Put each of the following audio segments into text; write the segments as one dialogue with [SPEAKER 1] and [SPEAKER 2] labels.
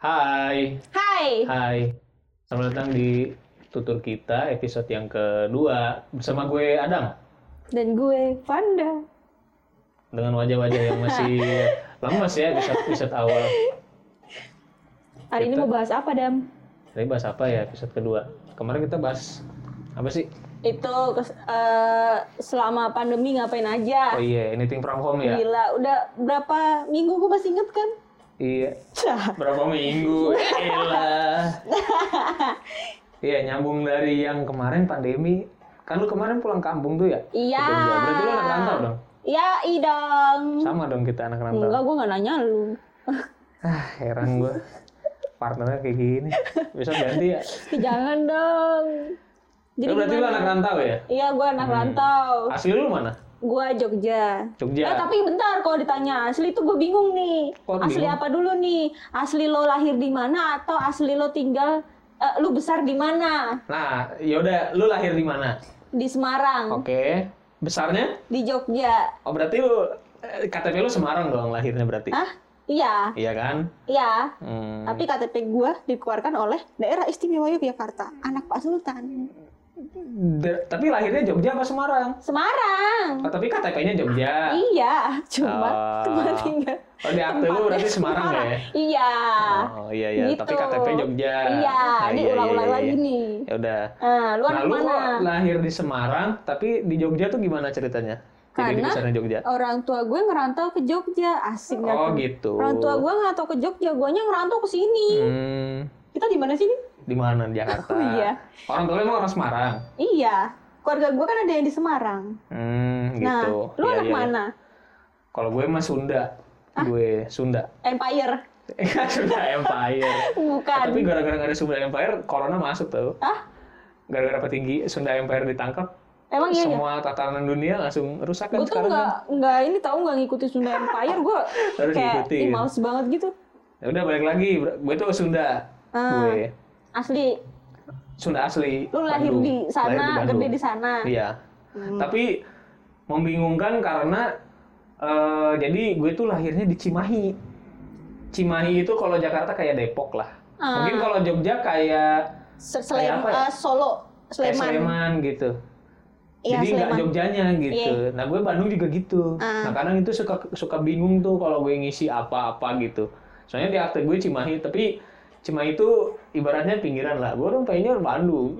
[SPEAKER 1] Hai, Eh.
[SPEAKER 2] Hai.
[SPEAKER 1] hai. Selamat datang di Tutur Kita episode yang kedua bersama gue Adang
[SPEAKER 2] Dan gue Fanda.
[SPEAKER 1] dengan wajah-wajah yang masih lemes ya episode episode awal.
[SPEAKER 2] Hari ini
[SPEAKER 1] Kita-
[SPEAKER 2] mau bahas apa, Dam?
[SPEAKER 1] Tadi bahas apa ya episode kedua? Kemarin kita bahas apa sih?
[SPEAKER 2] Itu kes- eh, selama pandemi ngapain
[SPEAKER 1] Oh
[SPEAKER 2] aja?
[SPEAKER 1] iya, anything from home ya?
[SPEAKER 2] Gila, udah berapa minggu gue masih inget kan?
[SPEAKER 1] Iya.
[SPEAKER 2] Cah.
[SPEAKER 1] Berapa minggu? Elah. Iya, nyambung dari yang kemarin pandemi. Kan lu kemarin pulang kampung tuh ya?
[SPEAKER 2] Iya.
[SPEAKER 1] Ke Jogja. Berarti lu anak rantau dong?
[SPEAKER 2] Ya, i dong.
[SPEAKER 1] Sama dong kita anak rantau.
[SPEAKER 2] Enggak, gue gak nanya lu.
[SPEAKER 1] Ah, heran gue. Partnernya kayak gini. Bisa ganti ya?
[SPEAKER 2] Jangan dong.
[SPEAKER 1] Lu berarti lu
[SPEAKER 2] gimana?
[SPEAKER 1] anak rantau ya?
[SPEAKER 2] Iya, gue anak rantau.
[SPEAKER 1] Asli lu mana?
[SPEAKER 2] Gue Jogja. Eh,
[SPEAKER 1] Jogja.
[SPEAKER 2] tapi bentar kalau ditanya asli tuh gue bingung nih.
[SPEAKER 1] Ya. Kok lu
[SPEAKER 2] asli
[SPEAKER 1] bingung?
[SPEAKER 2] apa dulu nih? Asli lo lahir di mana atau asli lo tinggal eh, lu besar di mana?
[SPEAKER 1] Nah, yaudah, lu lahir di mana?
[SPEAKER 2] Di
[SPEAKER 1] Oh.
[SPEAKER 2] Semarang,
[SPEAKER 1] Oke. Besarnya?
[SPEAKER 2] di Jogja.
[SPEAKER 1] Oh, berarti lu eh, KTP lu Semarang dong lahirnya berarti.
[SPEAKER 2] Hah? Iya,
[SPEAKER 1] Iya kan?
[SPEAKER 2] iya.
[SPEAKER 1] Hmm.
[SPEAKER 2] Tapi KTP gue dikeluarkan oleh Daerah Istimewa Yogyakarta, anak Pak Sultan.
[SPEAKER 1] Da- tapi lahirnya Jogja apa Semarang?
[SPEAKER 2] Semarang.
[SPEAKER 1] Oh, tapi KTP-nya Jogja.
[SPEAKER 2] Iya, cuma
[SPEAKER 1] Ah.
[SPEAKER 2] cuma tinggal.
[SPEAKER 1] Oh, di akte lu
[SPEAKER 2] tempatnya
[SPEAKER 1] berarti Semarang ya?
[SPEAKER 2] Iya.
[SPEAKER 1] Oh, iya iya, tapi
[SPEAKER 2] Gitu.
[SPEAKER 1] KTP Jogja.
[SPEAKER 2] Iya,
[SPEAKER 1] Ah,
[SPEAKER 2] diulang-ulang
[SPEAKER 1] iya, iya,
[SPEAKER 2] lagi
[SPEAKER 1] iya.
[SPEAKER 2] nih.
[SPEAKER 1] Ya udah.
[SPEAKER 2] Ah, lu
[SPEAKER 1] nah,
[SPEAKER 2] anak
[SPEAKER 1] lu
[SPEAKER 2] mana?
[SPEAKER 1] kok lahir di Semarang, tapi di Jogja tuh gimana ceritanya? Jadi di
[SPEAKER 2] Karena-
[SPEAKER 1] besarnya Jogja.
[SPEAKER 2] orang tua gue ngerantau ke Jogja asik nggak
[SPEAKER 1] Oh,
[SPEAKER 2] tuh?
[SPEAKER 1] gitu.
[SPEAKER 2] orang tua gue ngerantau ke Jogja guanya ngerantau ke sini
[SPEAKER 1] Hmm,
[SPEAKER 2] kita di mana sini
[SPEAKER 1] di mana di Jakarta?
[SPEAKER 2] Oh, iya.
[SPEAKER 1] Orang tua lu emang orang Semarang.
[SPEAKER 2] iya keluarga gue kan ada yang di Semarang
[SPEAKER 1] Hmm,
[SPEAKER 2] nah
[SPEAKER 1] gitu.
[SPEAKER 2] lu
[SPEAKER 1] Iya,
[SPEAKER 2] anak
[SPEAKER 1] iya.
[SPEAKER 2] mana Ah.
[SPEAKER 1] Kalau gue mah Sunda. Gue Sunda. Eh,
[SPEAKER 2] Empire
[SPEAKER 1] Sunda Empire.
[SPEAKER 2] bukan
[SPEAKER 1] Tapi gara-gara nggak ada Sunda Empire, corona masuk tau.
[SPEAKER 2] ah
[SPEAKER 1] Gara-gara petinggi Sunda Empire ditangkap,
[SPEAKER 2] emang iya ya
[SPEAKER 1] semua tatanan dunia langsung rusak kan
[SPEAKER 2] gue tuh
[SPEAKER 1] sekarang
[SPEAKER 2] nggak
[SPEAKER 1] kan.
[SPEAKER 2] nggak ini tau nggak ngikutin Sunda Empire gue
[SPEAKER 1] Harus
[SPEAKER 2] kayak
[SPEAKER 1] ngikutin.
[SPEAKER 2] ih, males banget gitu
[SPEAKER 1] Ya udah balik lagi, Bro. gue tuh Sunda.
[SPEAKER 2] Ah.
[SPEAKER 1] Gue
[SPEAKER 2] asli
[SPEAKER 1] Sunda asli.
[SPEAKER 2] lu lahir
[SPEAKER 1] Bandung.
[SPEAKER 2] di sana
[SPEAKER 1] Lahir
[SPEAKER 2] gede
[SPEAKER 1] Bandung.
[SPEAKER 2] di sana Hmm.
[SPEAKER 1] Iya. Tapi membingungkan karena eh, jadi gue tuh lahirnya di Cimahi. Cimahi itu kalau Jakarta kayak Depok lah.
[SPEAKER 2] Ah.
[SPEAKER 1] Mungkin kalau Jogja kayak
[SPEAKER 2] Se- Selem-
[SPEAKER 1] Kayak apa ya?
[SPEAKER 2] eh, Solo
[SPEAKER 1] kayak
[SPEAKER 2] Sleman
[SPEAKER 1] Sleman gitu.
[SPEAKER 2] Iya,
[SPEAKER 1] Jadi nggak
[SPEAKER 2] Sleman.
[SPEAKER 1] Jogjanya gitu. Nah gue Bandung juga gitu.
[SPEAKER 2] Ah.
[SPEAKER 1] Nah kadang itu suka suka bingung tuh kalau gue ngisi apa-apa gitu. Soalnya di akte gue Cimahi, tapi Cimahi itu ibaratnya pinggiran lah. Gue orang pengennya orang Bandung.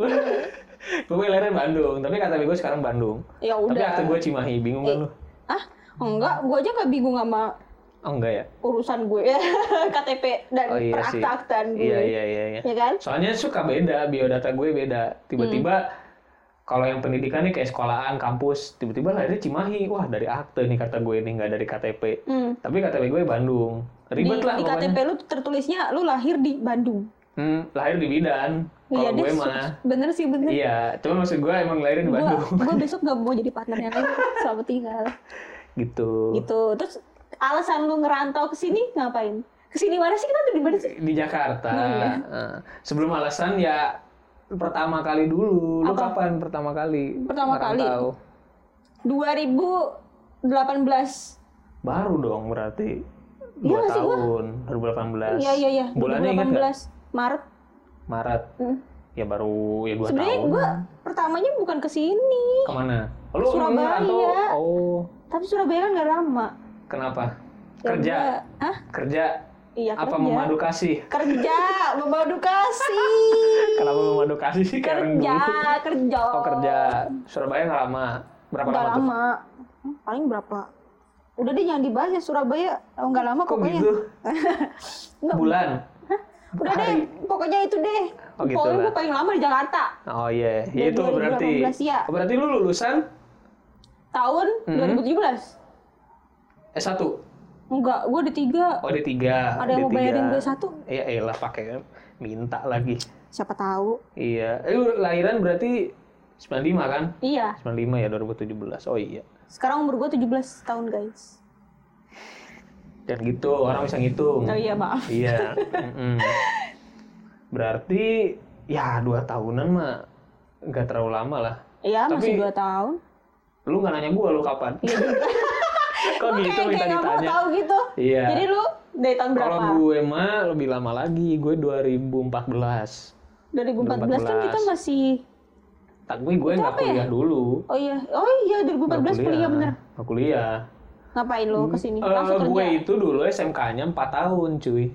[SPEAKER 1] gue lahirnya Bandung, tapi kata gue sekarang Bandung.
[SPEAKER 2] ya
[SPEAKER 1] Tapi
[SPEAKER 2] udah
[SPEAKER 1] akte gue Cimahi, bingung kan lu?
[SPEAKER 2] ah enggak gue aja nggak bingung sama
[SPEAKER 1] Oh enggak ya?
[SPEAKER 2] urusan gue KTP dan
[SPEAKER 1] Oh iya sih.
[SPEAKER 2] perakta-aktaan gue
[SPEAKER 1] Iya iya iya. iya.
[SPEAKER 2] ya kan
[SPEAKER 1] Soalnya suka beda, biodata gue beda.
[SPEAKER 2] Hmm.
[SPEAKER 1] Tiba-tiba kalau yang pendidikannya kayak sekolahan, kampus, tiba-tiba lahirnya Cimahi. Wah dari akte nih kata gue nih, nggak dari KTP.
[SPEAKER 2] Hmm.
[SPEAKER 1] Tapi KTP gue Bandung. Ribet
[SPEAKER 2] di,
[SPEAKER 1] lah
[SPEAKER 2] di
[SPEAKER 1] pokoknya.
[SPEAKER 2] KTP lu tertulisnya lu lahir di Bandung
[SPEAKER 1] Hmm, lahir di Bidan. Kalau
[SPEAKER 2] Iya,
[SPEAKER 1] gue
[SPEAKER 2] deh,
[SPEAKER 1] mah.
[SPEAKER 2] bener sih bener
[SPEAKER 1] Iya, cuma maksud gue emang lahir di Bandung.
[SPEAKER 2] gue besok gak mau jadi partnernya lagi selamat tinggal
[SPEAKER 1] Gitu.
[SPEAKER 2] gitu terus alasan lu ngerantau ke sini ngapain ke sini mana sih kita tuh di mana sih
[SPEAKER 1] Di Jakarta.
[SPEAKER 2] Oh, iya.
[SPEAKER 1] Eh, Sebelum alasan ya pertama kali dulu. Lu
[SPEAKER 2] Apa?
[SPEAKER 1] kapan pertama kali?
[SPEAKER 2] Pertama kali?
[SPEAKER 1] merantau?
[SPEAKER 2] 2018
[SPEAKER 1] Baru dong berarti.
[SPEAKER 2] Iya
[SPEAKER 1] Dua
[SPEAKER 2] nggak sih, gua?
[SPEAKER 1] tahun, 2018.
[SPEAKER 2] iya iya iya
[SPEAKER 1] Bulannya ingat nggak?
[SPEAKER 2] 2018 Maret
[SPEAKER 1] Maret.
[SPEAKER 2] Hmm.
[SPEAKER 1] Ya baru ya dua
[SPEAKER 2] sebenarnya
[SPEAKER 1] tahun.
[SPEAKER 2] gue pertamanya bukan ke sini
[SPEAKER 1] Kemana? Lu
[SPEAKER 2] Surabaya.
[SPEAKER 1] merantau? Oh,
[SPEAKER 2] tapi Surabaya kan gak lama
[SPEAKER 1] kenapa?
[SPEAKER 2] Ya
[SPEAKER 1] Kerja,
[SPEAKER 2] gua- Hah?
[SPEAKER 1] kerja.
[SPEAKER 2] Iya,
[SPEAKER 1] Apa
[SPEAKER 2] kerja.
[SPEAKER 1] memadu kasih?
[SPEAKER 2] Kerja, memadu kasih.
[SPEAKER 1] Kenapa memadu kasih sih? Karena
[SPEAKER 2] kerja,
[SPEAKER 1] dulu.
[SPEAKER 2] kerja.
[SPEAKER 1] Oh kerja Surabaya nggak lama. Berapa
[SPEAKER 2] Nggak
[SPEAKER 1] lama,
[SPEAKER 2] lama. Hmm, Paling berapa? Udah deh jangan dibahas ya Surabaya. Oh, nggak lama
[SPEAKER 1] tuh? Kok
[SPEAKER 2] pokoknya.
[SPEAKER 1] gitu?
[SPEAKER 2] Nggak,
[SPEAKER 1] Bulan.
[SPEAKER 2] udah deh,
[SPEAKER 1] Hari.
[SPEAKER 2] pokoknya itu deh.
[SPEAKER 1] Oh, gitu
[SPEAKER 2] pokoknya
[SPEAKER 1] lah.
[SPEAKER 2] gue paling lama di Jakarta.
[SPEAKER 1] Oh iya,
[SPEAKER 2] Dari
[SPEAKER 1] itu berarti.
[SPEAKER 2] 2018, ya.
[SPEAKER 1] Oh, Berarti lu lulusan
[SPEAKER 2] Tahun
[SPEAKER 1] Hmm.
[SPEAKER 2] 2017.
[SPEAKER 1] S1.
[SPEAKER 2] Enggak, gue di tiga.
[SPEAKER 1] Oh D3.
[SPEAKER 2] Ada yang mau
[SPEAKER 1] D3.
[SPEAKER 2] bayarin gue satu?
[SPEAKER 1] Iya, elah pakai minta lagi.
[SPEAKER 2] Siapa tahu.
[SPEAKER 1] Iya. Eh, lu lahiran berarti 95 kan?
[SPEAKER 2] Iya,
[SPEAKER 1] 95 ya 2017. Oh iya.
[SPEAKER 2] sekarang umur gue 17 tahun guys.
[SPEAKER 1] Dan gitu orang bisa ngitung.
[SPEAKER 2] Oh iya, maaf.
[SPEAKER 1] Iya. mm-mm. Berarti ya dua tahunan mah nggak terlalu lama lah.
[SPEAKER 2] Iya,
[SPEAKER 1] Tapi-
[SPEAKER 2] masih 2 tahun.
[SPEAKER 1] Lu nggak nanya gua lu kapan? Kok
[SPEAKER 2] Lu
[SPEAKER 1] gitu
[SPEAKER 2] kayak,
[SPEAKER 1] minta
[SPEAKER 2] kayak nggak mau
[SPEAKER 1] ditanya?
[SPEAKER 2] tahu gitu.
[SPEAKER 1] Iya.
[SPEAKER 2] Jadi lu Dari tahun berapa?
[SPEAKER 1] Kalau gue mah lebih lama lagi, gue 2014.
[SPEAKER 2] 2014 kan kita
[SPEAKER 1] 2014.
[SPEAKER 2] masih
[SPEAKER 1] Tak gue gue nggak
[SPEAKER 2] apa ya?
[SPEAKER 1] kuliah dulu.
[SPEAKER 2] Oh iya, oh iya 2014
[SPEAKER 1] Nggak
[SPEAKER 2] kuliah bener.
[SPEAKER 1] Nggak kuliah.
[SPEAKER 2] Ngapain lo kesini?
[SPEAKER 1] Eh,
[SPEAKER 2] Langsung kerja.
[SPEAKER 1] gue itu dulu SMK-nya 4 tahun, cuy.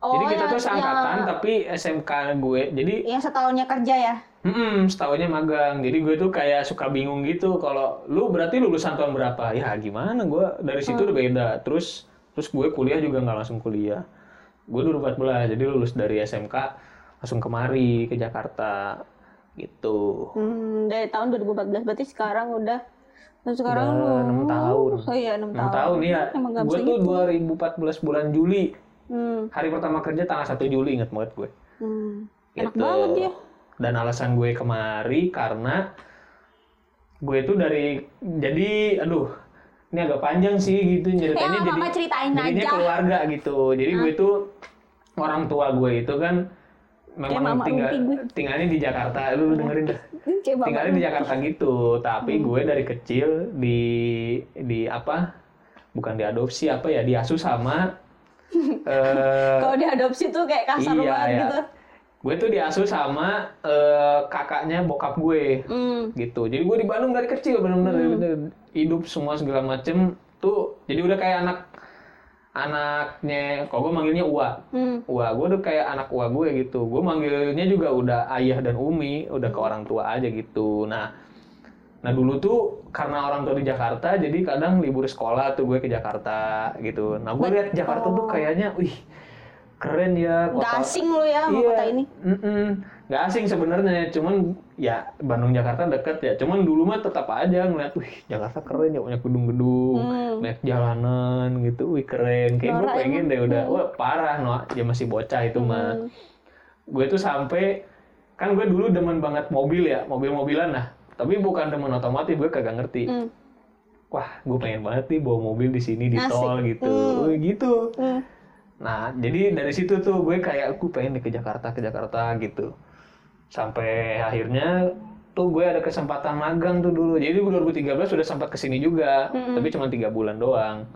[SPEAKER 2] Oh,
[SPEAKER 1] jadi kita
[SPEAKER 2] yang-
[SPEAKER 1] tuh seangkatan
[SPEAKER 2] yang-
[SPEAKER 1] tapi SMK gue. Jadi
[SPEAKER 2] yang iya, setahunnya kerja ya.
[SPEAKER 1] Mm-mm, setahunnya magang. Jadi gue tuh kayak suka bingung gitu. Kalau lu berarti lulusan tahun berapa? Ya gimana? Gue dari situ udah beda. Terus terus gue kuliah juga nggak langsung kuliah. Gue 2014, jadi lulus dari SMK langsung kemari ke Jakarta gitu.
[SPEAKER 2] Hmm, dari tahun 2014 berarti sekarang udah dan sekarang
[SPEAKER 1] Udah
[SPEAKER 2] lu-
[SPEAKER 1] enam tahun.
[SPEAKER 2] Oh iya 6 tahun.
[SPEAKER 1] 6 tahun ya.
[SPEAKER 2] Emang nggak
[SPEAKER 1] Gue
[SPEAKER 2] bisa
[SPEAKER 1] tuh
[SPEAKER 2] gitu.
[SPEAKER 1] 2014 bulan Juli.
[SPEAKER 2] Hmm,
[SPEAKER 1] Hari pertama kerja tanggal 1 Juli inget banget gue.
[SPEAKER 2] hmm. Enak
[SPEAKER 1] Gitu.
[SPEAKER 2] banget ya.
[SPEAKER 1] Dan alasan gue kemari karena gue itu dari jadi aduh ini agak panjang sih gitu
[SPEAKER 2] Ya,
[SPEAKER 1] nyeritainnya
[SPEAKER 2] mama
[SPEAKER 1] jadi
[SPEAKER 2] ceritain
[SPEAKER 1] jadinya
[SPEAKER 2] aja. Ah.
[SPEAKER 1] keluarga gitu. Jadi gue itu orang tua gue itu kan
[SPEAKER 2] Kayak
[SPEAKER 1] memang
[SPEAKER 2] mama
[SPEAKER 1] tinggal
[SPEAKER 2] rumpi gue.
[SPEAKER 1] tinggalnya di Jakarta. Lu dengerin dah.
[SPEAKER 2] Ini cewek bapak
[SPEAKER 1] Tinggalnya di Jakarta gitu,
[SPEAKER 2] Hmm.
[SPEAKER 1] tapi gue dari kecil di di apa? Bukan diadopsi apa ya? Diasuh sama eh
[SPEAKER 2] Kalau diadopsi tuh kayak kasar
[SPEAKER 1] Iya,
[SPEAKER 2] banget
[SPEAKER 1] ya.
[SPEAKER 2] gitu.
[SPEAKER 1] gue tuh diasuh sama eh, kakaknya bokap gue
[SPEAKER 2] Hmm.
[SPEAKER 1] gitu jadi gue di Bandung dari kecil benar-benar hidup semua segala macem tuh jadi udah kayak anak anaknya kok gue manggilnya Ua
[SPEAKER 2] Hmm.
[SPEAKER 1] Ua gue udah kayak anak Ua gue gitu gue manggilnya juga udah ayah dan umi udah ke orang tua aja gitu nah nah dulu tuh karena orang tua di Jakarta jadi kadang libur sekolah tuh gue ke Jakarta gitu nah gue lihat Jakarta tuh kayaknya wih keren ya
[SPEAKER 2] Nggak
[SPEAKER 1] kota Iya.
[SPEAKER 2] asing lu ya sama kota ini.
[SPEAKER 1] mm-mm. Nggak asing sebenarnya, cuman ya Bandung Jakarta deket ya. Cuman dulu mah tetap aja ngeliat, wih Jakarta keren ya punya gedung-gedung,
[SPEAKER 2] Hmm.
[SPEAKER 1] banyak jalanan gitu, wih keren. Kayak gue
[SPEAKER 2] Norak
[SPEAKER 1] pengen deh udah, wah parah Noah, dia masih bocah itu mah.
[SPEAKER 2] Hmm.
[SPEAKER 1] Gue tuh sampai kan gue dulu demen banget mobil ya, mobil-mobilan lah. Tapi bukan demen otomotif, gue kagak ngerti.
[SPEAKER 2] Hmm.
[SPEAKER 1] Wah, gue pengen banget nih bawa mobil di sini di
[SPEAKER 2] Asik.
[SPEAKER 1] tol gitu,
[SPEAKER 2] Hmm.
[SPEAKER 1] Wih, gitu.
[SPEAKER 2] Hmm.
[SPEAKER 1] Nah, jadi dari situ tuh gue kayak aku pengen deh ke Jakarta, ke Jakarta gitu. Sampai akhirnya tuh gue ada kesempatan magang tuh dulu. Jadi 2013 udah sempat kesini juga, tapi cuma tiga bulan doang.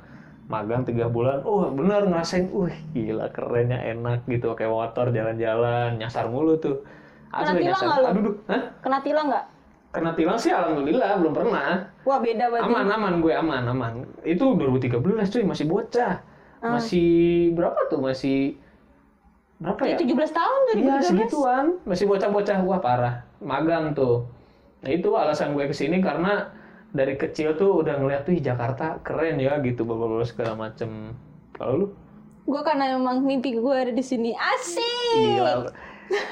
[SPEAKER 1] Magang tiga bulan, oh bener ngerasain, uh gila kerennya enak gitu, kayak motor jalan-jalan, nyasar mulu tuh.
[SPEAKER 2] Kena
[SPEAKER 1] Asli
[SPEAKER 2] tilang
[SPEAKER 1] nyasar.
[SPEAKER 2] nggak lu?
[SPEAKER 1] Aduh, duh. Hah?
[SPEAKER 2] Kena tilang nggak?
[SPEAKER 1] Kena tilang sih alhamdulillah belum pernah
[SPEAKER 2] Wah beda berarti.
[SPEAKER 1] aman aman gue aman aman itu 2013 cuy masih bocah
[SPEAKER 2] Ah.
[SPEAKER 1] masih berapa tuh masih berapa ya
[SPEAKER 2] 17 tahun
[SPEAKER 1] Iya
[SPEAKER 2] 2013.
[SPEAKER 1] segituan masih bocah-bocah wah parah magang tuh nah itu alasan gue kesini karena dari kecil tuh udah ngeliat tuh "Ih, Jakarta keren ya gitu bapak-bapak segala macem kalau lu
[SPEAKER 2] Gue karena memang mimpi gue ada di sini. Asik.
[SPEAKER 1] gila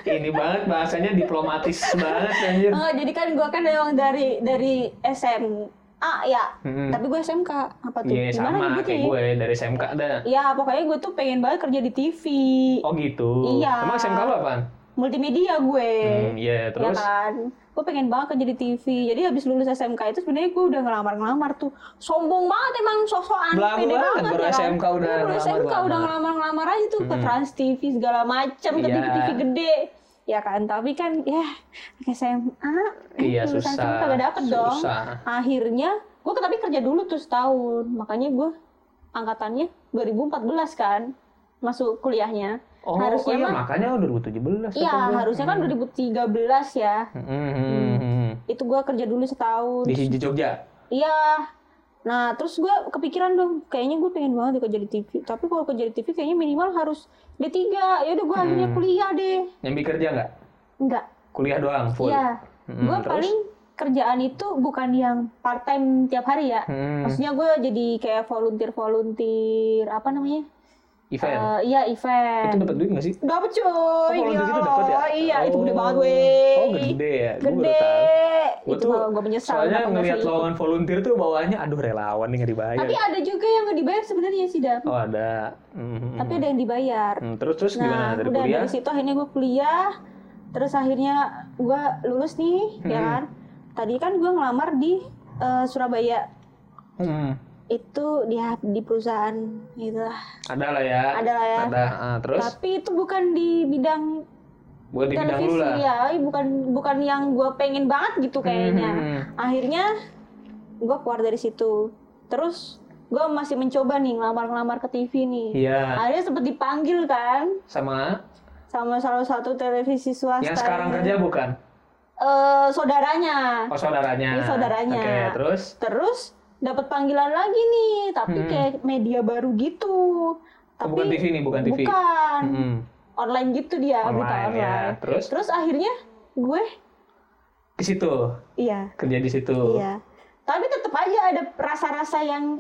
[SPEAKER 1] ini banget bahasanya diplomatis banget anjir
[SPEAKER 2] Oh, jadi kan gue kan memang dari dari SMA ya.
[SPEAKER 1] Mm-mm.
[SPEAKER 2] Tapi gue SMK apa tuh?
[SPEAKER 1] Hmm. Iya sama
[SPEAKER 2] gitu
[SPEAKER 1] kayak
[SPEAKER 2] ya?
[SPEAKER 1] gue dari SMK ada
[SPEAKER 2] Ya pokoknya gue tuh pengen banget kerja di TV,
[SPEAKER 1] oh gitu
[SPEAKER 2] Iya.
[SPEAKER 1] emang SMK lu apaan?
[SPEAKER 2] multimedia gue.
[SPEAKER 1] Hmm, iya
[SPEAKER 2] Ya
[SPEAKER 1] terus
[SPEAKER 2] kan, gue pengen banget kerja di TV. Jadi habis lulus SMK itu sebenarnya gue udah ngelamar-ngelamar tuh. Sombong banget emang sosokan,
[SPEAKER 1] Belagu
[SPEAKER 2] pede
[SPEAKER 1] banget,
[SPEAKER 2] banget
[SPEAKER 1] baru
[SPEAKER 2] ya kan.
[SPEAKER 1] SMK udah
[SPEAKER 2] Iya, baru
[SPEAKER 1] ngelamar-ngelamar.
[SPEAKER 2] SMK udah ngelamar-ngelamar aja tuh ke Trans TV segala macam, ke
[SPEAKER 1] Iya.
[SPEAKER 2] TV-TV gede. Ya kan, tapi kan ya anak SMA,
[SPEAKER 1] Iya,
[SPEAKER 2] lulusan
[SPEAKER 1] susah.
[SPEAKER 2] SMA kagak dapet dong.
[SPEAKER 1] Susah.
[SPEAKER 2] Akhirnya gue tapi kerja dulu tuh setahun, makanya gue angkatannya 2014 kan masuk kuliahnya.
[SPEAKER 1] Oh,
[SPEAKER 2] harusnya
[SPEAKER 1] oh iya,
[SPEAKER 2] mah-
[SPEAKER 1] makanya 2017.
[SPEAKER 2] Iya, harusnya
[SPEAKER 1] Hmm.
[SPEAKER 2] kan 2013 ya. Itu gue kerja dulu setahun.
[SPEAKER 1] Di di Jogja.
[SPEAKER 2] Iya. Nah, terus gue kepikiran dong, kayaknya gue pengen banget deh kerja di TV. Tapi kalau kerja di TV kayaknya minimal harus D3. Ya udah gue akhirnya
[SPEAKER 1] Hmm.
[SPEAKER 2] kuliah deh.
[SPEAKER 1] Nyambi kerja nggak?
[SPEAKER 2] Enggak.
[SPEAKER 1] Kuliah doang full.
[SPEAKER 2] Iya.
[SPEAKER 1] Mm,
[SPEAKER 2] gue
[SPEAKER 1] terus?
[SPEAKER 2] paling kerjaan itu bukan yang part time tiap hari ya.
[SPEAKER 1] Hmm,
[SPEAKER 2] Maksudnya gue jadi kayak volunteer-volunteer apa namanya?
[SPEAKER 1] event.
[SPEAKER 2] Eh, iya,
[SPEAKER 1] itu
[SPEAKER 2] event.
[SPEAKER 1] dapat duit nggak sih?
[SPEAKER 2] Dapat cuy.
[SPEAKER 1] Oh, kalau duit itu
[SPEAKER 2] Ya
[SPEAKER 1] dapat ya?
[SPEAKER 2] Allah, Iya, itu gede
[SPEAKER 1] Oh.
[SPEAKER 2] banget weh.
[SPEAKER 1] Oh, gede ya. Gua baru
[SPEAKER 2] Gede.
[SPEAKER 1] tahu. Gua
[SPEAKER 2] itu
[SPEAKER 1] tuh
[SPEAKER 2] gue menyesal
[SPEAKER 1] Soalnya
[SPEAKER 2] kenapa nggak
[SPEAKER 1] ngelihat
[SPEAKER 2] sih.
[SPEAKER 1] lawan volunteer tuh bawaannya aduh relawan nih nggak dibayar.
[SPEAKER 2] Tapi ada juga yang nggak dibayar sebenarnya sih, Dam.
[SPEAKER 1] Oh, ada. Hmm,
[SPEAKER 2] Tapi ada yang dibayar.
[SPEAKER 1] hmm, terus terus
[SPEAKER 2] Nah,
[SPEAKER 1] gimana dari
[SPEAKER 2] udah
[SPEAKER 1] kuliah?
[SPEAKER 2] dari situ akhirnya gue kuliah. Terus akhirnya gue lulus nih,
[SPEAKER 1] Hmm.
[SPEAKER 2] ya kan? Tadi kan gue ngelamar di eh, Surabaya.
[SPEAKER 1] Hmm,
[SPEAKER 2] Itu di di perusahaan gitu lah.
[SPEAKER 1] ada lah ya.
[SPEAKER 2] Ada lah ya.
[SPEAKER 1] Ada. ah, terus
[SPEAKER 2] Tapi itu bukan di bidang
[SPEAKER 1] buat di bidang lu
[SPEAKER 2] televisi
[SPEAKER 1] lah.
[SPEAKER 2] ya, bukan bukan yang gue pengen
[SPEAKER 1] Mhm.
[SPEAKER 2] banget gitu kayaknya.
[SPEAKER 1] Hmm,
[SPEAKER 2] Akhirnya gue keluar dari situ. Terus gue masih mencoba nih ngelamar-ngelamar ke TV nih
[SPEAKER 1] Iya.
[SPEAKER 2] akhirnya sempat dipanggil kan
[SPEAKER 1] Sama
[SPEAKER 2] sama salah satu televisi swasta
[SPEAKER 1] yang sekarang
[SPEAKER 2] ini.
[SPEAKER 1] kerja bukan?
[SPEAKER 2] Eh, saudaranya
[SPEAKER 1] Oh saudaranya.
[SPEAKER 2] Iya, saudaranya.
[SPEAKER 1] Oke terus.
[SPEAKER 2] terus dapat panggilan lagi nih tapi
[SPEAKER 1] Hmm.
[SPEAKER 2] kayak media baru gitu
[SPEAKER 1] Oh,
[SPEAKER 2] tapi
[SPEAKER 1] bukan TV nih bukan TV.
[SPEAKER 2] bukan.
[SPEAKER 1] Mm-mm.
[SPEAKER 2] online gitu dia
[SPEAKER 1] hmm. Online,
[SPEAKER 2] berita online
[SPEAKER 1] ya. Terus?
[SPEAKER 2] terus akhirnya gue
[SPEAKER 1] Di situ
[SPEAKER 2] iya
[SPEAKER 1] kerja di situ.
[SPEAKER 2] iya tapi tetap aja ada rasa-rasa yang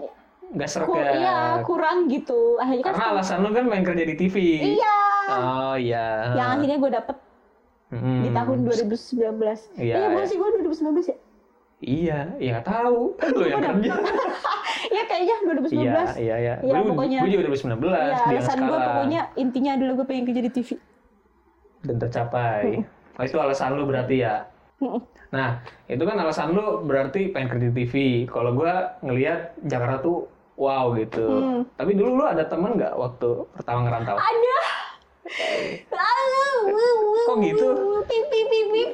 [SPEAKER 1] Nggak serak
[SPEAKER 2] ku-
[SPEAKER 1] ya.
[SPEAKER 2] iya, kurang gitu akhirnya kan
[SPEAKER 1] Karena
[SPEAKER 2] setelah-
[SPEAKER 1] alasan lu kan main kerja di TV.
[SPEAKER 2] iya
[SPEAKER 1] Oh iya.
[SPEAKER 2] yang akhirnya gue dapet
[SPEAKER 1] Mm.
[SPEAKER 2] di tahun 2019
[SPEAKER 1] Iya,
[SPEAKER 2] iya bukan
[SPEAKER 1] iya.
[SPEAKER 2] sih gue 2019 ya
[SPEAKER 1] Iya, ya nggak tahu. Lu yang
[SPEAKER 2] udah.
[SPEAKER 1] kerja.
[SPEAKER 2] ya kayaknya
[SPEAKER 1] Iya,
[SPEAKER 2] 2019
[SPEAKER 1] iya, iya.
[SPEAKER 2] Iya,
[SPEAKER 1] Lu-
[SPEAKER 2] pokoknya.
[SPEAKER 1] Gua juga 2019
[SPEAKER 2] Iya,
[SPEAKER 1] bilang
[SPEAKER 2] alasan gue
[SPEAKER 1] sekarang.
[SPEAKER 2] pokoknya intinya adalah gue pengen kerja di TV.
[SPEAKER 1] dan tercapai. Oh, itu alasan lu berarti ya.
[SPEAKER 2] Mm-mm.
[SPEAKER 1] Nah, itu kan alasan lu berarti pengen kerja di TV. Kalau gua ngelihat Jakarta tuh wow gitu.
[SPEAKER 2] Hmm.
[SPEAKER 1] Tapi dulu lu ada teman nggak waktu pertama ngerantau?
[SPEAKER 2] Ada.
[SPEAKER 1] Kok gitu?
[SPEAKER 2] Pip, pip, pip, pip.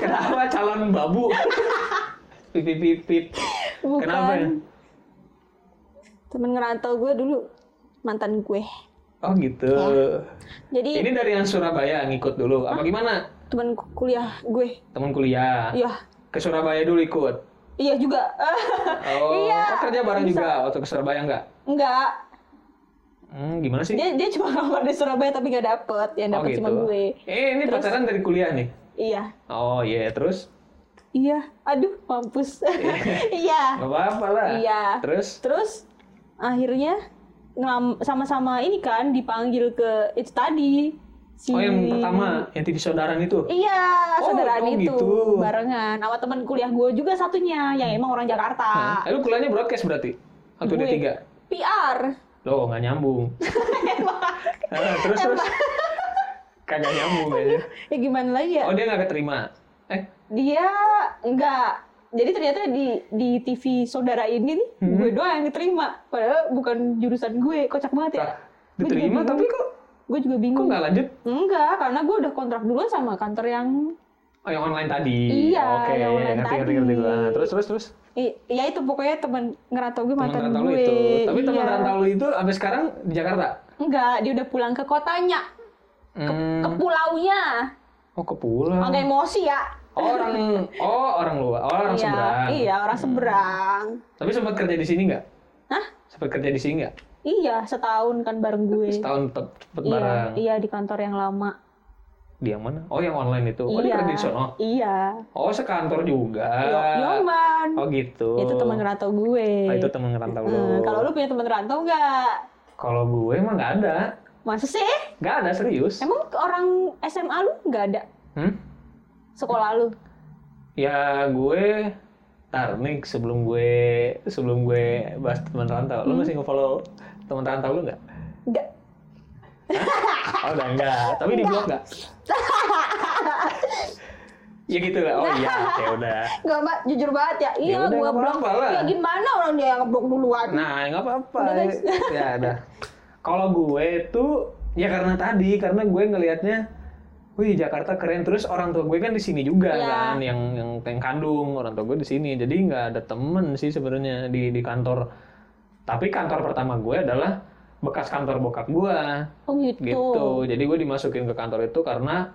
[SPEAKER 1] Kenapa calon babu? pip pip pip, pip.
[SPEAKER 2] Bukan.
[SPEAKER 1] Kenapa ya?
[SPEAKER 2] Temen ngerantau gue dulu mantan gue.
[SPEAKER 1] Oh gitu.
[SPEAKER 2] Jadi
[SPEAKER 1] Ini dari yang Surabaya ngikut dulu. Apa gimana?
[SPEAKER 2] temen ku- kuliah gue.
[SPEAKER 1] Teman kuliah.
[SPEAKER 2] Iya,
[SPEAKER 1] Ke Surabaya dulu ikut.
[SPEAKER 2] iya juga.
[SPEAKER 1] Oh, oh,
[SPEAKER 2] Iya,
[SPEAKER 1] kerja bareng
[SPEAKER 2] bisa.
[SPEAKER 1] juga waktu ke Surabaya nggak?
[SPEAKER 2] Enggak.
[SPEAKER 1] Hmm, gimana sih?
[SPEAKER 2] Dia dia cuma ngelamar di Surabaya tapi nggak dapet.
[SPEAKER 1] Oh,
[SPEAKER 2] Yang dapet cuma gue.
[SPEAKER 1] Eh, ini pacaran dari kuliah nih.
[SPEAKER 2] Iya.
[SPEAKER 1] Oh iya, terus
[SPEAKER 2] Iya. Aduh, mampus. Iya.
[SPEAKER 1] nggak apa-apa lah.
[SPEAKER 2] Iya.
[SPEAKER 1] Terus
[SPEAKER 2] Terus akhirnya ngelam- sama-sama ini kan dipanggil ke itu tadi. Si...
[SPEAKER 1] oh yang pertama yang TV saudaran itu.
[SPEAKER 2] Iya,
[SPEAKER 1] Oh, oh
[SPEAKER 2] saudaraan itu
[SPEAKER 1] gitu. Hmm.
[SPEAKER 2] barengan. Sama teman kuliah gue juga satunya, yang emang orang Jakarta.
[SPEAKER 1] Eh, lu kuliahnya broadcast berarti? Atau
[SPEAKER 2] Iya. Gue.
[SPEAKER 1] D3?
[SPEAKER 2] PR.
[SPEAKER 1] Loh, nggak nyambung. Ah, terus terus. Kagak nyambung kayaknya.
[SPEAKER 2] Ya gimana lagi ya?
[SPEAKER 1] Oh, dia nggak keterima. Eh,
[SPEAKER 2] Dia enggak. Jadi ternyata di di TV saudara ini nih,
[SPEAKER 1] Hmm.
[SPEAKER 2] gue doang yang diterima. Padahal bukan jurusan gue, kocak banget ya.
[SPEAKER 1] lah, diterima tapi kok
[SPEAKER 2] Gue juga
[SPEAKER 1] kok
[SPEAKER 2] bingung.
[SPEAKER 1] nggak lanjut?
[SPEAKER 2] Enggak, karena gue udah kontrak duluan sama kantor yang
[SPEAKER 1] Oh, yang online tadi.
[SPEAKER 2] Iya,
[SPEAKER 1] Oke,
[SPEAKER 2] yang online
[SPEAKER 1] ngerti, ngerti,
[SPEAKER 2] tadi.
[SPEAKER 1] ngerti, gua. Ah, Terus, terus, terus.
[SPEAKER 2] I- ya itu pokoknya teman ngerantau gue
[SPEAKER 1] Teman
[SPEAKER 2] mantan
[SPEAKER 1] rantau lu
[SPEAKER 2] gue.
[SPEAKER 1] itu. Tapi teman
[SPEAKER 2] Iya.
[SPEAKER 1] rantau lu itu sampai sekarang di Jakarta?
[SPEAKER 2] Enggak, dia udah pulang ke kotanya,
[SPEAKER 1] Hmm.
[SPEAKER 2] ke pulaunya.
[SPEAKER 1] Oh, ke pulau.
[SPEAKER 2] Agak emosi ya.
[SPEAKER 1] Oh, orang oh orang luar, oh, orang
[SPEAKER 2] iya,
[SPEAKER 1] seberang. Hmm.
[SPEAKER 2] Iya, orang seberang.
[SPEAKER 1] Tapi sempat kerja di sini nggak?
[SPEAKER 2] Hah?
[SPEAKER 1] Sempat kerja di sini nggak?
[SPEAKER 2] Iya, setahun kan bareng gue.
[SPEAKER 1] Setahun tetap tetap
[SPEAKER 2] Iya,
[SPEAKER 1] bareng.
[SPEAKER 2] iya di kantor yang lama.
[SPEAKER 1] Di yang mana? Oh, yang online itu. Oh,
[SPEAKER 2] iya.
[SPEAKER 1] dia kerja di sono.
[SPEAKER 2] Iya.
[SPEAKER 1] Oh, sekantor juga.
[SPEAKER 2] Yo- Yoman.
[SPEAKER 1] Ah. Oh, gitu.
[SPEAKER 2] Itu teman ngerantau gue.
[SPEAKER 1] Oh, itu teman ngerantau lu.
[SPEAKER 2] Hmm, Kalau lu punya teman ngerantau enggak?
[SPEAKER 1] Kalau gue emang nggak ada.
[SPEAKER 2] Masa sih?
[SPEAKER 1] Nggak ada serius.
[SPEAKER 2] Emang orang SMA lu nggak ada?
[SPEAKER 1] Hmm?
[SPEAKER 2] Sekolah lu?
[SPEAKER 1] Ya gue Ntar nih sebelum gue sebelum gue bahas teman rantau, lu masih nge-follow teman rantau lu nggak?
[SPEAKER 2] Hmm? Nggak.
[SPEAKER 1] Oh udah enggak, tapi di blog enggak. ya gitu lah. Oh iya, ya udah.
[SPEAKER 2] Gak, Mbak. Jujur banget ya. Iya,
[SPEAKER 1] udah,
[SPEAKER 2] gua
[SPEAKER 1] nggak
[SPEAKER 2] blok.
[SPEAKER 1] apa-apa lah.
[SPEAKER 2] Ya gimana orang dia yang ngeblok duluan?
[SPEAKER 1] Nah, nggak apa-apa.
[SPEAKER 2] Udah, guys.
[SPEAKER 1] ya udah. Kalau gue tuh ya karena tadi karena gue ngelihatnya Wih Jakarta keren terus orang tua gue kan di sini juga
[SPEAKER 2] Iya.
[SPEAKER 1] kan yang, yang yang kandung orang tua gue di sini jadi nggak ada temen sih sebenarnya di di kantor tapi kantor pertama gue adalah bekas kantor bokap gue
[SPEAKER 2] Oh gitu.
[SPEAKER 1] gitu jadi gue dimasukin ke kantor itu karena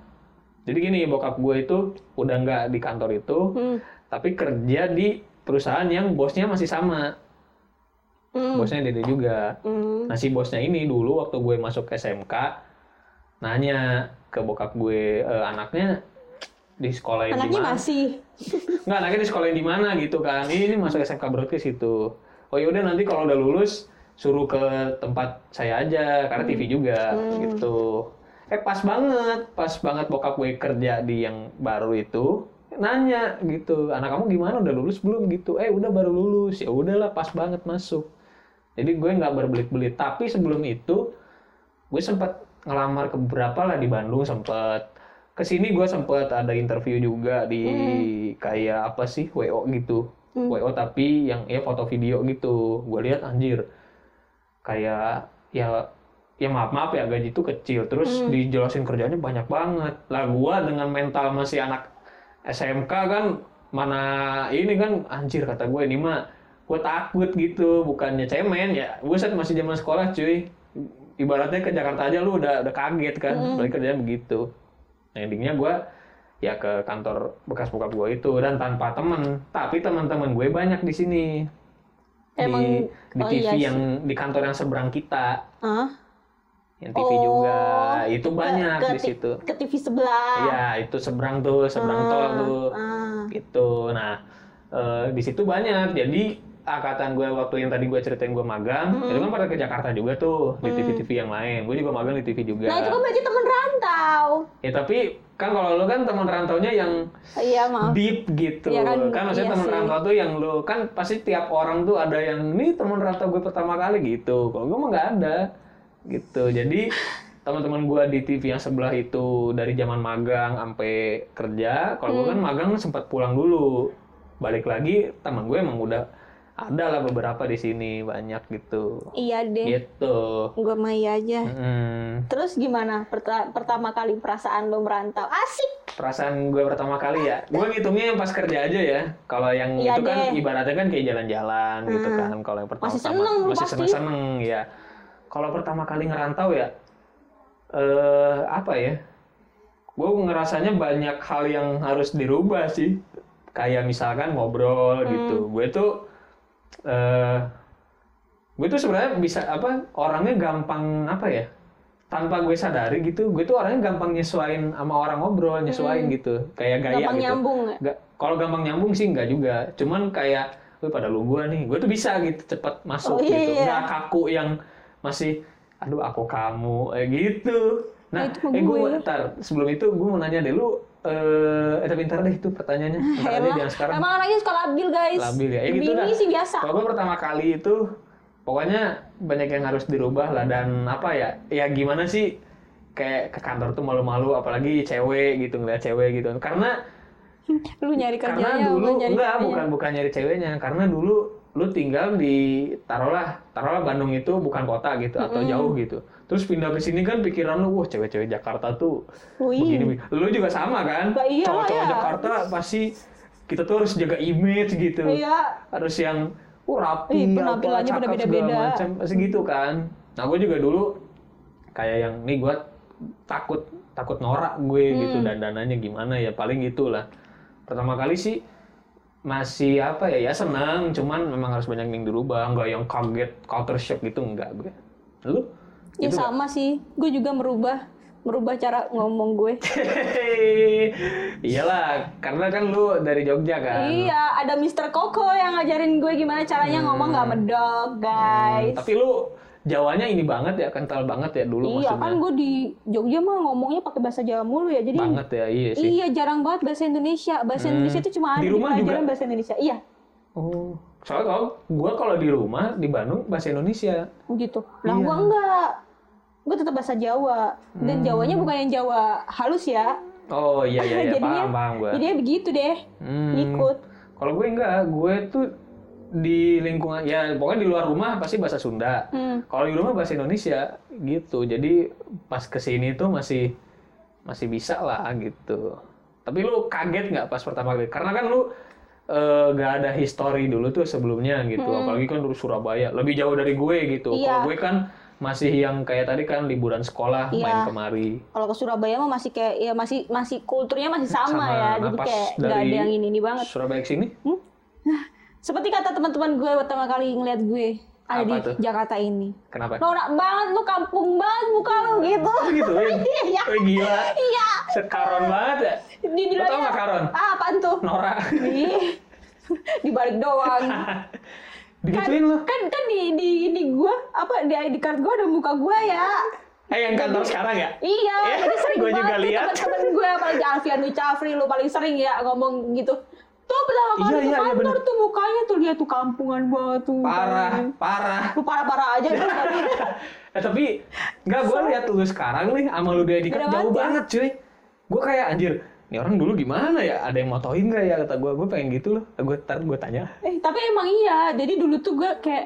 [SPEAKER 1] jadi gini bokap gue itu udah nggak di kantor itu
[SPEAKER 2] Hmm.
[SPEAKER 1] tapi kerja di perusahaan yang bosnya masih sama
[SPEAKER 2] Hmm.
[SPEAKER 1] bosnya dede juga
[SPEAKER 2] Hmm.
[SPEAKER 1] nah si bosnya ini dulu waktu gue masuk SMK nanya ke bokap gue "E, anaknya di sekolah yang di
[SPEAKER 2] Anaknya
[SPEAKER 1] mana
[SPEAKER 2] masih.
[SPEAKER 1] nggak anaknya di sekolah yang di mana gitu kan ini, ini masuk SMK broadcast gitu oh yaudah nanti kalau udah lulus suruh ke tempat saya aja karena TV juga gitu eh pas banget pas banget bokap gue kerja di yang baru itu nanya gitu anak kamu gimana udah lulus belum gitu eh udah baru lulus ya udahlah pas banget masuk jadi gue nggak berbelit-belit tapi sebelum itu gue sempat ngelamar ke beberapa lah di Bandung sempat kesini gue sempat ada interview juga di kayak apa sih WO gitu WO tapi yang ya foto video gitu gue lihat anjir kayak ya ya maaf maaf ya gaji itu kecil terus dijelasin kerjanya banyak banget lah gue dengan mental masih anak SMK kan mana ini kan anjir kata gue ini mah gue takut gitu bukannya cemen ya gue saat masih zaman sekolah cuy ibaratnya ke Jakarta aja lu udah udah kaget kan apalagi kerjaan begitu nah, endingnya gue ya ke kantor bekas bokap gue itu dan tanpa temen tapi teman-teman gue banyak di sini
[SPEAKER 2] Emang-
[SPEAKER 1] di, di
[SPEAKER 2] oh
[SPEAKER 1] TV
[SPEAKER 2] iya sih.
[SPEAKER 1] yang di kantor yang seberang kita
[SPEAKER 2] Hah?
[SPEAKER 1] yang TV
[SPEAKER 2] Oh,
[SPEAKER 1] juga itu
[SPEAKER 2] ke-
[SPEAKER 1] banyak
[SPEAKER 2] ke Ah.
[SPEAKER 1] di
[SPEAKER 2] ti-
[SPEAKER 1] situ
[SPEAKER 2] Ke TV sebelah.
[SPEAKER 1] Iya, itu seberang tuh, seberang tol tuh.
[SPEAKER 2] Ah.
[SPEAKER 1] Gitu. Nah, eh, di situ banyak. Jadi angkatan gue waktu yang tadi gue ceritain gue magang,
[SPEAKER 2] Hmm.
[SPEAKER 1] itu kan pada ke Jakarta juga tuh di TV-TV yang lain. Gue juga magang di TV juga.
[SPEAKER 2] Nah itu kan berarti temen rantau.
[SPEAKER 1] Ya tapi kan kalau lu kan teman rantaunya yang
[SPEAKER 2] Iya maaf.
[SPEAKER 1] deep gitu.
[SPEAKER 2] Iya
[SPEAKER 1] kan,
[SPEAKER 2] kan,
[SPEAKER 1] maksudnya
[SPEAKER 2] iya
[SPEAKER 1] teman
[SPEAKER 2] sih.
[SPEAKER 1] rantau tuh yang lu kan pasti tiap orang tuh ada yang ini teman rantau gue pertama kali gitu. Kalau gue mah nggak ada gitu. Jadi teman-teman gue di TV yang sebelah itu dari zaman magang sampai kerja, kalau gue kan
[SPEAKER 2] Hmm.
[SPEAKER 1] magang sempat pulang dulu. Balik lagi teman gue emang udah ada lah beberapa di sini banyak gitu.
[SPEAKER 2] Iya deh.
[SPEAKER 1] Gitu.
[SPEAKER 2] Gue mah iya aja.
[SPEAKER 1] Mm-mm.
[SPEAKER 2] Terus gimana perta- pertama kali perasaan lo merantau? Asik.
[SPEAKER 1] perasaan gue pertama kali ya gue ngitungnya yang pas kerja aja ya kalau yang
[SPEAKER 2] Iya
[SPEAKER 1] itu kan
[SPEAKER 2] deh. Hmm.
[SPEAKER 1] ibaratnya kan kayak jalan-jalan gitu kan kalau yang pertama
[SPEAKER 2] Masih seneng lu
[SPEAKER 1] masih
[SPEAKER 2] pasti.
[SPEAKER 1] seneng seneng ya kalau pertama kali ngerantau ya eh apa ya gue ngerasanya banyak hal yang harus dirubah sih kayak misalkan ngobrol gitu gue tuh eh gue tuh sebenarnya bisa apa orangnya gampang apa ya tanpa gue sadari gitu gue tuh orangnya gampang nyesuain sama orang ngobrol nyesuain gitu kayak gaya
[SPEAKER 2] Gampang
[SPEAKER 1] gitu
[SPEAKER 2] nyambung nggak?
[SPEAKER 1] Nggak- kalau gampang nyambung sih nggak juga cuman kayak gue pada lu gue nih gue tuh bisa gitu cepet masuk
[SPEAKER 2] Oh, iya,
[SPEAKER 1] gitu
[SPEAKER 2] iya.
[SPEAKER 1] nggak kaku yang masih aduh aku kamu eh gitu nah
[SPEAKER 2] Nah, itu mah
[SPEAKER 1] eh gue
[SPEAKER 2] gue.
[SPEAKER 1] ntar sebelum itu gue mau nanya deh lu eh eh, tapi ntar deh itu pertanyaannya ntar aja
[SPEAKER 2] Elah,
[SPEAKER 1] jangan sekarang
[SPEAKER 2] Emang anaknya suka labil guys.
[SPEAKER 1] labil ya, ya gitu
[SPEAKER 2] Bini
[SPEAKER 1] dah.
[SPEAKER 2] sih biasa.
[SPEAKER 1] Kalau gue pertama kali itu pokoknya banyak yang harus dirubah lah dan apa ya? Ya gimana sih kayak ke kantor tuh malu-malu apalagi cewek gitu ngeliat cewek gitu. Karena
[SPEAKER 2] Lu nyari
[SPEAKER 1] karena
[SPEAKER 2] kerjanya,
[SPEAKER 1] dulu
[SPEAKER 2] gua nyari
[SPEAKER 1] enggak
[SPEAKER 2] kerjanya.
[SPEAKER 1] bukan bukan nyari ceweknya karena dulu lu tinggal di taruhlah taruhlah Bandung itu bukan kota gitu atau jauh gitu terus pindah ke sini kan pikiran lu wah cewek-cewek Jakarta tuh
[SPEAKER 2] Wih.
[SPEAKER 1] begini lu juga sama kan
[SPEAKER 2] Lah, iyalah
[SPEAKER 1] cowok-cowok
[SPEAKER 2] ya.
[SPEAKER 1] Jakarta pasti kita tuh harus jaga image gitu
[SPEAKER 2] Iya.
[SPEAKER 1] harus yang oh, rapi apa,
[SPEAKER 2] Ih, Iya, penampilannya
[SPEAKER 1] cakep,
[SPEAKER 2] pada
[SPEAKER 1] segala
[SPEAKER 2] beda-beda.
[SPEAKER 1] macam pasti gitu kan nah gue juga dulu kayak yang nih gue takut takut norak gue gitu
[SPEAKER 2] Hmm.
[SPEAKER 1] dandanannya gimana ya paling gitulah pertama kali sih masih apa ya ya senang cuman memang harus banyak yang dirubah nggak yang kaget culture shock gitu enggak gue lu
[SPEAKER 2] Ya
[SPEAKER 1] Gitu
[SPEAKER 2] sama sih. Gue juga merubah merubah cara ngomong gue.
[SPEAKER 1] iyalah karena kan lu dari Jogja kan
[SPEAKER 2] Iya, ada Mr. Koko yang ngajarin gue gimana caranya ngomong nggak
[SPEAKER 1] Hmm.
[SPEAKER 2] medok, guys.
[SPEAKER 1] tapi lu Jawanya ini banget ya kental banget ya dulu
[SPEAKER 2] iya,
[SPEAKER 1] maksudnya
[SPEAKER 2] kan gue di Jogja mah ngomongnya pakai bahasa Jawa mulu ya. Jadi
[SPEAKER 1] banget ya iya sih Hmm.
[SPEAKER 2] iya jarang banget bahasa Indonesia. Bahasa Indonesia itu cuma ada
[SPEAKER 1] Di rumah juga?
[SPEAKER 2] pelajaran bahasa Indonesia. Iya,
[SPEAKER 1] Oh, soalnya kalau gue kalau di rumah di Bandung bahasa Indonesia.
[SPEAKER 2] gitu. Lah
[SPEAKER 1] Iya.
[SPEAKER 2] gue enggak. Gue tetap bahasa Jawa. Dan Jawanya bukan yang Jawa halus ya.
[SPEAKER 1] Oh Hmm. iya iya, iya.
[SPEAKER 2] Jadinya-
[SPEAKER 1] paham paham Hmm. gue.
[SPEAKER 2] Jadi begitu deh. Ikut.
[SPEAKER 1] Kalau gue enggak, gue tuh di lingkungan ya pokoknya di luar rumah pasti bahasa Sunda.
[SPEAKER 2] Hmm.
[SPEAKER 1] Kalau di rumah bahasa Indonesia gitu. Jadi pas kesini tuh masih masih bisa lah gitu. Tapi lu kaget nggak pas pertama kali? Karena kan lu eh, nggak ada history dulu tuh sebelumnya gitu. Apalagi kan dulu Surabaya, lebih jauh dari gue gitu. Kalau
[SPEAKER 2] Hmm. Iya.
[SPEAKER 1] gue kan masih yang kayak tadi kan liburan sekolah main
[SPEAKER 2] Iya.
[SPEAKER 1] kemari.
[SPEAKER 2] Kalau ke Surabaya mah masih kayak ya masih masih kulturnya masih sama, ya.
[SPEAKER 1] Nah,
[SPEAKER 2] Jadi
[SPEAKER 1] pas
[SPEAKER 2] kayak nggak
[SPEAKER 1] dari
[SPEAKER 2] ada yang ini ini banget.
[SPEAKER 1] Surabaya ke sini?
[SPEAKER 2] Seperti kata teman-teman gue pertama kali ngeliat gue ada
[SPEAKER 1] Apa
[SPEAKER 2] di
[SPEAKER 1] tuh?
[SPEAKER 2] Jakarta ini.
[SPEAKER 1] Kenapa?
[SPEAKER 2] Norak banget lu kampung banget muka lu gitu.
[SPEAKER 1] Gitu, ya?
[SPEAKER 2] Iya.
[SPEAKER 1] Eh, gila.
[SPEAKER 2] Iya.
[SPEAKER 1] Sekaron banget ya.
[SPEAKER 2] Di
[SPEAKER 1] Lo tau nggak karon?
[SPEAKER 2] Ah, apaan tuh?
[SPEAKER 1] Norak.
[SPEAKER 2] Ih, Dibalik doang.
[SPEAKER 1] Digituin lo.
[SPEAKER 2] Kan kan di di ini gue apa di ID card gue ada muka gue ya.
[SPEAKER 1] Eh yang kantor sekarang ya?
[SPEAKER 2] Iya,
[SPEAKER 1] Eh,
[SPEAKER 2] jadi sering
[SPEAKER 1] gua juga
[SPEAKER 2] banget tuh
[SPEAKER 1] lihat.
[SPEAKER 2] teman-teman gue apalagi Alfian Lucafri lu paling sering ya ngomong gitu. Tuh pertama kali
[SPEAKER 1] Iya,
[SPEAKER 2] ke
[SPEAKER 1] iya, iya,
[SPEAKER 2] kantor tuh mukanya tuh dia tuh kampungan banget tuh.
[SPEAKER 1] Parah, parah.
[SPEAKER 2] Lu parah-parah aja lu tadi.
[SPEAKER 1] Eh tapi nggak gue lihat lu sekarang nih sama lu dia jauh
[SPEAKER 2] Beda banget ya.
[SPEAKER 1] banget cuy. Gue kayak anjir, ini orang dulu gimana ya? Ada yang motoin nggak ya kata gue? Gue Eh, pengen gitu loh. Gue ntar gue tanya.
[SPEAKER 2] Eh, tapi emang iya. Jadi dulu tuh gue kayak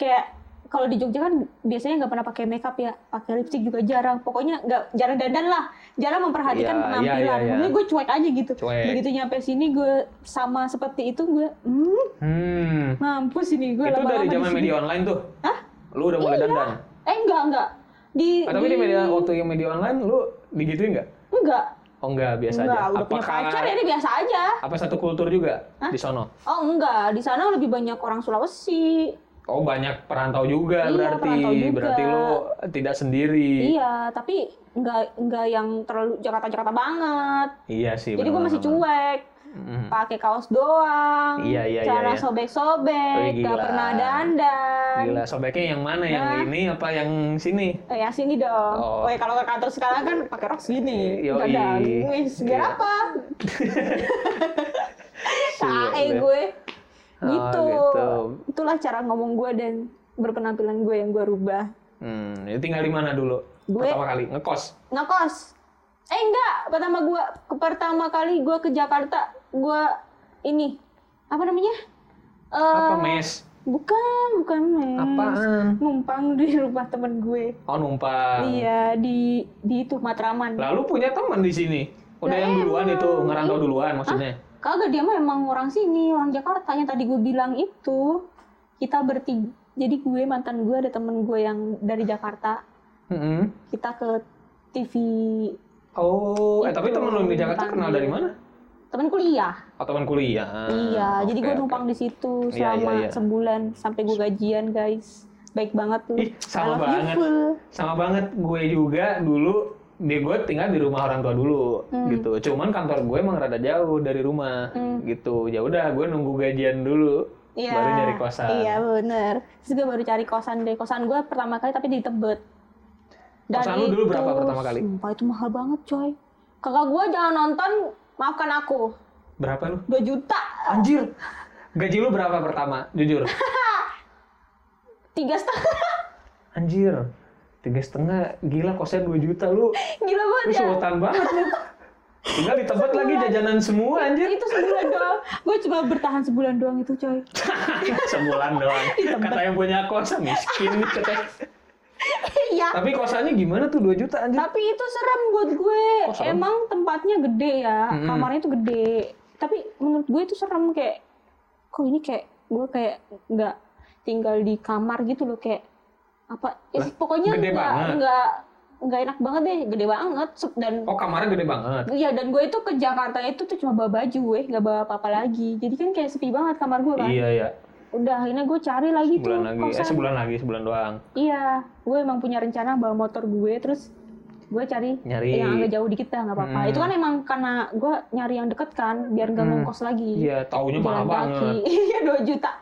[SPEAKER 2] kayak kalau di Jogja kan biasanya nggak pernah pakai makeup ya, pakai lipstick juga jarang. Pokoknya nggak jarang dandan lah, jarang memperhatikan
[SPEAKER 1] Iya,
[SPEAKER 2] penampilan.
[SPEAKER 1] iya, iya, iya.
[SPEAKER 2] Makanya gue cuek aja gitu.
[SPEAKER 1] Cuek.
[SPEAKER 2] Begitu nyampe sini gue sama seperti itu gue, hmm,
[SPEAKER 1] Hmm.
[SPEAKER 2] mampus ini gue
[SPEAKER 1] itu dari
[SPEAKER 2] lama-lama di
[SPEAKER 1] zaman
[SPEAKER 2] sini.
[SPEAKER 1] media online tuh.
[SPEAKER 2] Hah?
[SPEAKER 1] Lu udah mulai dandan.
[SPEAKER 2] Eh enggak enggak di
[SPEAKER 1] Ah, tapi di media waktu yang media online lu digituin nggak?
[SPEAKER 2] enggak
[SPEAKER 1] Oh enggak, biasa
[SPEAKER 2] enggak
[SPEAKER 1] aja.
[SPEAKER 2] udah punya pacar ya ini biasa aja.
[SPEAKER 1] apa satu kultur juga di sono?
[SPEAKER 2] Oh enggak di sana lebih banyak orang Sulawesi.
[SPEAKER 1] Oh banyak perantau juga
[SPEAKER 2] Iya,
[SPEAKER 1] berarti.
[SPEAKER 2] perantau juga.
[SPEAKER 1] Berarti lu tidak sendiri.
[SPEAKER 2] Iya tapi enggak enggak yang terlalu Jakarta-Jakarta banget.
[SPEAKER 1] Iya sih.
[SPEAKER 2] Jadi gue masih cuek.
[SPEAKER 1] Mm.
[SPEAKER 2] pakai kaos doang,
[SPEAKER 1] Iya, iya, iya, iya.
[SPEAKER 2] cara
[SPEAKER 1] Wih, gila.
[SPEAKER 2] sobek-sobek, nggak pernah dandan.
[SPEAKER 1] Gila, sobeknya yang mana? Yang
[SPEAKER 2] Gitu. Nah.
[SPEAKER 1] ini apa yang sini?
[SPEAKER 2] Eh, ya sini dong.
[SPEAKER 1] Oh.
[SPEAKER 2] Woi, kalau ke kantor sekarang kan pakai rok sini.
[SPEAKER 1] Yoi.
[SPEAKER 2] Dandan. Wih,
[SPEAKER 1] Iya.
[SPEAKER 2] segala apa? Tae
[SPEAKER 1] Iya,
[SPEAKER 2] gue.
[SPEAKER 1] Oh,
[SPEAKER 2] Gitu.
[SPEAKER 1] gitu.
[SPEAKER 2] Itulah cara ngomong gue dan berpenampilan gue yang gue rubah.
[SPEAKER 1] Hmm, ya tinggal di mana dulu?
[SPEAKER 2] Gue-
[SPEAKER 1] Pertama kali ngekos.
[SPEAKER 2] Ngekos. Eh enggak, pertama gua pertama kali gue ke Jakarta, gue ini apa namanya?
[SPEAKER 1] Apa
[SPEAKER 2] Eh,
[SPEAKER 1] mes?
[SPEAKER 2] Bukan, bukan mes.
[SPEAKER 1] Apaan?
[SPEAKER 2] Numpang di rumah temen gue.
[SPEAKER 1] Oh numpang.
[SPEAKER 2] Iya, di di itu Matraman.
[SPEAKER 1] Lalu punya teman di sini. Udah
[SPEAKER 2] Lah,
[SPEAKER 1] yang duluan
[SPEAKER 2] emang.
[SPEAKER 1] itu ngerantau duluan maksudnya.
[SPEAKER 2] Kagak dia mah emang orang sini, orang Jakarta yang tadi gue bilang itu. Kita bertiga. Jadi gue mantan gue ada temen gue yang dari Jakarta.
[SPEAKER 1] Mm-mm.
[SPEAKER 2] Kita ke TV
[SPEAKER 1] Oh, eh
[SPEAKER 2] Itu
[SPEAKER 1] tapi teman lu di Jakarta
[SPEAKER 2] numpang.
[SPEAKER 1] kenal dari mana?
[SPEAKER 2] temen kuliah.
[SPEAKER 1] Oh, teman kuliah.
[SPEAKER 2] iya, jadi
[SPEAKER 1] Oke,
[SPEAKER 2] gue
[SPEAKER 1] Eh, oke.
[SPEAKER 2] numpang di
[SPEAKER 1] Iya,
[SPEAKER 2] situ
[SPEAKER 1] iya,
[SPEAKER 2] selama
[SPEAKER 1] iya.
[SPEAKER 2] sebulan sampai gue gajian, guys. Baik banget tuh.
[SPEAKER 1] Ih, sama
[SPEAKER 2] I love you,
[SPEAKER 1] banget.
[SPEAKER 2] full.
[SPEAKER 1] Sama banget gue juga dulu di gue tinggal di rumah orang tua dulu
[SPEAKER 2] Hmm.
[SPEAKER 1] gitu. Cuman kantor gue emang rada jauh dari rumah
[SPEAKER 2] Hmm.
[SPEAKER 1] gitu. Ya udah gue nunggu gajian dulu
[SPEAKER 2] Iya.
[SPEAKER 1] baru nyari kosan.
[SPEAKER 2] Iya, bener. Terus gue baru cari kosan deh. Kosan gue pertama kali tapi di Tebet.
[SPEAKER 1] Kosan lu dulu berapa pertama kali?
[SPEAKER 2] Sumpah itu mahal banget coy. Kakak gue jangan nonton, maafkan aku.
[SPEAKER 1] Berapa lu?
[SPEAKER 2] 2 juta,
[SPEAKER 1] Anjir. Gaji lu berapa pertama? Jujur.
[SPEAKER 2] tiga setengah.
[SPEAKER 1] Anjir. Tiga setengah, gila kosnya 2 juta lu.
[SPEAKER 2] Gila banget
[SPEAKER 1] Lu
[SPEAKER 2] ya.
[SPEAKER 1] sultan banget lu. Tinggal di Tebet lagi jajanan semua anjir.
[SPEAKER 2] Itu sebulan doang. Gue cuma bertahan sebulan doang itu coy. Iya.
[SPEAKER 1] Sebulan doang. Kata yang punya kosan miskin katanya.
[SPEAKER 2] Iya.
[SPEAKER 1] Tapi kosannya gimana tuh 2 juta anjir?
[SPEAKER 2] Tapi itu serem buat gue.
[SPEAKER 1] Oh, serem.
[SPEAKER 2] Emang tempatnya gede ya,
[SPEAKER 1] Mm-mm.
[SPEAKER 2] kamarnya tuh gede. Tapi menurut gue itu serem kayak, kok ini kayak gue kayak nggak tinggal di kamar gitu loh kayak apa? eh,
[SPEAKER 1] Lah,
[SPEAKER 2] pokoknya
[SPEAKER 1] gede
[SPEAKER 2] nggak
[SPEAKER 1] banget.
[SPEAKER 2] nggak nggak enak banget deh, gede banget Sup- dan
[SPEAKER 1] Oh, kamarnya gede banget.
[SPEAKER 2] Iya, dan gue itu ke Jakarta itu tuh cuma bawa baju, gue nggak bawa apa-apa lagi. Jadi kan kayak sepi banget kamar gue kan.
[SPEAKER 1] Iya, iya.
[SPEAKER 2] Udah, akhirnya gue cari lagi
[SPEAKER 1] Sebulan
[SPEAKER 2] tuh
[SPEAKER 1] lagi.
[SPEAKER 2] kosan.
[SPEAKER 1] Eh, sebulan lagi, sebulan doang.
[SPEAKER 2] Iya, gue emang punya rencana bawa motor gue terus gue cari,
[SPEAKER 1] Nyari.
[SPEAKER 2] yang agak jauh dikit dah nggak apa-apa.
[SPEAKER 1] Hmm.
[SPEAKER 2] Itu kan emang karena gue nyari yang deket kan, biar nggak
[SPEAKER 1] Hmm.
[SPEAKER 2] ngongkos lagi.
[SPEAKER 1] Iya, taunya mahal
[SPEAKER 2] Jalan kaki.
[SPEAKER 1] banget.
[SPEAKER 2] Iya, 2 juta.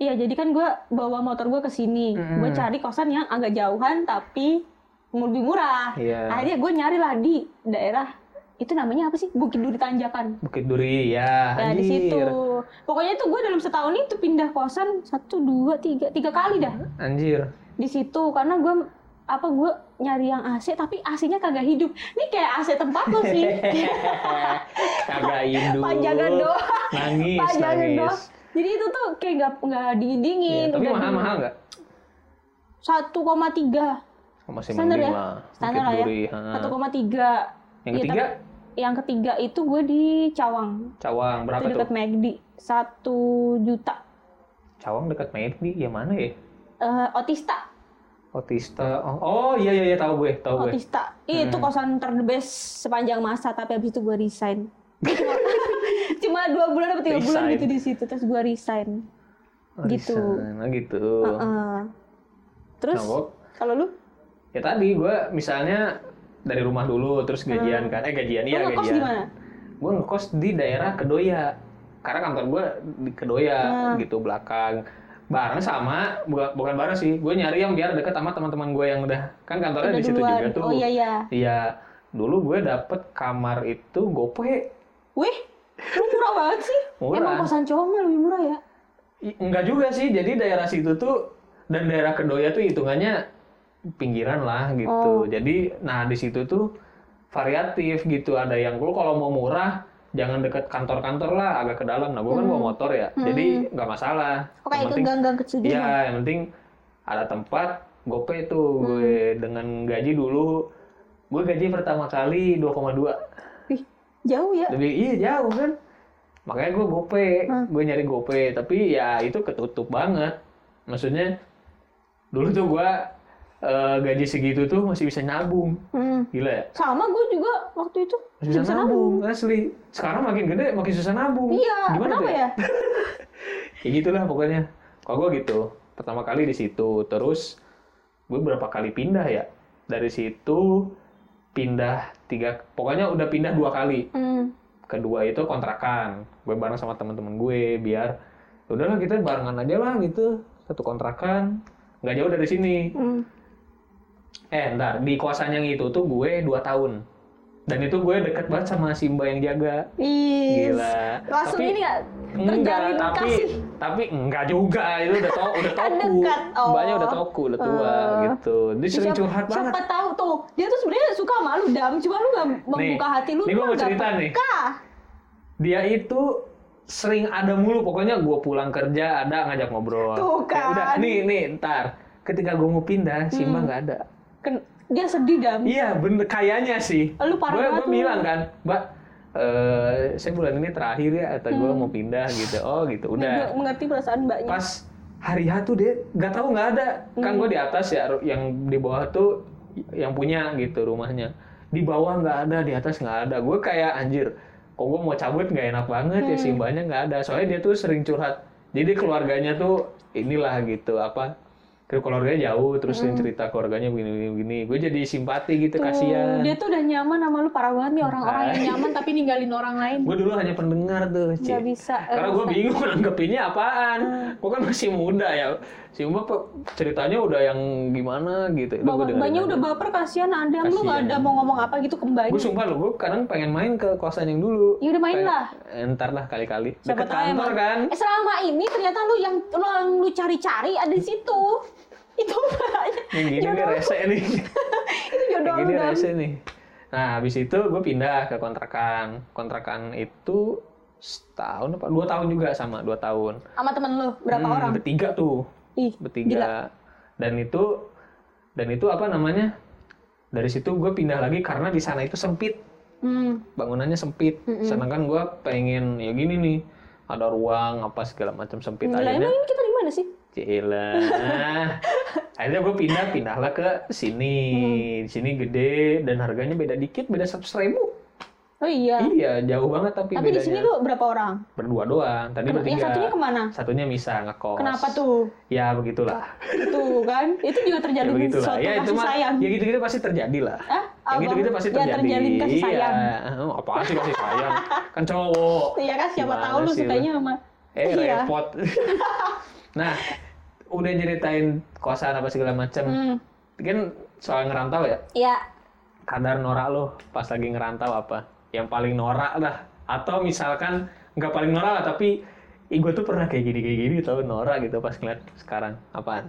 [SPEAKER 2] Iya, jadi kan gue bawa motor gue ke sini.
[SPEAKER 1] Hmm.
[SPEAKER 2] Gue cari kosan yang agak jauhan tapi lebih murah.
[SPEAKER 1] Iya.
[SPEAKER 2] Akhirnya gue nyari lah di daerah itu namanya apa sih? Bukit Duri Tanjakan.
[SPEAKER 1] Bukit Duri, ya.
[SPEAKER 2] Ya di
[SPEAKER 1] anjir.
[SPEAKER 2] situ. Pokoknya itu gue dalam setahun itu pindah kosan satu dua tiga tiga kali dah
[SPEAKER 1] Anjir.
[SPEAKER 2] di situ karena gue apa gue nyari yang AC tapi AC-nya kagak hidup. Ini kayak AC tempat lo sih.
[SPEAKER 1] Kagak induk.
[SPEAKER 2] Panjangan doang.
[SPEAKER 1] Nangis,
[SPEAKER 2] Panjangan
[SPEAKER 1] nangis.
[SPEAKER 2] doang. Jadi itu tuh kayak nggak nggak
[SPEAKER 1] Iya,
[SPEAKER 2] diindingin.
[SPEAKER 1] tapi mahal-mahal nggak?
[SPEAKER 2] 1,3
[SPEAKER 1] Oh, Masih
[SPEAKER 2] Standar
[SPEAKER 1] mending
[SPEAKER 2] ya?
[SPEAKER 1] lah.
[SPEAKER 2] standar
[SPEAKER 1] Bukit
[SPEAKER 2] lah ya.
[SPEAKER 1] Duri, ha.
[SPEAKER 2] 1,3.
[SPEAKER 1] Yang
[SPEAKER 2] Iya,
[SPEAKER 1] ketiga,
[SPEAKER 2] tapi- yang ketiga itu gue di Cawang.
[SPEAKER 1] Cawang. Berapa
[SPEAKER 2] itu
[SPEAKER 1] tuh?
[SPEAKER 2] dekat McD. 1 juta.
[SPEAKER 1] Cawang dekat Medi, ya mana ya?
[SPEAKER 2] Eh, otista.
[SPEAKER 1] Otista. Oh, oh, iya iya iya tahu gue, tahu gue.
[SPEAKER 2] Otista. Ih, Itu
[SPEAKER 1] Hmm.
[SPEAKER 2] kosan terdebes sepanjang masa, tapi habis itu gue resign. Gua cuma, cuma dua bulan atau tiga bulan
[SPEAKER 1] Resign.
[SPEAKER 2] gitu di situ, terus gue resign.
[SPEAKER 1] Oh,
[SPEAKER 2] Gitu.
[SPEAKER 1] resign. Nah, gitu.
[SPEAKER 2] Heeh. Terus
[SPEAKER 1] Nah, gua-
[SPEAKER 2] kalau lu,
[SPEAKER 1] ya tadi gue misalnya dari rumah dulu terus gajian kan. Eh gajian iya
[SPEAKER 2] Hmm. lu ngekos
[SPEAKER 1] gajian.
[SPEAKER 2] di mana?
[SPEAKER 1] Gue ngekos di daerah Kedoya. Karena kantor gue di Kedoya
[SPEAKER 2] Hmm.
[SPEAKER 1] gitu belakang. Bareng sama bukan bukan bareng sih. Gue nyari yang biar deket sama teman-teman gue yang udah kan kantornya
[SPEAKER 2] Udah
[SPEAKER 1] di situ
[SPEAKER 2] duluan.
[SPEAKER 1] juga tuh.
[SPEAKER 2] Oh iya iya.
[SPEAKER 1] Iya. Dulu gue dapet kamar itu gope.
[SPEAKER 2] Wih, lu murah banget sih.
[SPEAKER 1] Murah.
[SPEAKER 2] Emang kosan cowok mah lebih murah ya?
[SPEAKER 1] I- Enggak juga sih, jadi daerah situ tuh dan daerah Kedoya tuh hitungannya pinggiran lah gitu.
[SPEAKER 2] Oh.
[SPEAKER 1] Jadi nah di situ tuh variatif gitu, ada yang lu kalau mau murah jangan deket kantor-kantor lah agak ke dalam nah gue kan
[SPEAKER 2] Hmm.
[SPEAKER 1] bawa motor ya
[SPEAKER 2] Hmm.
[SPEAKER 1] jadi nggak masalah
[SPEAKER 2] Kok kayak
[SPEAKER 1] yang
[SPEAKER 2] ke
[SPEAKER 1] penting
[SPEAKER 2] gang-gang kecil gitu.
[SPEAKER 1] iya yang penting ada tempat gope
[SPEAKER 2] Hmm.
[SPEAKER 1] tuh gue dengan gaji dulu gue gaji pertama kali 2,2
[SPEAKER 2] Wih, jauh ya.
[SPEAKER 1] lebih iya jauh kan makanya gue gope
[SPEAKER 2] Hmm.
[SPEAKER 1] gue nyari gope tapi ya itu ketutup banget maksudnya dulu tuh gue eh, gaji segitu tuh masih bisa nabung
[SPEAKER 2] Hmm.
[SPEAKER 1] gila ya
[SPEAKER 2] Sama gue juga waktu itu
[SPEAKER 1] masih bisa, nabung. asli sekarang makin gede makin susah nabung
[SPEAKER 2] Iya,
[SPEAKER 1] Gimana tuh
[SPEAKER 2] kenapa
[SPEAKER 1] ya?
[SPEAKER 2] ya?
[SPEAKER 1] ya gitulah pokoknya kalau gue gitu pertama kali di situ terus gue berapa kali pindah ya dari situ pindah tiga pokoknya udah pindah dua kali
[SPEAKER 2] Hmm.
[SPEAKER 1] kedua itu kontrakan gue bareng sama teman-teman gue biar ya udahlah kita barengan aja lah gitu satu kontrakan nggak jauh dari sini
[SPEAKER 2] Hmm.
[SPEAKER 1] eh ntar di kosan yang itu tuh gue dua tahun dan itu gue deket banget sama si mbak yang jaga
[SPEAKER 2] Is.
[SPEAKER 1] Gila.
[SPEAKER 2] Langsung
[SPEAKER 1] Tapi-
[SPEAKER 2] ini nggak terjalin
[SPEAKER 1] Enggak, tapi
[SPEAKER 2] kasih.
[SPEAKER 1] tapi enggak juga itu udah tau udah
[SPEAKER 2] Kan
[SPEAKER 1] toku
[SPEAKER 2] dekat, oh.
[SPEAKER 1] mbaknya udah toku udah tua
[SPEAKER 2] Eh.
[SPEAKER 1] gitu dia sering
[SPEAKER 2] Siapa-
[SPEAKER 1] curhat banget
[SPEAKER 2] Siapa tahu tuh dia tuh sebenarnya suka sama lu dam, cuma lu nggak membuka hati lu.
[SPEAKER 1] nih gua
[SPEAKER 2] tuh
[SPEAKER 1] mau
[SPEAKER 2] nggak
[SPEAKER 1] cerita nih.
[SPEAKER 2] peka.
[SPEAKER 1] dia itu sering ada mulu pokoknya gue pulang kerja ada ngajak ngobrol
[SPEAKER 2] Tuh
[SPEAKER 1] Ya udah
[SPEAKER 2] kan. Hmm.
[SPEAKER 1] nih nih ntar ketika gue mau pindah si mbak nggak ada
[SPEAKER 2] Ken- dia sedih dam.
[SPEAKER 1] iya bener kayaknya sih
[SPEAKER 2] Lu parah
[SPEAKER 1] gue
[SPEAKER 2] banget
[SPEAKER 1] gue
[SPEAKER 2] lu.
[SPEAKER 1] bilang kan mbak eh saya bulan ini terakhir ya atau
[SPEAKER 2] Hmm.
[SPEAKER 1] gue mau pindah gitu oh gitu
[SPEAKER 2] Dia
[SPEAKER 1] udah
[SPEAKER 2] nggak mengerti perasaan mbaknya.
[SPEAKER 1] pas hari H tuh dia nggak tahu nggak ada kan
[SPEAKER 2] Hmm.
[SPEAKER 1] gue di atas ya ru- yang di bawah tuh yang punya gitu rumahnya di bawah nggak ada di atas nggak ada gue kayak anjir kok gue mau cabut nggak enak banget
[SPEAKER 2] Hmm.
[SPEAKER 1] ya si mbaknya nggak ada soalnya dia tuh sering curhat jadi keluarganya tuh inilah gitu apa ke keluarganya jauh terus sering cerita keluarganya begini begini, begini. gue jadi simpati gitu
[SPEAKER 2] Hmm. Tuh,
[SPEAKER 1] kasihan
[SPEAKER 2] Dia tuh udah nyaman sama lu parah banget nih orang-orang yang nyaman tapi ninggalin orang lain.
[SPEAKER 1] gue dulu hanya pendengar tuh Ci.
[SPEAKER 2] Nggak bisa. eh,
[SPEAKER 1] Karena gue bingung nanggepinnya apaan. Gue kan masih muda ya. Si Uma pe- ceritanya udah yang gimana gitu.
[SPEAKER 2] Bawa- Mbaknya udah baper kasihan Adam lu nggak ada mau ngomong apa gitu ke mbaknya.
[SPEAKER 1] Gue sumpah loh, gue kadang pengen main ke kosan yang dulu.
[SPEAKER 2] Ya udah
[SPEAKER 1] Kayak,
[SPEAKER 2] main lah.
[SPEAKER 1] "Eh, Ntar lah kali-kali.
[SPEAKER 2] Siapa
[SPEAKER 1] Deket
[SPEAKER 2] tahu
[SPEAKER 1] kantor
[SPEAKER 2] emang.
[SPEAKER 1] kan.
[SPEAKER 2] Eh selama ini ternyata lu yang lu yang lu cari-cari ada di situ. Itu mbaknya.
[SPEAKER 1] Yang gini nih
[SPEAKER 2] Jodoh-
[SPEAKER 1] rese nih.
[SPEAKER 2] Itu jodoh kan?
[SPEAKER 1] yang
[SPEAKER 2] lu
[SPEAKER 1] gini ya.
[SPEAKER 2] Dam.
[SPEAKER 1] rese nih. Nah, habis itu gue pindah ke kontrakan. Kontrakan itu setahun apa? Dua tahun juga sama, dua tahun.
[SPEAKER 2] Sama temen lu berapa
[SPEAKER 1] Hmm,
[SPEAKER 2] orang?
[SPEAKER 1] Bertiga tuh.
[SPEAKER 2] Ih,
[SPEAKER 1] bertiga
[SPEAKER 2] Gila.
[SPEAKER 1] dan itu dan itu apa namanya dari situ gue pindah lagi karena di sana itu sempit
[SPEAKER 2] Hmm.
[SPEAKER 1] bangunannya sempit sedangkan gue pengen ya gini nih ada ruang apa segala macam sempit
[SPEAKER 2] Gila,
[SPEAKER 1] akhirnya
[SPEAKER 2] emang ini kita di mana sih?
[SPEAKER 1] Cila. akhirnya gue pindah pindahlah ke sini di sini gede dan harganya beda dikit beda seratus ribu
[SPEAKER 2] Oh iya.
[SPEAKER 1] iya jauh banget tapi,
[SPEAKER 2] Tapi di
[SPEAKER 1] bedanya
[SPEAKER 2] sini lu berapa orang?
[SPEAKER 1] berdua doang tadi
[SPEAKER 2] Ken-
[SPEAKER 1] bertiga
[SPEAKER 2] Yang satunya kemana?
[SPEAKER 1] satunya misah ngekos
[SPEAKER 2] Kenapa tuh?
[SPEAKER 1] ya begitulah
[SPEAKER 2] Itu kan? Itu juga
[SPEAKER 1] ya
[SPEAKER 2] terjadi
[SPEAKER 1] begitulah
[SPEAKER 2] suatu
[SPEAKER 1] ya itu
[SPEAKER 2] kasih
[SPEAKER 1] mah
[SPEAKER 2] sayang.
[SPEAKER 1] ya gitu gitu pasti terjadi lah
[SPEAKER 2] Hah?
[SPEAKER 1] yang gitu gitu pasti terjadi
[SPEAKER 2] Ya terjalin kasih sayang.
[SPEAKER 1] iya apaan sih kasih sayang kan cowok
[SPEAKER 2] Iya kan siapa
[SPEAKER 1] Gimana
[SPEAKER 2] tahu lu
[SPEAKER 1] sih lu?
[SPEAKER 2] sukanya sama
[SPEAKER 1] eh
[SPEAKER 2] Iya.
[SPEAKER 1] repot nah udah nyeritain kosan apa segala macam
[SPEAKER 2] Hmm.
[SPEAKER 1] kan soal ngerantau ya
[SPEAKER 2] Iya.
[SPEAKER 1] kadar norak lo pas lagi ngerantau apa yang paling norak lah atau misalkan nggak paling norak lah tapi Ih, gue tuh pernah kayak gini kayak gini tau norak gitu pas ngeliat sekarang apaan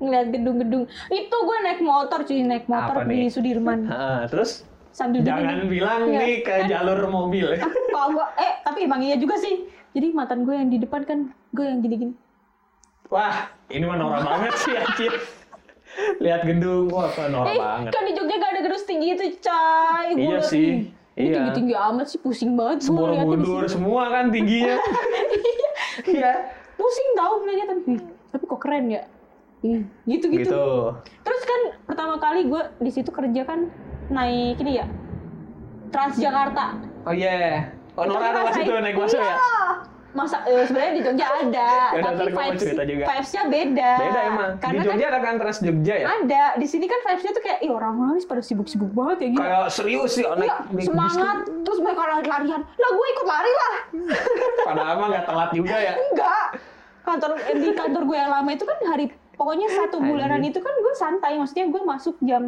[SPEAKER 2] Ngeliat gedung-gedung. Itu gue naik motor cuy, naik motor
[SPEAKER 1] Apa
[SPEAKER 2] di
[SPEAKER 1] nih?
[SPEAKER 2] Sudirman.
[SPEAKER 1] Heeh, terus
[SPEAKER 2] Sambil
[SPEAKER 1] jangan bilang
[SPEAKER 2] Iya.
[SPEAKER 1] nih ke jalur mobil
[SPEAKER 2] Kalau gue, eh tapi emang iya juga sih. Jadi mantan gue yang di depan kan, gue yang gini-gini.
[SPEAKER 1] Wah, ini mah norak banget sih anjir. Lihat gedung, wah kok norak
[SPEAKER 2] Eh,
[SPEAKER 1] banget.
[SPEAKER 2] kan di Jogja gak ada gedung setinggi itu, coy. Gua
[SPEAKER 1] Iya
[SPEAKER 2] liat
[SPEAKER 1] sih,
[SPEAKER 2] nih, Ini
[SPEAKER 1] iya.
[SPEAKER 2] tinggi-tinggi amat sih, pusing banget gue
[SPEAKER 1] Borobudur
[SPEAKER 2] liatnya di
[SPEAKER 1] mundur
[SPEAKER 2] sini.
[SPEAKER 1] semua kan tingginya. Iya.
[SPEAKER 2] Pusing tau ngeliatnya, tapi, "Wih, tapi kok keren ya. Hmm, gitu-gitu.
[SPEAKER 1] gitu.
[SPEAKER 2] Terus kan pertama kali gue di situ kerja kan naik ini ya, Transjakarta.
[SPEAKER 1] Oh iya. Oh
[SPEAKER 2] Itu
[SPEAKER 1] norak ada pas
[SPEAKER 2] ngerasain-
[SPEAKER 1] itu naik masuk ya?
[SPEAKER 2] Iya. Masa eh, sebenarnya di Jogja ada,
[SPEAKER 1] Yaudah, ntar
[SPEAKER 2] tapi
[SPEAKER 1] gua mau
[SPEAKER 2] vibes
[SPEAKER 1] cerita juga.
[SPEAKER 2] vibes-nya beda.
[SPEAKER 1] Beda emang. Di
[SPEAKER 2] Karena
[SPEAKER 1] Jogja ada kan Trans Jogja ya?
[SPEAKER 2] kan ada. Di sini kan vibes-nya tuh kayak ih orang-orang ini pada sibuk-sibuk banget ya gitu.
[SPEAKER 1] Kayak serius sih oh,
[SPEAKER 2] Iya,
[SPEAKER 1] naik naik
[SPEAKER 2] semangat terus mereka lari-larian. Lah gue ikut lari lah.
[SPEAKER 1] bis. Padahal mah nggak telat juga ya.
[SPEAKER 2] Enggak. Kantor eh, di kantor gue yang lama itu kan hari pokoknya satu bulanan itu kan gue santai. Maksudnya gue masuk jam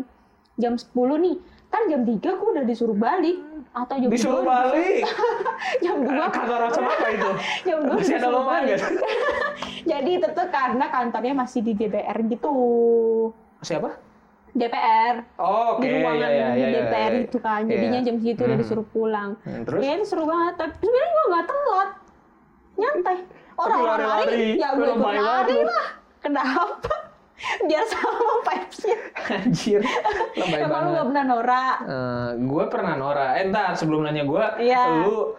[SPEAKER 2] jam 10 nih. Ntar jam 3 gue udah disuruh balik atau jam
[SPEAKER 1] Disuruh
[SPEAKER 2] 2
[SPEAKER 1] balik. Eh,
[SPEAKER 2] jam 2
[SPEAKER 1] Kantor macam apa itu?
[SPEAKER 2] jam dua
[SPEAKER 1] Masih ada
[SPEAKER 2] disuruh
[SPEAKER 1] lowongan
[SPEAKER 2] balik.
[SPEAKER 1] nggak?
[SPEAKER 2] Jadi itu tuh karena kantornya masih di DPR gitu.
[SPEAKER 1] Siapa?
[SPEAKER 2] DPR
[SPEAKER 1] Oh, oke
[SPEAKER 2] di
[SPEAKER 1] ya,
[SPEAKER 2] ruangan
[SPEAKER 1] ya,
[SPEAKER 2] di
[SPEAKER 1] ya, ya,
[SPEAKER 2] DPR
[SPEAKER 1] ya.
[SPEAKER 2] itu kan jadinya
[SPEAKER 1] Iya.
[SPEAKER 2] jam segitu udah
[SPEAKER 1] Mhm.
[SPEAKER 2] disuruh pulang
[SPEAKER 1] Hmm, terus
[SPEAKER 2] Kayaknya seru banget. Tapi sebenarnya gue nggak telat. Nyantai. Orang
[SPEAKER 1] Tapi
[SPEAKER 2] orang lari,
[SPEAKER 1] lari-lari.
[SPEAKER 2] ya gue
[SPEAKER 1] Lu
[SPEAKER 2] ikut
[SPEAKER 1] lebay banget
[SPEAKER 2] lari
[SPEAKER 1] lu.
[SPEAKER 2] lah. Kenapa? Biar sama vibes-nya.
[SPEAKER 1] anjir lebay
[SPEAKER 2] Emang lu
[SPEAKER 1] banget
[SPEAKER 2] nggak pernah norak?
[SPEAKER 1] gue Eh, pernah Nora eh ntar sebelum nanya gue
[SPEAKER 2] Iya.
[SPEAKER 1] lu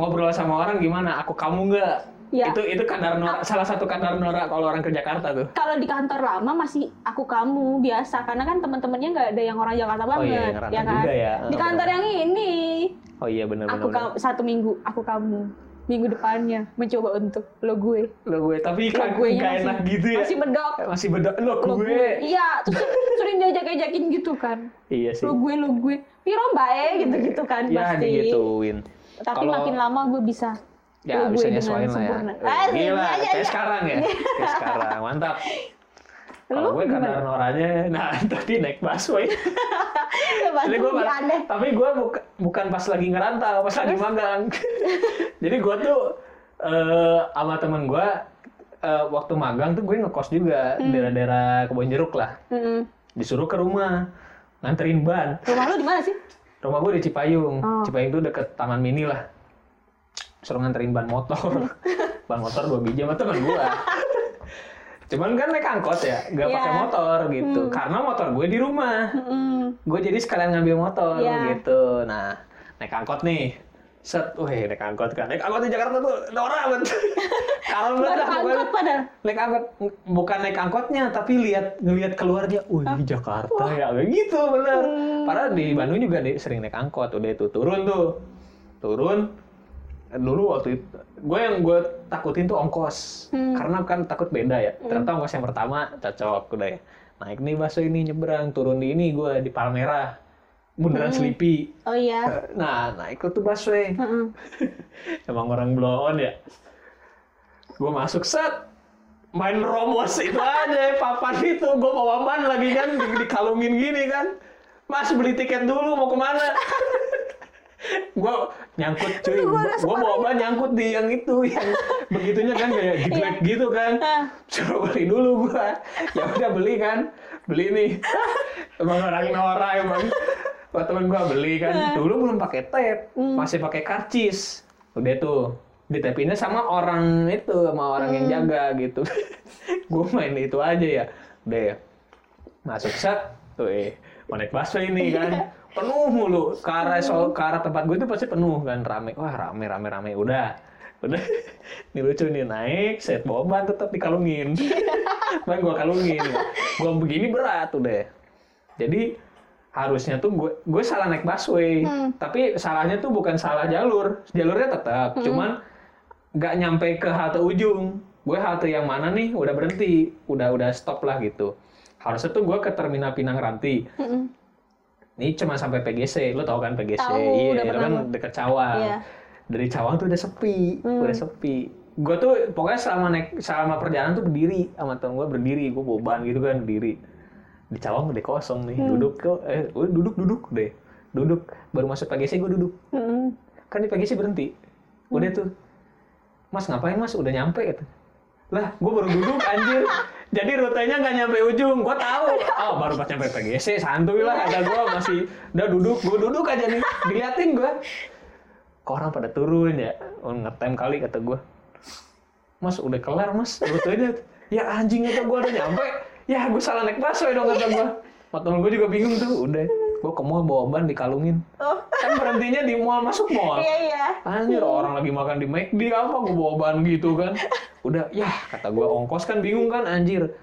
[SPEAKER 1] ngobrol sama orang gimana aku kamu nggak
[SPEAKER 2] Iya.
[SPEAKER 1] itu itu kadar Nora salah satu kadar Nora kalau orang ke Jakarta tuh
[SPEAKER 2] Kalau di kantor lama masih aku kamu biasa karena kan teman-temannya nggak ada yang orang Jakarta banget,
[SPEAKER 1] iya, yang rantau
[SPEAKER 2] ya kan?
[SPEAKER 1] juga ya.
[SPEAKER 2] Di kantor yang ini
[SPEAKER 1] oh iya benar
[SPEAKER 2] aku kamu satu minggu aku kamu minggu depannya mencoba untuk lo gue
[SPEAKER 1] lo gue tapi
[SPEAKER 2] lo
[SPEAKER 1] kan
[SPEAKER 2] gue
[SPEAKER 1] gak enak gitu ya
[SPEAKER 2] masih bedok
[SPEAKER 1] masih beda lo
[SPEAKER 2] lo
[SPEAKER 1] gue
[SPEAKER 2] gue iya terus sering diajak-ajakin gitu kan
[SPEAKER 1] iya sih
[SPEAKER 2] lu gue lu gue piro mbak eh gitu gitu kan
[SPEAKER 1] ya
[SPEAKER 2] pasti
[SPEAKER 1] digituin
[SPEAKER 2] tapi
[SPEAKER 1] Kalau-
[SPEAKER 2] makin lama gue bisa
[SPEAKER 1] ya
[SPEAKER 2] Lu
[SPEAKER 1] bisa
[SPEAKER 2] gue
[SPEAKER 1] nyesuaiin
[SPEAKER 2] dengan
[SPEAKER 1] lah ya
[SPEAKER 2] sempurna.
[SPEAKER 1] Eh,
[SPEAKER 2] Eh,
[SPEAKER 1] gila
[SPEAKER 2] iya, iya,
[SPEAKER 1] kayak
[SPEAKER 2] iya.
[SPEAKER 1] sekarang ya kayak sekarang mantap kalau
[SPEAKER 2] Lu
[SPEAKER 1] gue kadar
[SPEAKER 2] gimana?
[SPEAKER 1] noranya nah tadi naik busway
[SPEAKER 2] ya pasti
[SPEAKER 1] Jadi gua
[SPEAKER 2] lebih
[SPEAKER 1] malah-
[SPEAKER 2] aneh
[SPEAKER 1] tapi gue bukan pas lagi ngerantau, pas lagi magang. Jadi gue tuh eh sama temen gue eh, waktu magang tuh gue ngekos juga
[SPEAKER 2] Hmm.
[SPEAKER 1] daerah-daerah kebon jeruk lah.
[SPEAKER 2] Mm-mm.
[SPEAKER 1] Disuruh ke rumah nganterin ban.
[SPEAKER 2] rumah lu di mana sih
[SPEAKER 1] Rumah gue di Cipayung.
[SPEAKER 2] Oh.
[SPEAKER 1] Cipayung tuh deket Taman Mini lah. Suruh nganterin ban motor. ban motor dua biji sama temen gue. Cuman kan naik angkot ya, nggak pakai
[SPEAKER 2] Iya.
[SPEAKER 1] motor gitu. Karena motor gue di rumah
[SPEAKER 2] Mm-mm.
[SPEAKER 1] gue jadi sekalian ngambil motor
[SPEAKER 2] Iya.
[SPEAKER 1] gitu nah naik angkot nih set wih naik angkot kan naik angkot di Jakarta tuh Nora banget kalem banget
[SPEAKER 2] Baru
[SPEAKER 1] lah pokoknya.
[SPEAKER 2] angkot padahal
[SPEAKER 1] naik angkot bukan naik angkotnya tapi lihat ngelihat keluar dia wih Jakarta ya kayak gitu bener padahal di Bandung juga di- sering naik angkot udah itu turun tuh turun dulu waktu itu gue yang gue takutin tuh ongkos
[SPEAKER 2] Hmm.
[SPEAKER 1] karena kan takut beda ya ternyata ongkos yang pertama cocok udah ya naik nih bakso ini nyebrang turun di ini gue di Palmerah bundaran Selipi
[SPEAKER 2] oh iya
[SPEAKER 1] nah naik tuh busway
[SPEAKER 2] Mm-mm.
[SPEAKER 1] Emang orang blow on ya? Gue masuk set, main romos itu aja, papan itu. Gue bawa ban lagi kan, di- dikalungin gini kan. Mas beli tiket dulu mau kemana? gue nyangkut cuy,
[SPEAKER 2] Itu gua udah
[SPEAKER 1] gue bawa ban nyangkut di yang itu, yang begitunya kan kayak gitu gitu kan.
[SPEAKER 2] Ah.
[SPEAKER 1] Suruh beli dulu gue, ya udah beli kan, beli nih. emang orang Nora emang. Wah temen gue beli kan, dulu belum pakai tape,
[SPEAKER 2] Hmm.
[SPEAKER 1] masih pakai karcis udah tuh ditepinnya sama orang itu sama orang yang jaga gitu gue main itu aja ya udah ya masuk set tuh eh mau naik busway ini kan penuh mulu ke arah so- ke arah tempat gue itu pasti penuh kan rame wah rame rame rame udah udah ini lucu nih naik set bawa ban tetap dikalungin ban gue kalungin gue begini berat udah jadi harusnya tuh gue gue salah naik busway
[SPEAKER 2] Hmm.
[SPEAKER 1] tapi salahnya tuh bukan salah jalur jalurnya tetap cuman nggak nyampe ke halte ujung gue halte yang mana nih udah berhenti udah udah stop lah gitu harusnya tuh gue ke terminal Pinang Ranti
[SPEAKER 2] Mm-mm.
[SPEAKER 1] ini cuma sampai PGC lo tau kan PGC
[SPEAKER 2] Tahu, udah
[SPEAKER 1] itu
[SPEAKER 2] pernah
[SPEAKER 1] kan
[SPEAKER 2] gua.
[SPEAKER 1] deket Cawang
[SPEAKER 2] Iya. Hmm.
[SPEAKER 1] dari Cawang tuh udah sepi udah sepi gue tuh pokoknya selama naik selama perjalanan tuh berdiri sama temen gue berdiri gue boban gitu kan berdiri di Cawang udah kosong
[SPEAKER 2] Hmm.
[SPEAKER 1] nih duduk kok eh udah duduk duduk deh duduk baru masuk PGC gue duduk
[SPEAKER 2] Mm-mm.
[SPEAKER 1] kan di PGC berhenti udah tuh mas ngapain mas udah nyampe gitu lah gue baru duduk anjir jadi rutenya nggak nyampe ujung gue tahu oh baru pas nyampe PGC santuy lah ada gue masih udah duduk gue duduk aja nih diliatin gue kok orang pada turun ya Oh, ngetem kali kata gue mas udah kelar mas rutenya ya anjing itu gue udah nyampe ya gue salah naik busway dong kata gue Temen gue juga bingung tuh udah gue ke mall bawa ban dikalungin
[SPEAKER 2] oh
[SPEAKER 1] kan berhentinya di mall masuk mall
[SPEAKER 2] iya iya
[SPEAKER 1] Anjir orang lagi makan di McD apa gue bawa ban gitu kan. Udah yah kata gue ongkos kan bingung kan anjir.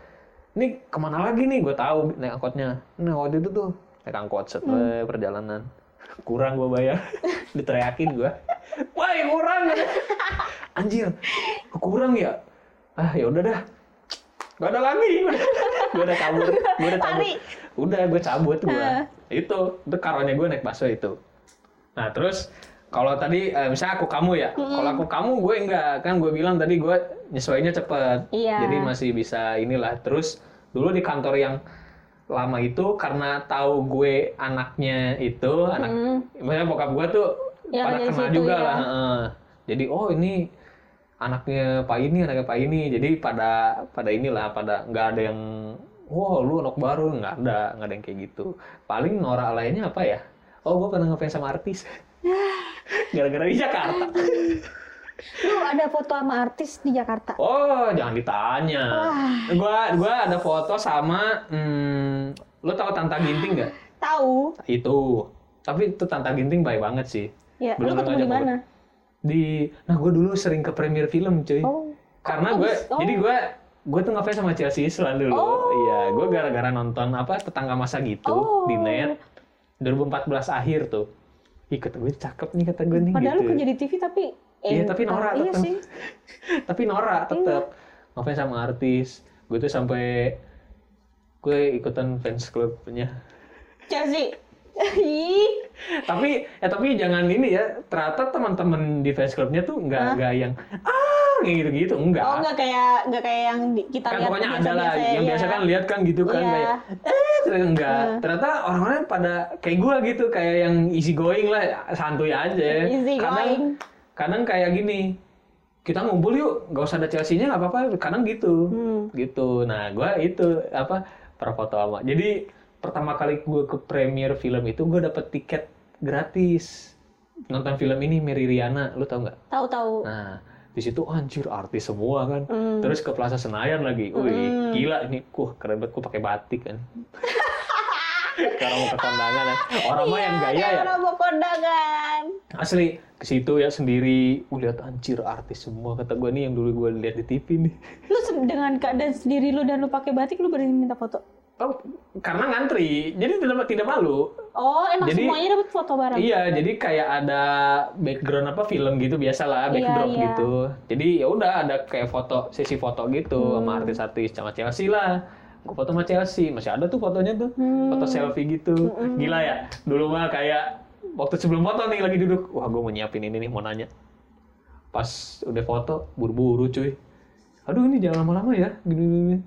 [SPEAKER 1] Ini kemana lagi nih gue tahu naik angkotnya. Nah waktu itu tuh naik angkot set eh, perjalanan. Kurang gue bayar. Diteriakin gue. Wah kurang. Anjir kurang ya. Ah ya udah dah. Gak ada lagi. gue udah kabur. Gue udah
[SPEAKER 2] Lari.
[SPEAKER 1] cabut. Udah gue cabut gue.
[SPEAKER 2] Heeh.
[SPEAKER 1] Itu itu karonya gue naik bakso itu. Nah terus kalau tadi eh, misalnya aku kamu ya, kalau aku kamu gue enggak kan gue bilang tadi gue nyesuainya cepet,
[SPEAKER 2] Iya.
[SPEAKER 1] jadi masih bisa inilah. Terus dulu di kantor yang lama itu karena tahu gue anaknya itu, anak,
[SPEAKER 2] Mm.
[SPEAKER 1] maksudnya bokap gue tuh
[SPEAKER 2] Ya,
[SPEAKER 1] pada
[SPEAKER 2] dari
[SPEAKER 1] kenal
[SPEAKER 2] situ,
[SPEAKER 1] juga
[SPEAKER 2] ya.
[SPEAKER 1] lah. heeh. Jadi oh ini anaknya pak ini, anaknya pak ini, jadi pada pada inilah, pada nggak ada yang wow lu anak baru nggak ada nggak ada yang kayak gitu paling norak lainnya apa ya oh gue pernah ngefans sama artis gara-gara di Jakarta
[SPEAKER 2] Lu ada foto sama artis di Jakarta?
[SPEAKER 1] oh jangan ditanya
[SPEAKER 2] Wah.
[SPEAKER 1] gue gua ada foto sama hmm, lu tahu Tanta Ginting nggak
[SPEAKER 2] Tahu.
[SPEAKER 1] itu tapi itu Tanta Ginting baik banget sih
[SPEAKER 2] Ya,
[SPEAKER 1] Belum
[SPEAKER 2] lu ketemu di
[SPEAKER 1] ngajak
[SPEAKER 2] mana?
[SPEAKER 1] di nah gue dulu sering ke premiere film cuy
[SPEAKER 2] Oh.
[SPEAKER 1] karena
[SPEAKER 2] Oh,
[SPEAKER 1] gue
[SPEAKER 2] bagus. Oh.
[SPEAKER 1] jadi gue gue tuh ngefans sama Chelsea Islan dulu
[SPEAKER 2] Oh.
[SPEAKER 1] iya gue gara-gara nonton apa tetangga masa gitu
[SPEAKER 2] Oh.
[SPEAKER 1] di net 2014 akhir tuh Ih, kata gue cakep nih kata gue nih
[SPEAKER 2] Padahal lu
[SPEAKER 1] gitu
[SPEAKER 2] kerja di TV tapi
[SPEAKER 1] Iya,
[SPEAKER 2] eh,
[SPEAKER 1] tapi norak
[SPEAKER 2] Iya
[SPEAKER 1] tetep.
[SPEAKER 2] sih.
[SPEAKER 1] tapi
[SPEAKER 2] Iya.
[SPEAKER 1] norak tetep ngefans sama artis gue tuh sampai gue ikutan fans clubnya
[SPEAKER 2] Chelsea. Ih,
[SPEAKER 1] tapi ya tapi jangan ini ya ternyata teman-teman di fans clubnya tuh nggak
[SPEAKER 2] Hah?
[SPEAKER 1] nggak yang ah kayak gitu-gitu enggak
[SPEAKER 2] oh nggak kayak nggak kayak yang di- kita
[SPEAKER 1] kan
[SPEAKER 2] lihat
[SPEAKER 1] pokoknya ada lah
[SPEAKER 2] biasa-biasa
[SPEAKER 1] yang
[SPEAKER 2] ya.
[SPEAKER 1] biasa kan lihat kan gitu kan
[SPEAKER 2] Iya.
[SPEAKER 1] kayak eh ternyata enggak
[SPEAKER 2] Iya.
[SPEAKER 1] ternyata orang-orang pada kayak gua gitu kayak yang easy going lah santuy aja
[SPEAKER 2] Easy
[SPEAKER 1] kadang
[SPEAKER 2] going.
[SPEAKER 1] kadang kayak gini kita ngumpul yuk nggak usah ada Chelsea-nya nggak apa-apa kadang gitu
[SPEAKER 2] Hmm.
[SPEAKER 1] gitu nah gua itu apa perfoto sama jadi pertama kali gua ke premiere film itu gua dapet tiket gratis nonton film ini Mary Riana lu tau nggak
[SPEAKER 2] Tahu-tahu.
[SPEAKER 1] nah di situ anjir artis semua kan
[SPEAKER 2] Hmm.
[SPEAKER 1] Terus ke Plaza Senayan lagi. Wih,
[SPEAKER 2] Mm.
[SPEAKER 1] gila ini. Wah, keren banget gua pakai batik kan. Karena mau ke kondangan kan. Orang mah yang gaya ya.
[SPEAKER 2] Iya, Orang mau kondangan.
[SPEAKER 1] Asli ke situ ya sendiri. Uh, lihat anjir artis semua kata gua nih yang dulu gua lihat di TV nih.
[SPEAKER 2] Lu se- dengan keadaan sendiri lu dan lu pakai batik lu berani minta foto.
[SPEAKER 1] Oh, karena ngantri. Jadi tidak tidak malu.
[SPEAKER 2] Oh, emang
[SPEAKER 1] Jadi-
[SPEAKER 2] semuanya dapat foto bareng.
[SPEAKER 1] Iya, jadi kayak ada background apa film gitu biasalah,
[SPEAKER 2] Iya,
[SPEAKER 1] backdrop
[SPEAKER 2] iya.
[SPEAKER 1] gitu. Jadi ya udah ada kayak foto, sesi foto gitu
[SPEAKER 2] Hmm.
[SPEAKER 1] sama artis-artis sama Chelsea lah. Gue foto sama Chelsea, masih ada tuh fotonya tuh.
[SPEAKER 2] Hmm.
[SPEAKER 1] Foto selfie gitu. Gila ya. Dulu mah kayak waktu sebelum foto nih lagi duduk, wah gue mau nyiapin ini nih mau nanya. Pas udah foto buru-buru cuy. Aduh ini jangan lama-lama ya, gini-gini.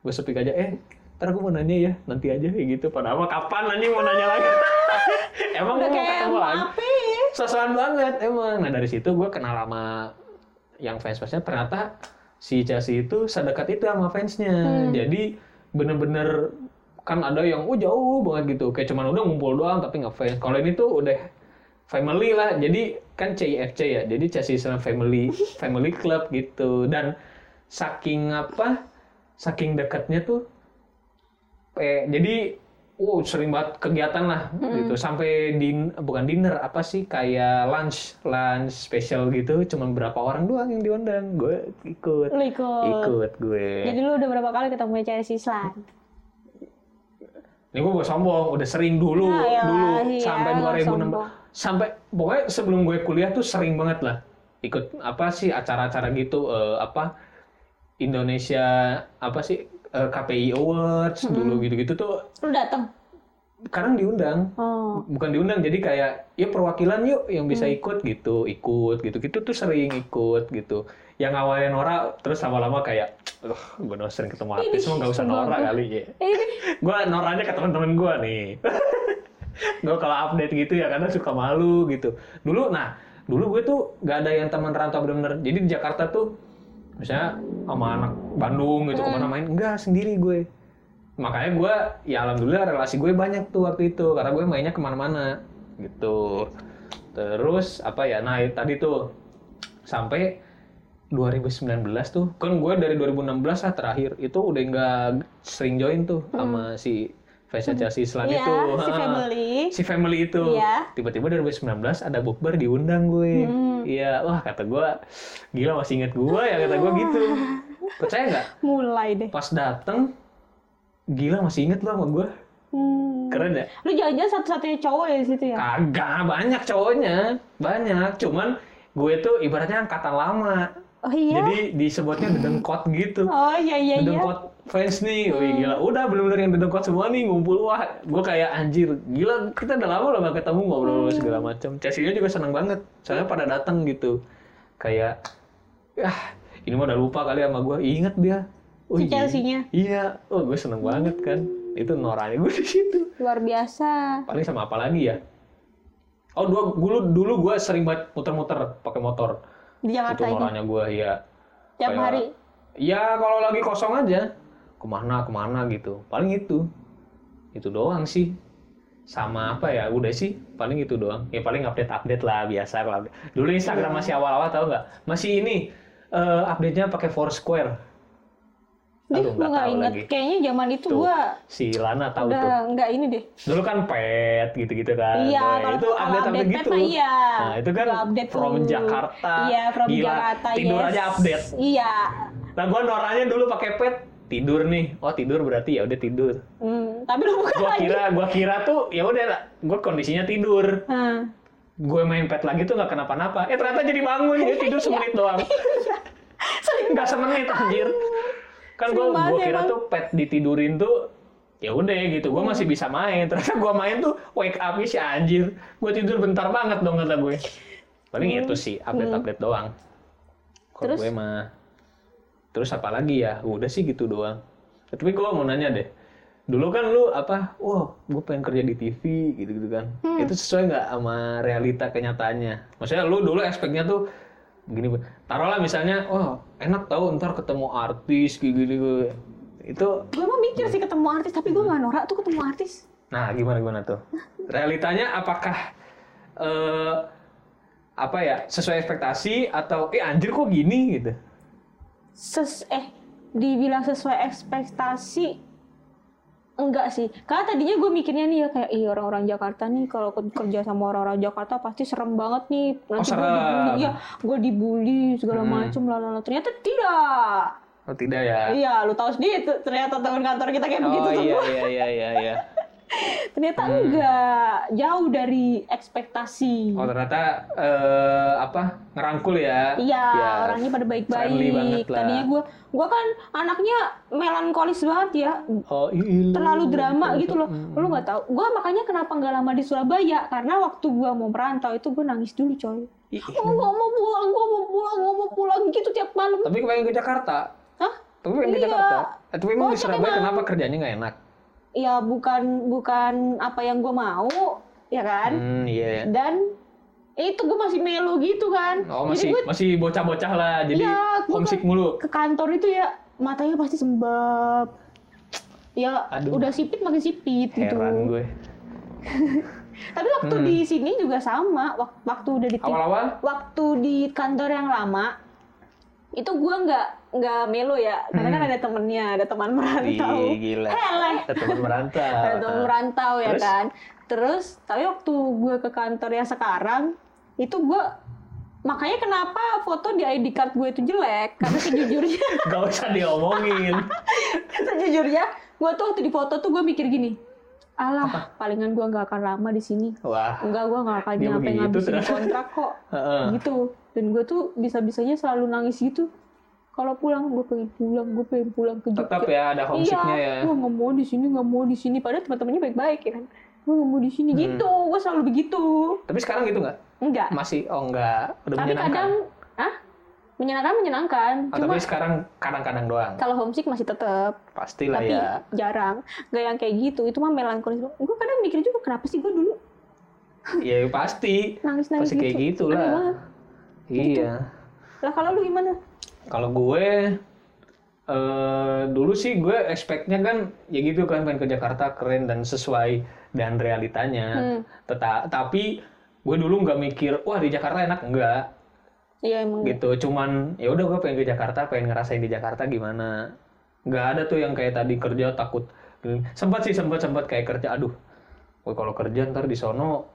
[SPEAKER 1] Gue sepik aja, eh ntar gue mau nanya ya, nanti aja kayak gitu. Padahal mah kapan anjing mau nanya lagi? Emang
[SPEAKER 2] Udah
[SPEAKER 1] gue mau
[SPEAKER 2] kayak
[SPEAKER 1] ketemu lagi?
[SPEAKER 2] maafin.
[SPEAKER 1] Sosokan banget emang. Nah dari situ gue kenal sama yang fans fansnya ternyata si Chelsea itu sedekat itu sama fansnya.
[SPEAKER 2] Hmm.
[SPEAKER 1] Jadi bener-bener kan ada yang oh jauh banget gitu. Kayak cuman udah ngumpul doang tapi nggak fans. Kalau ini tuh udah family lah. Jadi kan CIFC ya. Jadi Chelsea sama family family club gitu. Dan saking apa? Saking dekatnya tuh eh, jadi wow sering banget kegiatan lah gitu sampai din bukan dinner apa sih kayak lunch lunch special gitu cuman berapa orang doang yang diundang gue ikut
[SPEAKER 2] Lu ikut.
[SPEAKER 1] ikut ya. gue
[SPEAKER 2] Oh. Jadi lu udah berapa kali ketemu Chelsea Islan?
[SPEAKER 1] ini gue gak sombong udah sering dulu
[SPEAKER 2] Ya, elah,
[SPEAKER 1] dulu
[SPEAKER 2] iya,
[SPEAKER 1] sampai
[SPEAKER 2] nggak
[SPEAKER 1] 2016 sampai pokoknya sebelum gue kuliah tuh sering banget lah ikut apa sih acara-acara gitu eh, apa Indonesia apa sih eh, KPI Awards dulu gitu-gitu tuh
[SPEAKER 2] Lu datang.
[SPEAKER 1] kadang diundang
[SPEAKER 2] Oh.
[SPEAKER 1] bukan diundang jadi kayak ya perwakilan yuk yang bisa
[SPEAKER 2] Mm.
[SPEAKER 1] ikut gitu ikut gitu gitu tuh sering ikut gitu yang awalnya norak terus lama-lama kayak "Ugh, gue udah sering ketemu artis semua nggak usah norak kali ya
[SPEAKER 2] Ini
[SPEAKER 1] gue noraknya ke teman-teman gue nih gue kalau update gitu ya karena suka malu gitu dulu nah dulu gue tuh nggak ada yang teman rantau bener-bener jadi di Jakarta tuh misalnya sama anak Bandung
[SPEAKER 2] Hmm.
[SPEAKER 1] gitu kemana main enggak sendiri gue makanya gue ya alhamdulillah relasi gue banyak tuh waktu itu karena gue mainnya kemana-mana gitu terus apa ya nah tadi tuh sampai 2019 tuh kan gue dari 2016 lah terakhir itu udah nggak sering join tuh sama si Fashion Chelsea Islam
[SPEAKER 2] Hmm. Iya,
[SPEAKER 1] itu Ah.
[SPEAKER 2] si
[SPEAKER 1] Ha.
[SPEAKER 2] family.
[SPEAKER 1] si family itu
[SPEAKER 2] Iya. Hmm.
[SPEAKER 1] tiba-tiba 2019 ada bukber diundang gue iya wah kata gue gila masih inget gue ya kata gue gitu
[SPEAKER 2] Iya.
[SPEAKER 1] percaya nggak
[SPEAKER 2] mulai deh.
[SPEAKER 1] pas dateng gila masih inget lo sama gue
[SPEAKER 2] Hmm.
[SPEAKER 1] keren ya
[SPEAKER 2] Lu jangan-jangan satu-satunya cowok ya di situ ya?
[SPEAKER 1] kagak banyak cowoknya banyak cuman gue tuh ibaratnya angkatan lama
[SPEAKER 2] Oh iya.
[SPEAKER 1] jadi disebutnya dedengkot gitu
[SPEAKER 2] oh iya iya iya. Hmm.
[SPEAKER 1] dedengkot fans nih wih gila udah bener-bener yang dedengkot semua nih ngumpul wah gue kayak anjir gila kita udah lama loh gak ketemu ngobrol
[SPEAKER 2] Hmm.
[SPEAKER 1] segala macam Chelsea-nya juga seneng banget soalnya pada datang gitu kayak ah ini mah udah lupa kali sama gue inget dia oh,
[SPEAKER 2] Si
[SPEAKER 1] iya.
[SPEAKER 2] Chelsea-nya.
[SPEAKER 1] iya oh gue seneng banget kan itu noranya gue di situ
[SPEAKER 2] Luar biasa.
[SPEAKER 1] paling sama apa lagi ya oh dua dulu dulu gue sering banget muter-muter pakai motor
[SPEAKER 2] Di
[SPEAKER 1] itu
[SPEAKER 2] Jakarta ini.
[SPEAKER 1] noranya gue ya
[SPEAKER 2] Tiap
[SPEAKER 1] Kayak-
[SPEAKER 2] hari.
[SPEAKER 1] ya kalau lagi kosong aja kemana kemana gitu paling itu itu doang sih sama apa ya udah sih paling itu doang ya paling update update lah biasa kalau update. dulu Instagram masih awal-awal tau nggak masih ini eh, update-nya pakai Foursquare
[SPEAKER 2] Dih,
[SPEAKER 1] Aduh, nggak
[SPEAKER 2] gua nggak
[SPEAKER 1] tahu
[SPEAKER 2] inget.
[SPEAKER 1] lagi.
[SPEAKER 2] Kayaknya zaman itu
[SPEAKER 1] Tuh,
[SPEAKER 2] gua
[SPEAKER 1] si Lana tahu
[SPEAKER 2] udah
[SPEAKER 1] tuh
[SPEAKER 2] nggak ini deh.
[SPEAKER 1] dulu kan pet gitu-gitu kan
[SPEAKER 2] Iya,
[SPEAKER 1] Nah,
[SPEAKER 2] kalau
[SPEAKER 1] itu
[SPEAKER 2] kalau
[SPEAKER 1] update update
[SPEAKER 2] update pet
[SPEAKER 1] gitu
[SPEAKER 2] mah iya.
[SPEAKER 1] nah itu kan
[SPEAKER 2] Gua update
[SPEAKER 1] from
[SPEAKER 2] dulu.
[SPEAKER 1] Jakarta
[SPEAKER 2] Iya, from
[SPEAKER 1] Gila,
[SPEAKER 2] Jakarta.
[SPEAKER 1] tidur
[SPEAKER 2] yes.
[SPEAKER 1] aja update
[SPEAKER 2] Iya.
[SPEAKER 1] nah gua noranya dulu pakai pet tidur nih oh tidur berarti ya udah tidur
[SPEAKER 2] Hmm, tapi lu bukan
[SPEAKER 1] gua
[SPEAKER 2] lagi.
[SPEAKER 1] kira gua kira tuh ya udah lah, gua kondisinya tidur
[SPEAKER 2] Nah,
[SPEAKER 1] gue main pet lagi tuh nggak kenapa-napa eh ternyata jadi bangun ya tidur semenit doang
[SPEAKER 2] sering
[SPEAKER 1] nggak semenit anjir kan gue
[SPEAKER 2] Sering banget
[SPEAKER 1] gue kira
[SPEAKER 2] emang.
[SPEAKER 1] tuh pet ditidurin tuh ya udah gitu gue masih bisa main ternyata gue main tuh wake up sih anjir gue tidur bentar banget dong kata gue paling itu sih update update doang kalau
[SPEAKER 2] Terus?
[SPEAKER 1] gue mah terus apa lagi ya udah sih gitu doang tapi gue mau nanya deh dulu kan lu apa wow gue pengen kerja di TV gitu gitu kan itu sesuai nggak sama realita kenyataannya maksudnya lu dulu expectnya tuh gini taruhlah misalnya oh enak tau ntar ketemu artis gitu gitu itu
[SPEAKER 2] gue mah mikir sih ketemu artis, tapi gue nggak norak tuh ketemu artis.
[SPEAKER 1] nah gimana gimana tuh realitanya apakah eh apa ya sesuai ekspektasi atau eh anjir kok gini gitu
[SPEAKER 2] ses eh dibilang sesuai ekspektasi enggak sih karena tadinya gue mikirnya nih ya kayak ih orang-orang Jakarta nih kalau ke- kerja sama orang-orang Jakarta pasti serem banget nih nanti gue
[SPEAKER 1] Oh, serem.
[SPEAKER 2] dibully ya gue dibully segala
[SPEAKER 1] Hmm.
[SPEAKER 2] macem lah lah, lah. ternyata tidak
[SPEAKER 1] oh tidak ya
[SPEAKER 2] iya lu tahu sendiri tuh, ternyata teman kantor kita kayak begitu
[SPEAKER 1] oh
[SPEAKER 2] tuh
[SPEAKER 1] iya Hmm. iya iya iya iya
[SPEAKER 2] ternyata enggak jauh dari ekspektasi
[SPEAKER 1] oh ternyata eh apa ngerangkul ya
[SPEAKER 2] Iya,
[SPEAKER 1] Ya,
[SPEAKER 2] orangnya pada
[SPEAKER 1] friendly banget
[SPEAKER 2] baik-baik.
[SPEAKER 1] lah.
[SPEAKER 2] Tadinya gue, gue kan anaknya melankolis banget ya.
[SPEAKER 1] oh Hmm. iya
[SPEAKER 2] terlalu drama gitu loh. Lu nggak tahu. Gua makanya kenapa nggak lama di Surabaya karena waktu gua mau merantau itu gua nangis dulu coy.
[SPEAKER 1] Ih, iya.
[SPEAKER 2] Oh, gua mau pulang, gua mau pulang, gua mau pulang gitu tiap malam.
[SPEAKER 1] tapi pengen ke Jakarta
[SPEAKER 2] Hah?
[SPEAKER 1] tapi pengen ke
[SPEAKER 2] Iya.
[SPEAKER 1] Jakarta Eh, tapi emang di
[SPEAKER 2] Kocak
[SPEAKER 1] Surabaya
[SPEAKER 2] emang.
[SPEAKER 1] kenapa kerjanya nggak enak
[SPEAKER 2] Ya bukan bukan apa yang gua mau, ya kan?
[SPEAKER 1] hmm iya ya.
[SPEAKER 2] Dan itu gua masih melo gitu kan.
[SPEAKER 1] oh
[SPEAKER 2] Jadi
[SPEAKER 1] masih
[SPEAKER 2] gua
[SPEAKER 1] masih bocah-bocah lah jadi
[SPEAKER 2] Iya, gua
[SPEAKER 1] homesick mulu
[SPEAKER 2] ke kantor itu ya matanya pasti sembab. Ya
[SPEAKER 1] Aduh.
[SPEAKER 2] udah sipit makin sipit gitu.
[SPEAKER 1] heran gue
[SPEAKER 2] Tapi waktu di sini juga sama, wak- waktu udah di
[SPEAKER 1] awal-awal
[SPEAKER 2] waktu di kantor yang lama itu gua nggak nggak melo ya karena
[SPEAKER 1] Hmm.
[SPEAKER 2] kan ada temennya ada teman merantau
[SPEAKER 1] Ih, gila
[SPEAKER 2] Hele.
[SPEAKER 1] teman merantau
[SPEAKER 2] ada teman merantau ya
[SPEAKER 1] Terus?
[SPEAKER 2] kan terus tapi waktu gua ke kantor yang sekarang itu gua makanya kenapa foto di ID card gue itu jelek karena sejujurnya
[SPEAKER 1] gak usah diomongin
[SPEAKER 2] sejujurnya gua tuh waktu di foto tuh gua mikir gini alah palingan gua nggak akan lama di sini
[SPEAKER 1] wah
[SPEAKER 2] enggak gua nggak akan
[SPEAKER 1] Dia
[SPEAKER 2] nyampe
[SPEAKER 1] begitu
[SPEAKER 2] ngabisin
[SPEAKER 1] ternyata.
[SPEAKER 2] kontrak kok
[SPEAKER 1] Heeh.
[SPEAKER 2] gitu dan gue tuh bisa bisanya selalu nangis gitu kalau pulang gue pengen pulang gue pengen pulang ke Jogja
[SPEAKER 1] tetap ya ada homesicknya ya
[SPEAKER 2] iya gue nggak mau di sini nggak mau di sini padahal teman-temannya baik-baik ya kan gue nggak mau di sini
[SPEAKER 1] Hmm.
[SPEAKER 2] gitu gue selalu begitu
[SPEAKER 1] tapi sekarang gitu nggak
[SPEAKER 2] enggak
[SPEAKER 1] masih oh enggak udah
[SPEAKER 2] tapi
[SPEAKER 1] menyenangkan
[SPEAKER 2] kadang ah menyenangkan menyenangkan
[SPEAKER 1] Oh,
[SPEAKER 2] cuma
[SPEAKER 1] tapi sekarang kadang-kadang doang
[SPEAKER 2] kalau homesick masih tetap
[SPEAKER 1] pastilah
[SPEAKER 2] tapi
[SPEAKER 1] ya
[SPEAKER 2] jarang nggak yang kayak gitu itu mah melankolis gue kadang mikir juga kenapa sih gue dulu
[SPEAKER 1] ya pasti
[SPEAKER 2] nangis
[SPEAKER 1] pasti
[SPEAKER 2] nangis gitu
[SPEAKER 1] kayak gitu
[SPEAKER 2] Aneh
[SPEAKER 1] lah
[SPEAKER 2] banget.
[SPEAKER 1] iya
[SPEAKER 2] lah kalau lu gimana
[SPEAKER 1] Kalau gue eh dulu sih gue expect-nya kan ya gitu kan main ke Jakarta keren dan sesuai dan realitanya.
[SPEAKER 2] Hmm.
[SPEAKER 1] Teta- tapi gue dulu nggak mikir wah di Jakarta enak enggak
[SPEAKER 2] iya emang
[SPEAKER 1] gitu. Cuman ya udah gue pengen ke Jakarta, pengen ngerasain di Jakarta gimana. Nggak ada tuh yang kayak tadi kerja takut. Sempat sih sempat sempat kayak kerja aduh. Gue kalau kerja ntar di sono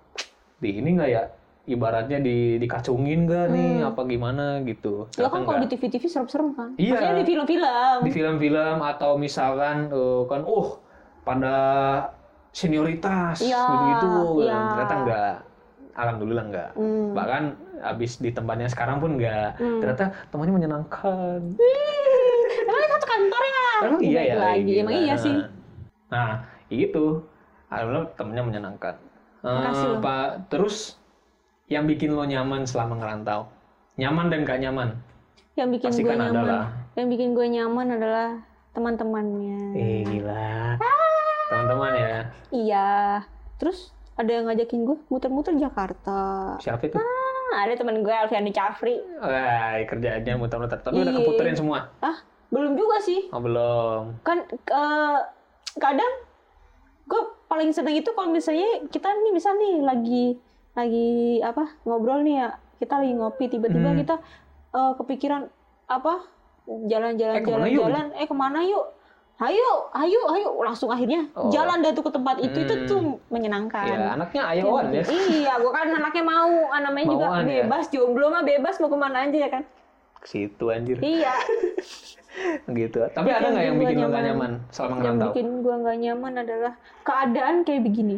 [SPEAKER 1] di ini nggak ya ibaratnya di dikacungin gak nih apa gimana gitu.
[SPEAKER 2] Lo
[SPEAKER 1] Ternyata
[SPEAKER 2] Hmm. kan kalau
[SPEAKER 1] nggak.
[SPEAKER 2] di TV-TV serem-serem kan?
[SPEAKER 1] Iya.
[SPEAKER 2] Maksudnya di film-film.
[SPEAKER 1] di film-film atau misalkan eh, kan uh pada senioritas
[SPEAKER 2] Iya,
[SPEAKER 1] gitu-gitu
[SPEAKER 2] iya.
[SPEAKER 1] ternyata enggak alhamdulillah enggak
[SPEAKER 2] Hmm.
[SPEAKER 1] bahkan abis di tempatnya sekarang pun enggak
[SPEAKER 2] Hmm.
[SPEAKER 1] ternyata temannya menyenangkan
[SPEAKER 2] Nah, Emang satu kantor ya?
[SPEAKER 1] emang iya ya
[SPEAKER 2] Lagi.
[SPEAKER 1] gila.
[SPEAKER 2] Emang iya sih.
[SPEAKER 1] nah itu alhamdulillah temennya menyenangkan Eh,
[SPEAKER 2] Makasih loh.
[SPEAKER 1] pak terus yang bikin lo nyaman selama ngerantau nyaman dan gak nyaman
[SPEAKER 2] Yang bikin
[SPEAKER 1] Pasti
[SPEAKER 2] gue
[SPEAKER 1] kan ada
[SPEAKER 2] nyaman.
[SPEAKER 1] lah.
[SPEAKER 2] Yang bikin gue nyaman adalah teman-temannya.
[SPEAKER 1] eh gila teman-teman ya
[SPEAKER 2] Iya. Terus ada yang ngajakin gue muter-muter Jakarta.
[SPEAKER 1] siapa itu
[SPEAKER 2] Nah, ada teman Ah, gue Alfiani Cafri.
[SPEAKER 1] Wah, kerjaannya muter-muter. Tapi udah
[SPEAKER 2] Iya.
[SPEAKER 1] keputerin semua.
[SPEAKER 2] Ah, belum juga sih
[SPEAKER 1] Oh, belum.
[SPEAKER 2] kan eh, kadang gue paling seneng itu kalau misalnya kita nih misal nih lagi lagi apa ngobrol nih ya kita lagi ngopi tiba-tiba
[SPEAKER 1] Hmm.
[SPEAKER 2] kita eh, kepikiran apa jalan-jalan
[SPEAKER 1] Eh, kemana yuk?
[SPEAKER 2] jalan-jalan eh kemana yuk ayo ayo ayo langsung akhirnya
[SPEAKER 1] Oh.
[SPEAKER 2] jalan dah tuh ke tempat itu itu
[SPEAKER 1] Hmm.
[SPEAKER 2] tuh menyenangkan
[SPEAKER 1] Iya, anaknya Ayawan ya.
[SPEAKER 2] Kan. iya gue kan anaknya mau ah, namanya juga
[SPEAKER 1] Mauan ya.
[SPEAKER 2] bebas jomblo mah bebas mau kemana aja ya kan
[SPEAKER 1] Ke situ anjir.
[SPEAKER 2] iya
[SPEAKER 1] Gitu. Tapi ada
[SPEAKER 2] Yang
[SPEAKER 1] nggak yang
[SPEAKER 2] bikin
[SPEAKER 1] bikin
[SPEAKER 2] gua
[SPEAKER 1] lo nggak
[SPEAKER 2] nyaman.
[SPEAKER 1] nyaman selama
[SPEAKER 2] yang
[SPEAKER 1] ngerantau?
[SPEAKER 2] bikin gue nggak nyaman adalah keadaan kayak begini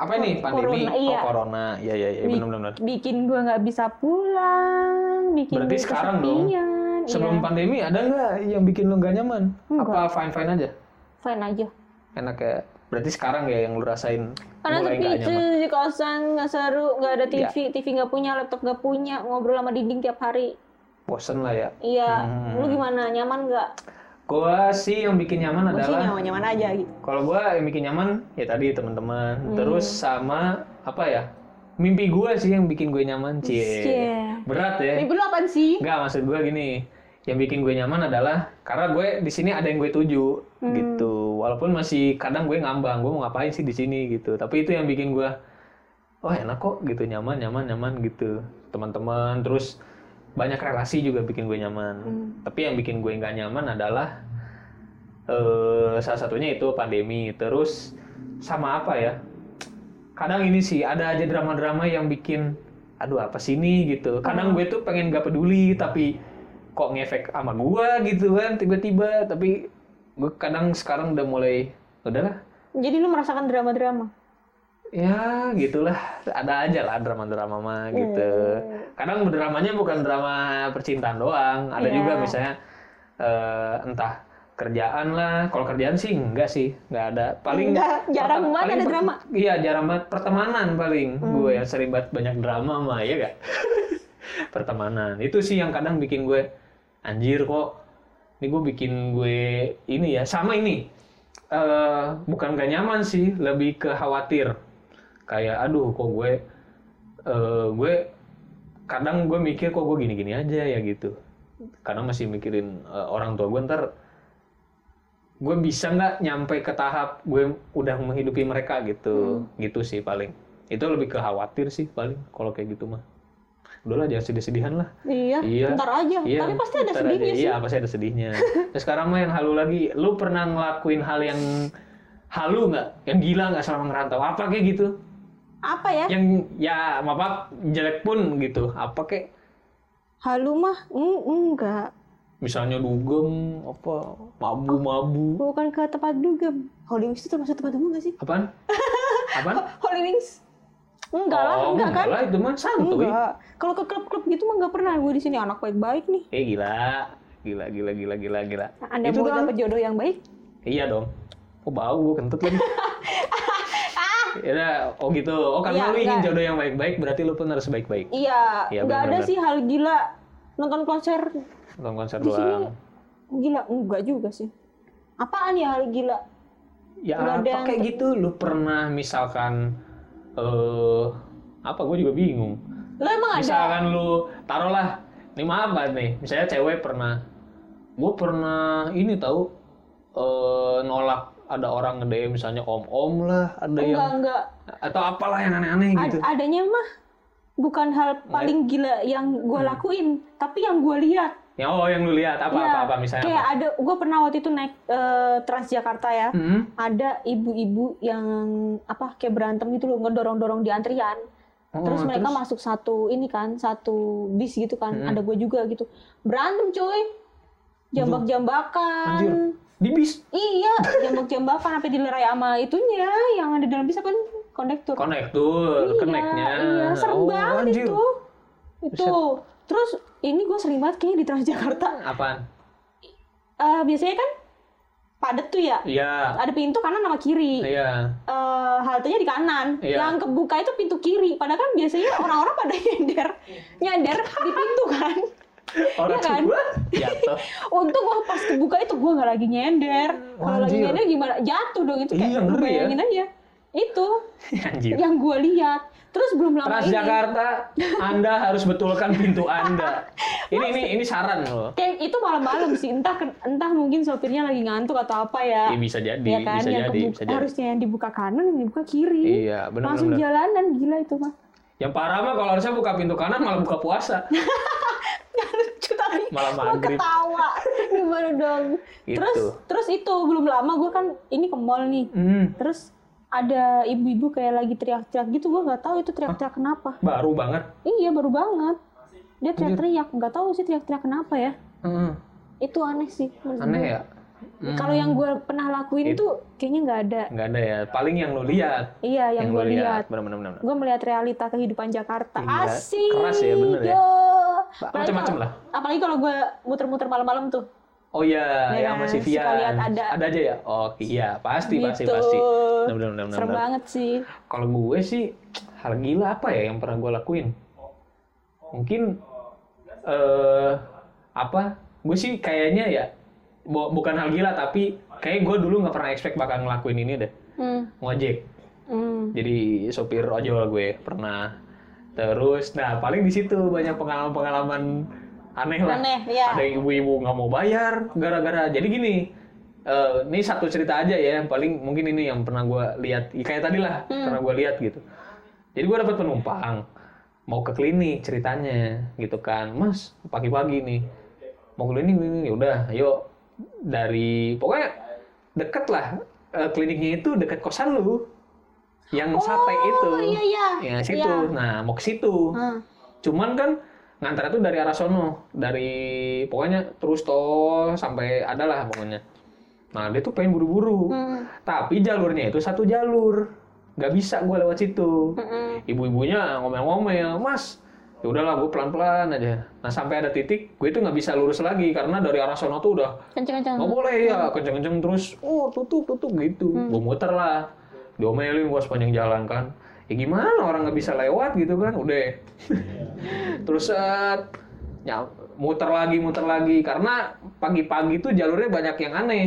[SPEAKER 1] Apa ini? Pandemi?
[SPEAKER 2] Corona, iya.
[SPEAKER 1] Oh, corona. Iya, iya, iya.
[SPEAKER 2] Bi-
[SPEAKER 1] Benar, benar. benar.
[SPEAKER 2] bikin gue nggak bisa pulang bikin
[SPEAKER 1] Berarti
[SPEAKER 2] gua
[SPEAKER 1] sekarang dong,
[SPEAKER 2] kesepian.
[SPEAKER 1] Sebelum
[SPEAKER 2] Iya,
[SPEAKER 1] pandemi ada nggak yang bikin lo nggak nyaman?
[SPEAKER 2] Nggak.
[SPEAKER 1] Apa fine-fine aja?
[SPEAKER 2] fine aja
[SPEAKER 1] Enak ya. Berarti sekarang ya yang lo rasain
[SPEAKER 2] karena
[SPEAKER 1] mulai
[SPEAKER 2] sepi
[SPEAKER 1] nggak Iya.
[SPEAKER 2] itu
[SPEAKER 1] nyaman.
[SPEAKER 2] Kan di kosan nggak seru nggak ada TV TV nggak punya laptop nggak punya ngobrol sama dinding tiap hari
[SPEAKER 1] Bosen lah ya.
[SPEAKER 2] iya
[SPEAKER 1] Hmm.
[SPEAKER 2] lu gimana nyaman nggak
[SPEAKER 1] Gua sih yang bikin nyaman
[SPEAKER 2] gue sih
[SPEAKER 1] adalah
[SPEAKER 2] nyaman nyaman aja gitu
[SPEAKER 1] kalau gua yang bikin nyaman ya tadi teman-teman.
[SPEAKER 2] Hmm.
[SPEAKER 1] Terus sama apa ya? Mimpi gua sih yang bikin gue nyaman, cie.
[SPEAKER 2] Cie.
[SPEAKER 1] Berat ya.
[SPEAKER 2] mimpi lu apaan sih
[SPEAKER 1] Enggak, maksud gue gini. Yang bikin gue nyaman adalah karena gue di sini ada yang gue tuju
[SPEAKER 2] Hmm.
[SPEAKER 1] gitu. Walaupun masih kadang gue ngambang, gue mau ngapain sih di sini gitu. Tapi itu yang bikin gue oh enak kok gitu, nyaman, nyaman, nyaman gitu. Teman-teman, terus banyak relasi juga bikin gue nyaman.
[SPEAKER 2] Hmm.
[SPEAKER 1] Tapi yang bikin gue nggak nyaman adalah eh salah satunya itu pandemi. Terus sama apa ya? kadang ini sih ada aja drama-drama yang bikin aduh apa sih ini gitu kadang gue tuh pengen gak peduli tapi kok ngefek sama gue gitu kan tiba-tiba tapi gue kadang sekarang udah mulai udahlah
[SPEAKER 2] jadi lu merasakan drama drama
[SPEAKER 1] ya gitulah ada aja lah drama-drama mah gitu kadang dramanya bukan drama percintaan doang ada
[SPEAKER 2] Iya.
[SPEAKER 1] juga misalnya eh, entah kerjaan lah kalau kerjaan sih enggak sih enggak ada paling
[SPEAKER 2] Enggak,
[SPEAKER 1] pertem-
[SPEAKER 2] jarang banget
[SPEAKER 1] paling
[SPEAKER 2] ada
[SPEAKER 1] per-
[SPEAKER 2] drama. Hmm.
[SPEAKER 1] iya jarang banget pertemanan paling gue yang sering banget banyak drama mah ya gak pertemanan itu sih yang kadang bikin gue anjir kok ini gue bikin gue ini ya sama ini eh bukan gak nyaman sih lebih ke khawatir kayak aduh kok gue eh gue kadang gue mikir kok gue gini-gini aja ya gitu kadang masih mikirin eh, orang tua gue ntar gue bisa nggak nyampe ke tahap gue udah menghidupi mereka gitu
[SPEAKER 2] Hmm.
[SPEAKER 1] gitu sih paling itu lebih ke khawatir sih paling kalau kayak gitu mah udahlah jangan sedih-sedihan lah
[SPEAKER 2] iya,
[SPEAKER 1] Iya.
[SPEAKER 2] ntar aja
[SPEAKER 1] Iya,
[SPEAKER 2] tapi pasti ada
[SPEAKER 1] ntar
[SPEAKER 2] sedihnya
[SPEAKER 1] aja.
[SPEAKER 2] sih
[SPEAKER 1] Iya, pasti ada sedihnya. Terus sekarang mah yang halu lagi, lu pernah ngelakuin hal yang halu nggak? Yang gila nggak selama ngerantau? Apa kayak gitu?
[SPEAKER 2] apa ya
[SPEAKER 1] Yang ya maaf jelek pun gitu. Apa kayak
[SPEAKER 2] halu mah mm, enggak
[SPEAKER 1] misalnya dugem, apa mabu-mabu.
[SPEAKER 2] bukan ke tempat dugem Holy Wings itu termasuk tempat dugem gak sih
[SPEAKER 1] Apaan? Apaan?
[SPEAKER 2] Holy Wings? Enggak lah,
[SPEAKER 1] Oh,
[SPEAKER 2] enggak kan?
[SPEAKER 1] lah, itu mah santuy.
[SPEAKER 2] Enggak. Kalau ke klub-klub gitu mah enggak pernah. Gue di sini anak baik-baik nih.
[SPEAKER 1] Eh gila. Gila, gila, gila, gila, gila.
[SPEAKER 2] Nah, Anda
[SPEAKER 1] itu
[SPEAKER 2] mau
[SPEAKER 1] kan?
[SPEAKER 2] dapet jodoh yang baik?
[SPEAKER 1] Iya dong. Oh bau, gue kentut lagi. Ya, udah. oh gitu. Oh karena
[SPEAKER 2] Ah. Iya,
[SPEAKER 1] lu ingin
[SPEAKER 2] enggak.
[SPEAKER 1] jodoh yang baik-baik, berarti lu pun harus baik-baik.
[SPEAKER 2] Iya,
[SPEAKER 1] Iya,
[SPEAKER 2] enggak ada
[SPEAKER 1] benar-benar.
[SPEAKER 2] sih hal gila nonton konser
[SPEAKER 1] nonton konser
[SPEAKER 2] di sini.
[SPEAKER 1] doang
[SPEAKER 2] Gila, enggak juga sih. Apaan ya hal gila?
[SPEAKER 1] ya
[SPEAKER 2] nggak ada
[SPEAKER 1] apa
[SPEAKER 2] yang
[SPEAKER 1] kayak gitu lu pernah misalkan eh apa gue juga bingung
[SPEAKER 2] Lo emang ada?
[SPEAKER 1] misalkan kan lu taruhlah ini maaf banget nih misalnya cewek pernah gue pernah ini tahu eh nolak ada orang nge-DM misalnya om-om lah ada
[SPEAKER 2] Enggak,
[SPEAKER 1] yang
[SPEAKER 2] enggak.
[SPEAKER 1] atau apalah yang aneh-aneh
[SPEAKER 2] Ad-
[SPEAKER 1] gitu Iya.
[SPEAKER 2] adanya mah bukan hal paling gila yang
[SPEAKER 1] Hmm.
[SPEAKER 2] gue lakuin, tapi yang gue lihat.
[SPEAKER 1] ya oh yang lu lihat apa
[SPEAKER 2] Iya.
[SPEAKER 1] apa apa misalnya
[SPEAKER 2] Kayak
[SPEAKER 1] apa?
[SPEAKER 2] ada, gue pernah waktu itu naik eh, Transjakarta ya.
[SPEAKER 1] Mm-mm.
[SPEAKER 2] ada ibu-ibu yang apa kayak berantem gitu loh ngedorong-dorong di antrian.
[SPEAKER 1] Oh,
[SPEAKER 2] terus mereka masuk satu ini kan, satu bis gitu kan.
[SPEAKER 1] Mm-mm.
[SPEAKER 2] Ada gue juga gitu. Berantem cuy. Jambak-jambakan.
[SPEAKER 1] Anjir. di bis
[SPEAKER 2] Iya, jambak-jambakan sampai dilerai sama itunya yang ada dalam bis kan kondektur.
[SPEAKER 1] konektur koneknya
[SPEAKER 2] Iya,
[SPEAKER 1] eh,
[SPEAKER 2] serem
[SPEAKER 1] Oh,
[SPEAKER 2] banget
[SPEAKER 1] anjir.
[SPEAKER 2] itu. Itu. Terus ini gue sering banget kayaknya di Transjakarta.
[SPEAKER 1] apaan
[SPEAKER 2] Eh, biasanya kan padat tuh ya.
[SPEAKER 1] iya
[SPEAKER 2] Ada pintu kanan sama kiri.
[SPEAKER 1] iya
[SPEAKER 2] eh haltenya di kanan.
[SPEAKER 1] Iya.
[SPEAKER 2] Yang kebuka itu pintu kiri. Padahal kan biasanya orang-orang pada nyender, nyender di pintu kan.
[SPEAKER 1] orang
[SPEAKER 2] Iya kan?
[SPEAKER 1] tua jatuh
[SPEAKER 2] Untung gua pas kebuka itu gua nggak lagi nyender. Kalau lagi
[SPEAKER 1] Anjir.
[SPEAKER 2] nyender gimana? Jatuh dong itu kayak
[SPEAKER 1] Iya, ngeri ya.
[SPEAKER 2] bayangin aja. Itu
[SPEAKER 1] anjir
[SPEAKER 2] yang gua lihat. Terus belum lama Iya, ini.
[SPEAKER 1] kan- Transjakarta, Anda harus betulkan pintu Anda. Ini ini ini saran loh.
[SPEAKER 2] Kayak itu malam-malam sih. Entah ken- entah mungkin sopirnya lagi ngantuk atau apa ya.
[SPEAKER 1] Iya bisa jadi,
[SPEAKER 2] ya kan
[SPEAKER 1] bisa
[SPEAKER 2] yang
[SPEAKER 1] jadi,
[SPEAKER 2] kebuka-
[SPEAKER 1] bisa jadi.
[SPEAKER 2] harusnya yang dibuka kanan yang dibuka kiri.
[SPEAKER 1] Iya, benar,
[SPEAKER 2] Langsung
[SPEAKER 1] benar,
[SPEAKER 2] jalanan gila itu mah.
[SPEAKER 1] Yang parah mah kalau harusnya buka pintu kanan malah buka puasa.
[SPEAKER 2] Nggak lucu tapi
[SPEAKER 1] Eh, Malah
[SPEAKER 2] gua
[SPEAKER 1] maghrib.
[SPEAKER 2] ketawa. Gimana dong?
[SPEAKER 1] Gitu.
[SPEAKER 2] Terus terus itu belum lama gue kan ini ke mall nih.
[SPEAKER 1] Hmm,
[SPEAKER 2] Terus ada ibu-ibu kayak lagi teriak-teriak gitu gue nggak tahu itu teriak-teriak kenapa.
[SPEAKER 1] baru banget.
[SPEAKER 2] Iya baru banget. Dia teriak-teriak nggak tahu sih teriak-teriak kenapa ya.
[SPEAKER 1] Heeh.
[SPEAKER 2] Itu aneh sih. menurut
[SPEAKER 1] Aneh Iya.
[SPEAKER 2] gua.
[SPEAKER 1] ya?
[SPEAKER 2] Hmm. Kalau yang gue pernah lakuin tuh kayaknya nggak ada.
[SPEAKER 1] Nggak ada ya. Paling yang lo lihat.
[SPEAKER 2] Iya yang,
[SPEAKER 1] lo
[SPEAKER 2] gue lihat.
[SPEAKER 1] Benar-benar. benar-benar.
[SPEAKER 2] Gue melihat realita kehidupan Jakarta.
[SPEAKER 1] Gila,
[SPEAKER 2] Asik.
[SPEAKER 1] keras ya, bener ya.
[SPEAKER 2] yo.
[SPEAKER 1] Ba-
[SPEAKER 2] Apalagi
[SPEAKER 1] macam-macam
[SPEAKER 2] kalau-
[SPEAKER 1] lah.
[SPEAKER 2] Apalagi kalau gue muter-muter malam-malam tuh.
[SPEAKER 1] Oh iya,
[SPEAKER 2] Ya
[SPEAKER 1] ya, sama
[SPEAKER 2] kan,
[SPEAKER 1] si Vian.
[SPEAKER 2] suka lihat ada.
[SPEAKER 1] aja ya? Oke, iya. Pasti, pasti,
[SPEAKER 2] Gitu.
[SPEAKER 1] pasti. Benar-benar. benar-benar,
[SPEAKER 2] Serem
[SPEAKER 1] benar-benar.
[SPEAKER 2] banget sih.
[SPEAKER 1] Kalau gue sih, hal gila apa ya yang pernah gue lakuin? Mungkin, eh apa, gue sih kayaknya ya, bu- bukan hal gila, tapi kayak gue dulu nggak pernah expect bakal ngelakuin ini deh.
[SPEAKER 2] Hmm.
[SPEAKER 1] Ngojek.
[SPEAKER 2] Hmm.
[SPEAKER 1] jadi sopir ojol gue pernah terus nah paling di situ banyak pengalaman-pengalaman aneh lah
[SPEAKER 2] Aneh, iya.
[SPEAKER 1] ada yang ibu-ibu nggak mau bayar gara-gara jadi gini eh, ini satu cerita aja ya yang paling mungkin ini yang pernah gue lihat ya kayak tadi lah
[SPEAKER 2] Hmm.
[SPEAKER 1] pernah gue lihat gitu jadi gue dapat penumpang mau ke klinik ceritanya gitu kan mas pagi-pagi nih mau ke klinik ini udah ayo dari pokoknya deket lah eh, kliniknya itu deket kosan lu yang sate itu
[SPEAKER 2] Oh iya iya. Hmm,
[SPEAKER 1] ya situ nah mau ke situ
[SPEAKER 2] Hah.
[SPEAKER 1] cuman kan ngantar itu dari arah sono dari pokoknya terus tol sampai adalah pokoknya nah dia tuh pengen buru-buru
[SPEAKER 2] Hmm.
[SPEAKER 1] tapi jalurnya itu satu jalur nggak bisa gue lewat situ
[SPEAKER 2] Mm-mm.
[SPEAKER 1] ibu-ibunya ngomel-ngomel mas ya udahlah gue pelan-pelan aja nah sampai ada titik gue tuh nggak bisa lurus lagi karena dari arah sono tuh udah
[SPEAKER 2] Kenceng-kenceng.
[SPEAKER 1] nggak boleh ya kenceng-kenceng terus oh tutup tutup gitu gue muter lah diomelin gue sepanjang jalan kan ya gimana orang nggak bisa lewat gitu kan udah terus set, ya, muter lagi muter lagi karena pagi-pagi tuh jalurnya banyak yang aneh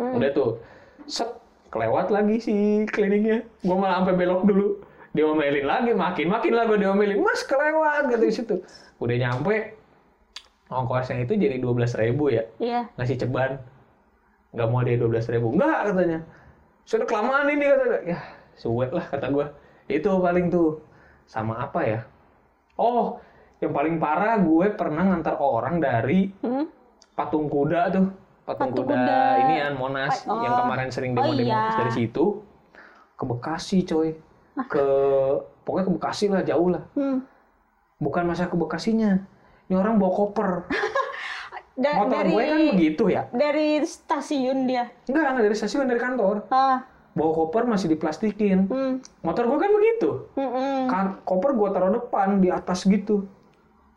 [SPEAKER 1] udah tuh set kelewat lagi si kliniknya gue malah sampai belok dulu diomelin lagi makin makin lah gue diomelin mas kelewat gitu di situ udah nyampe ongkosnya itu jadi dua ribu ya
[SPEAKER 2] Iya.
[SPEAKER 1] ngasih ceban nggak mau dia dua belas ribu nggak katanya sudah kelamaan ini kata dia. ya suwet lah kata gua itu paling tuh sama apa ya oh yang paling parah gue pernah ngantar orang dari
[SPEAKER 2] Hmm.
[SPEAKER 1] patung kuda tuh patung,
[SPEAKER 2] Patung
[SPEAKER 1] kuda,
[SPEAKER 2] kuda.
[SPEAKER 1] ini an Monas
[SPEAKER 2] Oh.
[SPEAKER 1] yang kemarin sering
[SPEAKER 2] Oh,
[SPEAKER 1] demo-demo
[SPEAKER 2] iya.
[SPEAKER 1] Terus dari situ ke Bekasi coy
[SPEAKER 2] Ah.
[SPEAKER 1] ke pokoknya ke Bekasi lah jauh lah
[SPEAKER 2] Hmm.
[SPEAKER 1] bukan masa ke Bekasinya ini orang bawa koper
[SPEAKER 2] Da-
[SPEAKER 1] motor
[SPEAKER 2] Eh, dari
[SPEAKER 1] gue kan begitu ya
[SPEAKER 2] dari stasiun dia.
[SPEAKER 1] Enggak, enggak dari stasiun, dari kantor.
[SPEAKER 2] Ah.
[SPEAKER 1] Bawa koper masih diplastikin.
[SPEAKER 2] Hmm.
[SPEAKER 1] Motor gua kan begitu.
[SPEAKER 2] Mm-mm.
[SPEAKER 1] Ka- koper gua taruh depan, di atas gitu.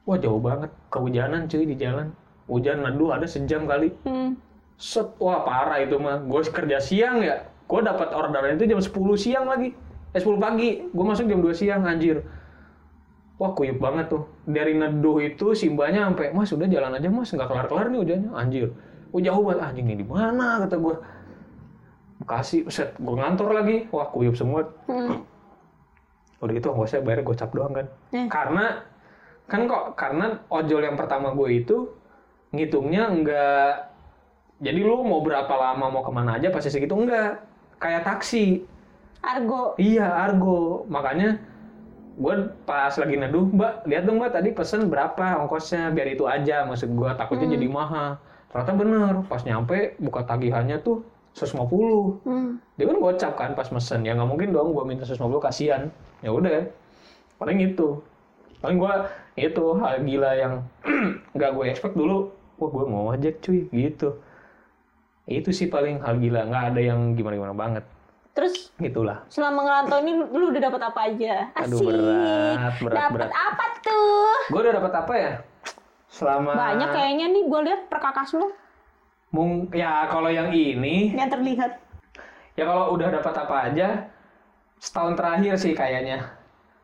[SPEAKER 1] Wah jauh banget. Kehujanan cuy di jalan. Hujan aduh ada sejam kali.
[SPEAKER 2] Hmm.
[SPEAKER 1] Set, wah parah itu mah. Gue kerja siang ya. Gue dapat orderan itu jam 10 siang lagi. Eh 10 pagi. Gue masuk jam 2 siang anjir. Wah kuyup banget tuh. Dari neduh itu simbanya sampai mas udah jalan aja mas nggak kelar kelar nih hujannya anjir. Oh jauh banget anjing ini di mana kata gue. Bekasi, set, gue ngantor lagi. Wah kuyup semua.
[SPEAKER 2] Hmm.
[SPEAKER 1] Udah gitu saya bayar gocap doang kan.
[SPEAKER 2] Eh.
[SPEAKER 1] Karena kan kok karena ojol yang pertama gue itu ngitungnya enggak jadi lu mau berapa lama mau kemana aja pasti segitu enggak kayak taksi
[SPEAKER 2] Argo.
[SPEAKER 1] iya argo makanya gue pas lagi neduh mbak lihat dong mbak tadi pesen berapa ongkosnya biar itu aja maksud gue takutnya jadi mahal ternyata bener pas nyampe buka tagihannya tuh 150
[SPEAKER 2] Hmm.
[SPEAKER 1] dia kan gocap kan pas mesen ya nggak mungkin dong gue minta 150 kasihan ya udah paling itu paling gue itu hal gila yang nggak gue expect dulu wah gue mau ngojek cuy gitu itu sih paling hal gila nggak ada yang gimana gimana banget
[SPEAKER 2] Terus
[SPEAKER 1] gitulah
[SPEAKER 2] selama ngerantau ini lu- lu udah dapat apa aja?
[SPEAKER 1] Aduh,
[SPEAKER 2] Asik.
[SPEAKER 1] berat, berat,
[SPEAKER 2] dapat
[SPEAKER 1] berat.
[SPEAKER 2] apa tuh?
[SPEAKER 1] gue udah dapat apa ya selama
[SPEAKER 2] Banyak kayaknya nih gue lihat perkakas lu
[SPEAKER 1] mung ya kalau yang ini
[SPEAKER 2] yang terlihat.
[SPEAKER 1] ya kalau udah dapat apa aja setahun terakhir sih kayaknya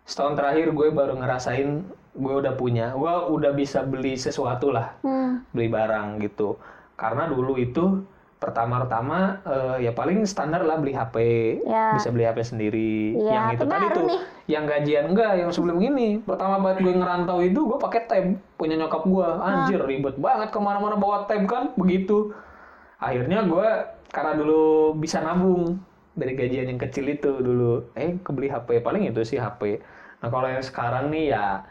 [SPEAKER 1] setahun terakhir gue baru ngerasain gue udah punya gue udah bisa beli sesuatu lah
[SPEAKER 2] Hmm.
[SPEAKER 1] beli barang gitu karena dulu itu pertama-tama eh, ya paling standar lah beli HP
[SPEAKER 2] Ya.
[SPEAKER 1] bisa beli HP sendiri
[SPEAKER 2] Iya,
[SPEAKER 1] yang itu
[SPEAKER 2] tapi
[SPEAKER 1] tadi
[SPEAKER 2] baru
[SPEAKER 1] tuh
[SPEAKER 2] nih.
[SPEAKER 1] yang gajian enggak yang sebelum ini pertama banget gue ngerantau itu gue pakai tab punya nyokap gue anjir ribet banget kemana-mana bawa tab kan begitu akhirnya gue karena dulu bisa nabung dari gajian yang kecil itu dulu eh kebeli HP paling itu sih HP nah kalau yang sekarang nih ya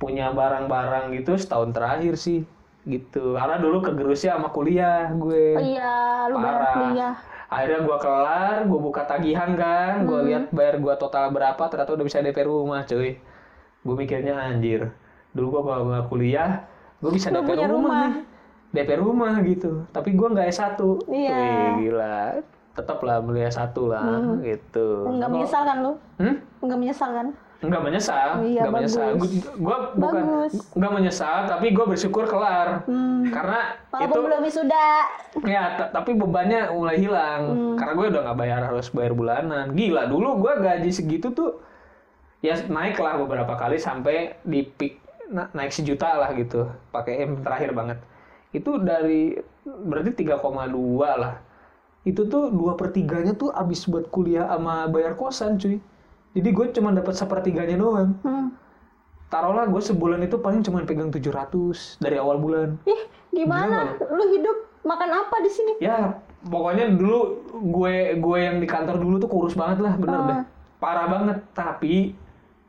[SPEAKER 1] punya barang-barang gitu setahun terakhir sih gitu karena dulu kegerusnya sama kuliah gue
[SPEAKER 2] Oh iya, lu bayar
[SPEAKER 1] Parah.
[SPEAKER 2] kuliah.
[SPEAKER 1] akhirnya gua kelar gua buka tagihan kan
[SPEAKER 2] Hmm.
[SPEAKER 1] gua lihat bayar gua total berapa ternyata udah bisa DP rumah cuy gua mikirnya anjir dulu gua kalau nggak kuliah gua bisa
[SPEAKER 2] Lu
[SPEAKER 1] DP
[SPEAKER 2] punya
[SPEAKER 1] rumah,
[SPEAKER 2] rumah.
[SPEAKER 1] nih. DP rumah gitu tapi gua nggak S1
[SPEAKER 2] Iya.
[SPEAKER 1] Wih, gila tetap lah beli S1 lah gitu Kalau-
[SPEAKER 2] Enggak Hmm. menyesal kan lu?
[SPEAKER 1] Hmm?
[SPEAKER 2] Enggak menyesal kan?
[SPEAKER 1] Nggak menyesal,
[SPEAKER 2] Iya,
[SPEAKER 1] nggak
[SPEAKER 2] bagus.
[SPEAKER 1] menyesal. Gue bukan
[SPEAKER 2] Bagus.
[SPEAKER 1] nggak menyesal, tapi gue bersyukur kelar.
[SPEAKER 2] Hmm.
[SPEAKER 1] Karena
[SPEAKER 2] Walaupun
[SPEAKER 1] itu
[SPEAKER 2] belum wisuda.
[SPEAKER 1] Ya, t- tapi bebannya mulai hilang. Karena gue udah nggak bayar harus bayar bulanan. Gila, dulu gue gaji segitu tuh ya naik lah beberapa kali sampai di peak na- naik sejuta lah gitu. Pakai M terakhir banget. Itu dari berarti 3,2 lah. Itu tuh dua pertiganya tuh abis buat kuliah sama bayar kosan cuy. Jadi gue cuma dapat sepertiganya doang.
[SPEAKER 2] Hmm.
[SPEAKER 1] Taruhlah gue sebulan itu paling cuma pegang 700 dari awal bulan.
[SPEAKER 2] Ih, gimana? Lu hidup makan apa di sini?
[SPEAKER 1] ya pokoknya dulu gue gue yang di kantor dulu tuh kurus banget lah bener
[SPEAKER 2] Ah.
[SPEAKER 1] deh parah banget tapi